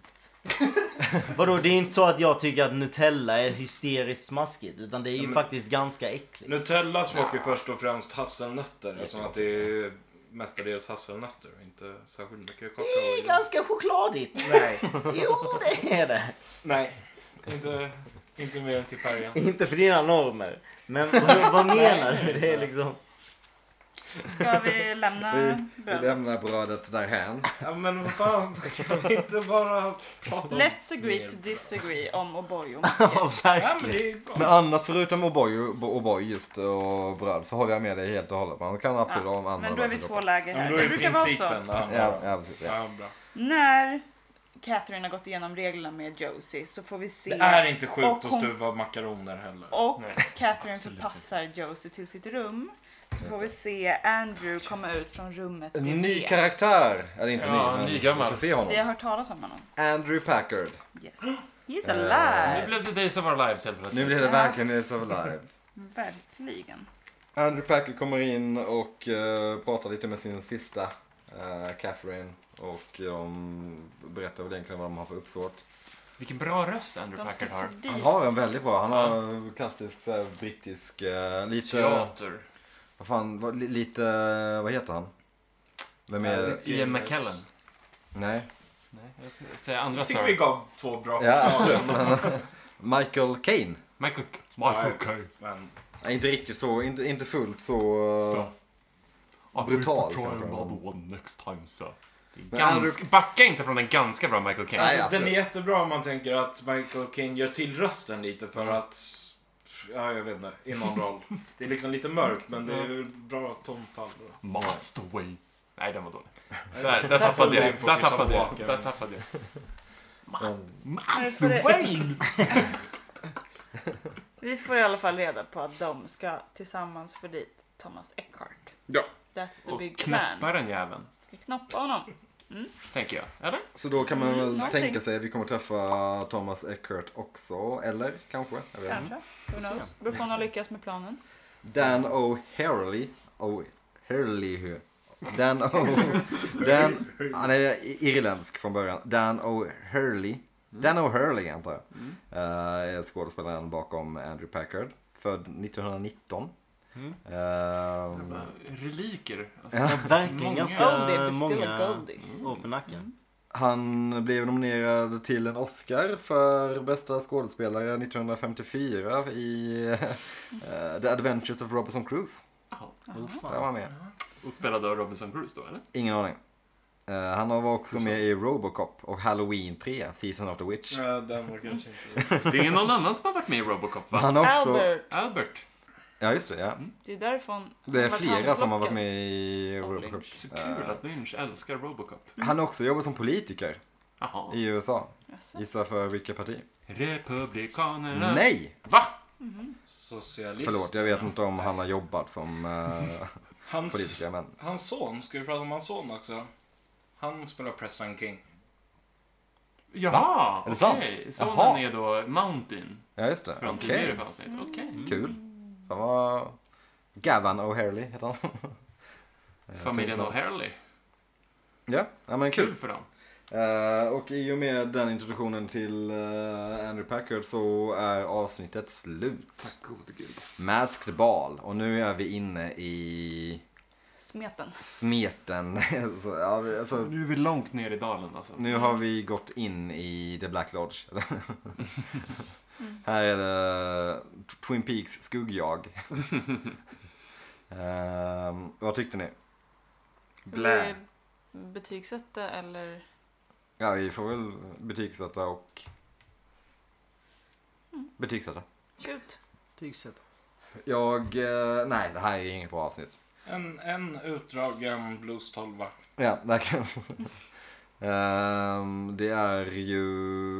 S2: *laughs* Vadå, det är inte så att jag tycker att Nutella är hysteriskt smaskigt. Utan det är ju faktiskt ganska äckligt.
S3: Nutella smakar ju först och främst hasselnötter eftersom att det är mestadels hasselnötter och inte särskilt mycket
S2: Det är
S3: kakao.
S2: ganska chokladigt.
S3: Nej,
S2: *laughs* Jo, det är det.
S3: nej. Inte, inte mer än till färgen.
S2: Inte för dina normer. Men *laughs* vad, vad menar du? Det är liksom...
S1: Ska vi
S4: *laughs*
S1: lämna
S4: Vi
S1: brödet?
S4: lämnar brödet därhän.
S3: Ja, men vad fan, kan vi inte bara prata om...
S1: Let's agree to disagree om O'boy
S4: *laughs*
S1: och
S2: *laughs* Ja,
S3: Ja, men
S2: verkligen.
S3: det är ju bra.
S4: Men annars förutom O'boy och, och just och bröd så håller jag med dig helt och hållet. Man kan absolut
S1: Ja,
S4: använda
S1: Men då är vi
S4: brödet.
S1: två läger
S3: Ja, men
S1: här.
S3: då
S1: Det
S3: är
S1: brukar vara
S3: principen
S1: så.
S3: det handlar
S4: Ja,
S3: om.
S4: ja, precis. Ja.
S3: Ja, bra.
S1: När Catherine har gått igenom reglerna med Josie så får vi se.
S3: Det är inte
S1: Och
S3: sjukt att
S1: hon-
S3: stuva makaroner heller.
S1: Och
S5: Nej,
S1: Catherine
S3: absolut
S1: förpassar Josie till sitt rum. Så får vi se Andrew komma ut från rummet
S4: En ny
S1: bredvid.
S4: karaktär. Eller inte
S5: Ja,
S4: ny, men
S5: nygammal.
S4: vi får se honom.
S1: Vi har hört talas om honom.
S4: Andrew Packard.
S1: Yes. He's
S4: Eh,
S5: Nu
S1: alive.
S5: blev det Days of Our Lives helt plötsligt.
S4: Nu blir det verkligen Days of Live.
S1: Verkligen.
S4: Andrew Packard kommer in och eh, pratar lite med sin sista eh, Catherine. Och eh, de berättar väl egentligen vad de har för uppsåt.
S5: Vilken bra röst Andrew
S1: De ska
S5: Packard
S1: få dit.
S5: har.
S4: Han har en väldigt bra. Han har klassisk så här, brittisk, eh, lite...
S5: Teater.
S4: Vad fan, vad, li- lite... Vad heter han? Vem
S3: Ja,
S4: är...
S3: det-
S5: Ian McKellen.
S4: Nej.
S5: Nej, jag skulle säga andra
S3: Jag tycker vi
S5: Sir.
S3: gav två bra
S4: Ja,
S3: förklaringar.
S4: absolut. Men, eh, Michael Caine.
S5: Michael, Michael Caine.
S3: Men,
S4: Nej, inte riktigt så, inte, inte fullt så...
S5: Så.
S4: I Brutal, will try kanske. another Andrew-
S5: Ganska, backa inte från den ganska bra Michael Caine.
S4: Nej,
S3: alltså, den är
S4: absolut.
S3: jättebra om man tänker att Michael King gör till rösten lite för att... Ja, jag vet inte. I någon roll. Det är liksom lite mörkt, men det är bra tonfall.
S5: Must away. Nej, den var dålig. Där, där tappade jag.
S3: på
S5: Där
S3: Christian
S5: tappade jag.
S3: Walken.
S5: Där tappade jag.
S4: Mm.
S1: Vi får- Vi får i alla fall reda på att de ska tillsammans få dit Thomas Eckhart.
S4: Ja.
S1: That's the
S5: Och
S1: big plan.
S5: knäppa Mm. den jäveln,
S1: Ska knoppa honom.
S5: tänker jag. Eller?
S4: Så då kan man väl
S1: någonting.
S4: tänka sig att vi kommer träffa Thomas Eckert också, eller kanske? Jag vet inte.
S1: Kanske. Who knows? Beror på om de lyckas med planen.
S4: Dan O'Herlihy. O'Herlihy. Dan O... Dan... Han är irländsk från början. Dan O'Hurley. Dan O'Hurley antar jag. Eh, är skådespelaren bakom Andrew Packard. Född 1919. Eh,
S5: Reliker. Alltså,
S4: Mm. Ja.
S2: Verkligen
S1: Goldie,
S5: Många.
S2: ganska
S1: but still a
S2: många
S1: Goldie.
S2: år
S5: Mm.
S2: på nacken.
S4: Han blev nominerad till en Oscar för bästa skådespelare 1954 i *laughs* eh, The Adventures of Robinson Crusoe.
S5: Mm. ja.
S2: Oh,
S4: Där var
S2: fan.
S4: han med.
S5: Och spelade av Robinson Crusoe då, eller?
S4: Ingen aning. Eh, han var också med i Robocop och Halloween 3, Season of the Witch.
S3: Ja, den var kanske inte...
S5: Det är någon annan som har varit med i Robocop, va?
S4: Han har också...
S1: Albert!
S5: Albert.
S4: Ja, just det. Ja.
S1: Det är därifrån
S4: Det är
S1: han var
S4: flera som har varit
S1: handplockad.
S4: med i
S1: Av
S4: Robocop.
S1: Lynch.
S5: Så
S4: Eh,
S5: kul att Lynch älskar Robocop.
S4: han har också jobbat som politiker
S5: Jaha.
S4: i USA.
S1: Jaså?
S4: Gissa för vilket parti?
S5: Republikanerna.
S4: Nej!
S5: Va?
S3: Socialist.
S4: Förlåt, jag vet inte om han har jobbat som eh,
S3: Hans,
S4: politiker, men...
S3: hans son. Ska vi prata om hans son också? Han spelar Preston King.
S5: Jaha!
S4: Är det sant?
S5: okej. Sonen
S4: Jaha.
S5: är då Mountain
S4: Ja, just det.
S5: från
S4: Okej.
S5: tidigare avsnitt. Okej.
S4: Kul. Han var... Gavin O'Harley heter han. *laughs*
S5: Familjen
S4: tänkte-
S5: O'Harley.
S4: ja, ja, men
S5: Kul
S4: kul.
S5: för dem.
S4: Eh, och i och med den introduktionen till eh, Andrew Packard så är avsnittet slut.
S5: Gode gud.
S4: Masked Ball. Och nu är vi inne i
S1: Smeten.
S4: smeten. *laughs* så, ja, vi- alltså,
S5: Nu är vi långt ner i dalen alltså.
S4: nu har vi gått in i The Black Lodge. *laughs* Här är det Twin Peaks
S5: *laughs*
S4: skuggjag. uh, vad tyckte ni?
S1: Vill vi betygsätta eller?
S4: Ja, vi får väl betygsätta och... Betygsätta.
S1: Gud.
S4: Jag... eh, Nej, det här är inget bra avsnitt.
S3: En, en utdragen blues 12
S4: Ja, verkligen. *laughs* Ehm, det är ju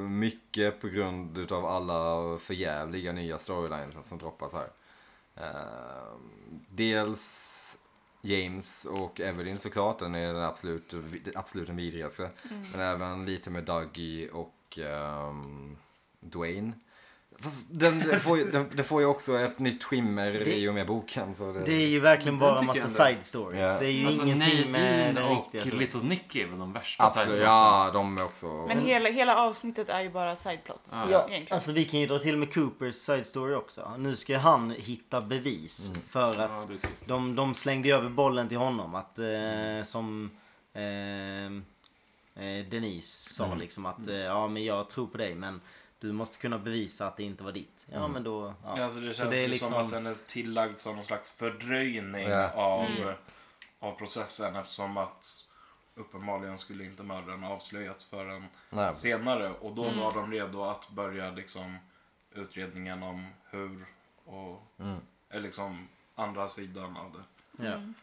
S4: mycket på grund utav alla förjävliga nya storylines som droppas här. Eh, dels James och Evelyn såklart, den är den absolut, den absolut den vidrigaste. Men även lite med Dougie och ehm, Dwayne. Fast den, den, får ju, den, den får ju också ett nytt skimmer i och med boken. Så det,
S2: Det är ju verkligen
S5: Den
S2: bara
S5: tycker
S2: massa
S5: jag ändå.
S2: side stories.
S4: Ja.
S2: Det är ju
S5: Alltså
S2: ingenting med
S5: Nadine
S2: den
S5: och
S2: riktiga. storyn.
S5: Little Nicky är väl de värsta
S4: absolut,
S5: sideplotsen.
S4: ja, de är också...
S1: Men hela, hela avsnittet är ju bara sideplots.
S5: Ja.
S2: Ja,
S1: Egentligen.
S2: alltså vi kan ju dra till med Coopers side story också. Nu ska han hitta bevis för
S5: Ja,
S2: att
S5: det är trist.
S2: de, de slängde ju över bollen till honom. Att eh, som ehm, eh, Denise sa liksom att eh, ja men jag tror på dig men du måste kunna bevisa att det inte var ditt. Ja men då. Ja.
S3: Alltså det
S2: Så
S3: känns
S2: är
S3: ju
S2: liksom-
S3: som att den är tillagd som någon slags fördröjning
S4: Ja.
S3: av, eh, av processen eftersom att uppenbarligen skulle inte mördaren avslöjats förrän
S4: Nej.
S3: senare och då var de redo att börja liksom utredningen om hur och
S2: Mm.
S3: eller liksom andra sidan av det.
S2: Ja.
S3: Mm.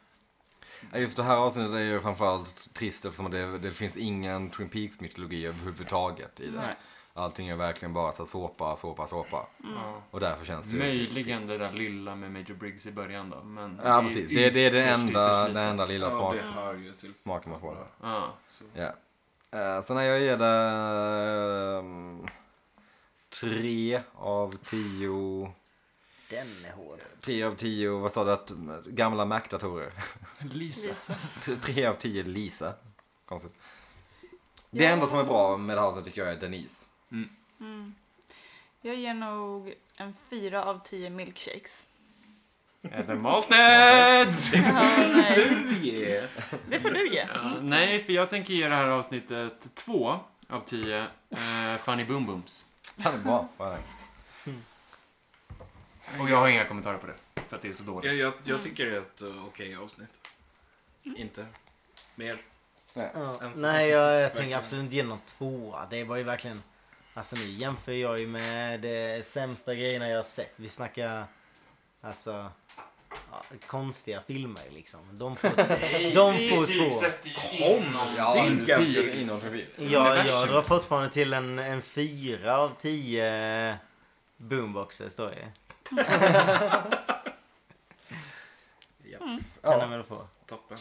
S4: Ja, Just det här avsnittet är ju framförallt trist eftersom det, det finns ingen Twin Peaks mytologi överhuvudtaget i det.
S1: Nej.
S4: Allting är verkligen bara så här såpa, såpa, såpa.
S5: Ja.
S4: Och därför känns det ju
S5: Möjligen
S4: trist.
S5: det där lilla med Major Briggs i början då. Men
S4: Ja, precis. Det, det är det
S5: ytterst, ytterst
S4: enda,
S5: lite.
S4: det enda lilla
S3: Ja,
S4: smak,
S3: det hör ju till.
S4: smaken man får.
S5: Ja.
S4: Ja. Eh, Sen när jag ger det ehm, tre av tio...
S2: Den är hård.
S4: Tre av tio, vad sa du? Att, gamla Mac-datorer.
S5: Lisa.
S4: Tre- Tre av tio Lisa. Konstigt. Det enda som är bra med det här avsnittet tycker jag är Denise.
S1: Jag ger nog en fyra av tio milkshakes.
S5: Är det maltet?
S1: Ja, nej.
S3: Du ger!
S1: Det får du ge.
S5: Ja, Nej, för jag tänker ge det här avsnittet två av tio eh, Funny Boom Booms.
S4: Han är bra. vad är det?
S5: Och jag har inga kommentarer på det. För att det är så
S3: Jag,
S5: dåligt.
S3: jag, jag tycker det är ett eh, okej avsnitt. Inte mer.
S2: Ja.
S3: Ensam.
S2: Nej jag, jag tänker
S3: Verkligen.
S2: absolut inte ge någon tvåa. Det var ju verkligen. Alltså nu jämför jag ju med de sämsta grejerna jag har sett. Vi snackar alltså ja, konstiga filmer liksom. De får, t- de får
S5: typ
S2: två.
S3: Stinker.
S4: tio inom förbi.
S2: Jag, jag
S5: Universum.
S2: drar fortfarande till en, en fyra av tio boomboxer står det. Kan den
S4: Ja.
S2: väl få.
S3: Toppen.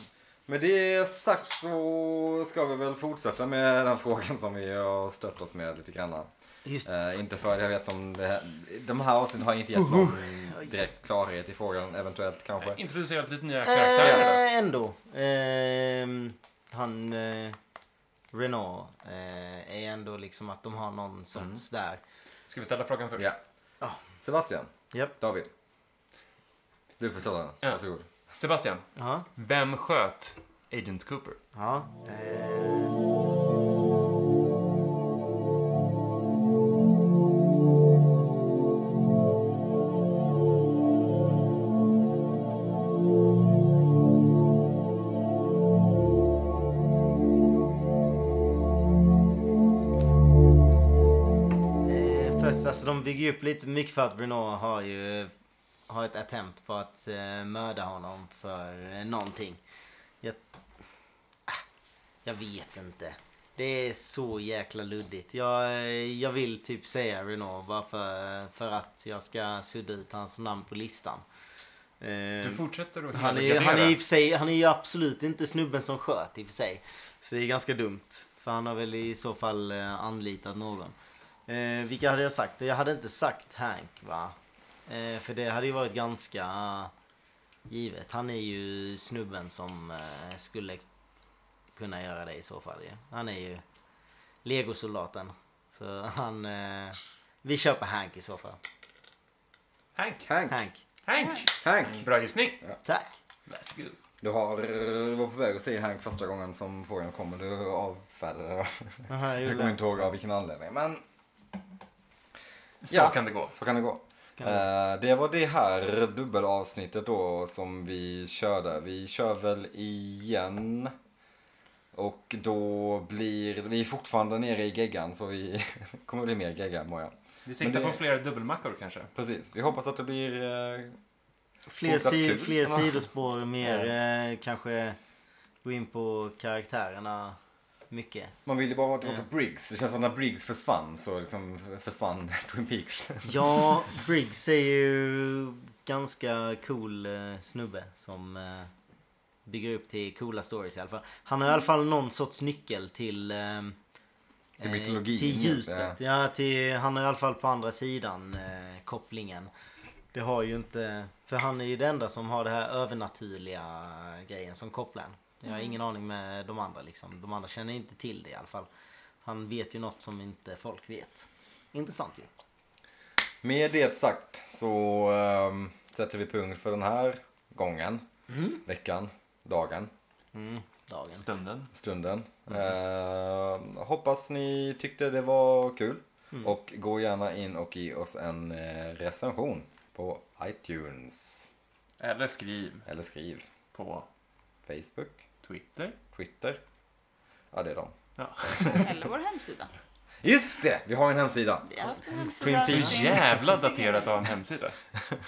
S4: Med det sagt så ska vi väl fortsätta med den frågan som vi har stött oss med lite grann.
S2: Just
S4: Eh, inte för att jag vet om det här, de här avsnitten har inte gett någon direkt klarhet i frågan eventuellt kanske.
S5: Introducerat lite nya karaktärer.
S2: Äh, ändå. Ehm, han... Eh, Renault eh, är ändå liksom att de har någon sorts där.
S5: Ska vi ställa frågan först?
S4: Ja. Sebastian,
S2: Japp.
S4: David. Du får ställa den.
S5: Ja.
S4: Varsågod.
S5: Sebastian,
S2: Ja.
S5: vem sköt Agent Cooper?
S2: Ja. Eh, Eh, Först, alltså de bygger ju upp lite mycket för att Bruno har ju har ett attempt på att eh, mörda honom för eh, någonting. Jag, Ah, jag vet inte. Det är så jäkla luddigt. Jag, eh, jag vill typ säga Renault bara för, för att jag ska sudda ut hans namn på listan. Eh,
S5: Du fortsätter att
S2: han är, ju-
S5: helgardera.
S2: han, är i och för sig, han är ju absolut inte snubben som sköt i och för sig. Så det är ganska dumt. För han har väl i så fall eh, anlitat någon. Eh, vilka hade jag sagt? Jag hade inte sagt Hank va? Eh, för det hade ju varit ganska eh, givet. Han är ju snubben som eh, skulle kunna göra det i så fall ju. Han är ju legosoldaten. Så han... Eh, vi kör på Hank i så fall.
S5: Hank.
S4: Hank. Hank.
S2: Hank.
S5: Hank. Bra gissning.
S2: Tack!
S5: Let's go.
S4: Du, har, du var på väg att säga Hank första gången som frågan kom men du avfärdade det.
S2: Aha, jag
S4: Jag
S2: gjorde
S4: kommer
S2: det.
S4: inte ihåg av vilken anledning. Men
S5: Så
S4: Ja.
S5: kan det gå.
S4: Så kan det gå.
S2: kan det
S4: Eh, det var det här dubbelavsnittet då som vi körde. Vi kör väl igen. Och då blir vi är fortfarande nere i geggan så vi *laughs* kommer bli mer gegga imorgon.
S5: Vi
S4: Men
S5: siktar
S4: det-
S5: på fler dubbelmackor kanske.
S4: Precis. Vi hoppas att det blir... eh,
S2: Fler,
S4: Fortsatt
S2: si
S4: kul.
S2: fler
S4: Ja.
S2: sidospår, mer eh, kanske gå in på karaktärerna mycket.
S4: man vill ju bara åka
S2: Ja.
S4: på Briggs. Det känns som att när Briggs *laughs* försvann så liksom försvann Twin Peaks.
S2: Ja, Briggs är ju ganska cool eh, snubbe som eh, bygger upp till coola stories i alla fall. Han har i alla fall någon sorts nyckel till... Eh,
S4: Till
S2: eh,
S4: mytologin,
S2: Till
S4: just det,
S2: djupet. Ja, till, han är i alla fall på andra sidan eh, kopplingen. Det har ju inte... För han är ju den enda som har det här övernaturliga grejen som kopplar en. Jag har ingen aning med de andra liksom. De andra känner inte till det i alla fall. Han vet ju något som inte folk vet. Intressant ju.
S4: Med det sagt så ehm, sätter vi punkt för den här gången, veckan, dagen,
S2: Mm, dagen.
S5: Stunden.
S4: stunden.
S2: Mm.
S4: Ehm, hoppas ni tyckte det var kul.
S2: Mm.
S4: Och gå gärna in och ge oss en eh, recension på iTunes.
S5: Eller skriv
S4: Eller skriv
S5: på
S4: Facebook,
S5: Twitter.
S4: Twitter. Ja, det är de.
S5: Ja.
S1: Eller vår hemsida.
S4: Just det! Vi har en hemsida.
S1: Vi har haft en
S4: Twin
S1: hemsida.
S5: Så
S1: som-
S5: jävla daterat att ha en hemsida.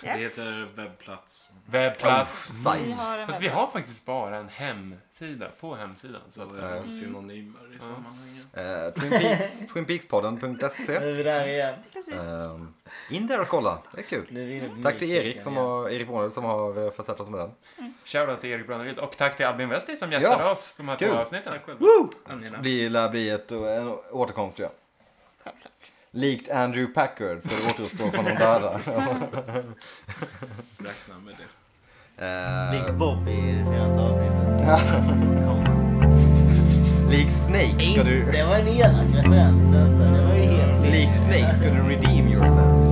S3: Det heter webbplats.
S5: Webbplats.
S1: Vi
S4: Sajt.
S1: har en
S5: Fast vi har faktiskt bara en hemsida på hemsidan. Så
S3: Så
S5: att, eh,
S3: det är synonymer i sammanhanget.
S4: Eh, Twin Peaks, twinpeakspodden.se.
S2: Nu är vi där igen.
S1: Precis.
S5: Eh.
S4: Ehm, in där och kolla, det är kul.
S2: Nu är vi inne på
S4: Tack till
S2: musiken
S4: Erik, som
S2: igen.
S4: har, Erik Bonel som har eh, försett oss med den.
S5: Shoutout till Erik Brönneryd och tack till Albin Westby som gästade
S4: Ja,
S5: oss de här
S4: kul.
S5: två avsnitten.
S4: Det blir- lär bli ett, eh, en återkomst, ja.
S1: Självklart.
S4: Likt Andrew Packard ska du återuppstå från de döda.
S3: Räkna med det.
S4: Eh,
S2: Lik Bob i det senaste avsnittet.
S4: lik Snake ska du...
S2: Det var en elak referens, vänta. Det var ju helt fel.
S4: Lik Snake ska du redeem yourself.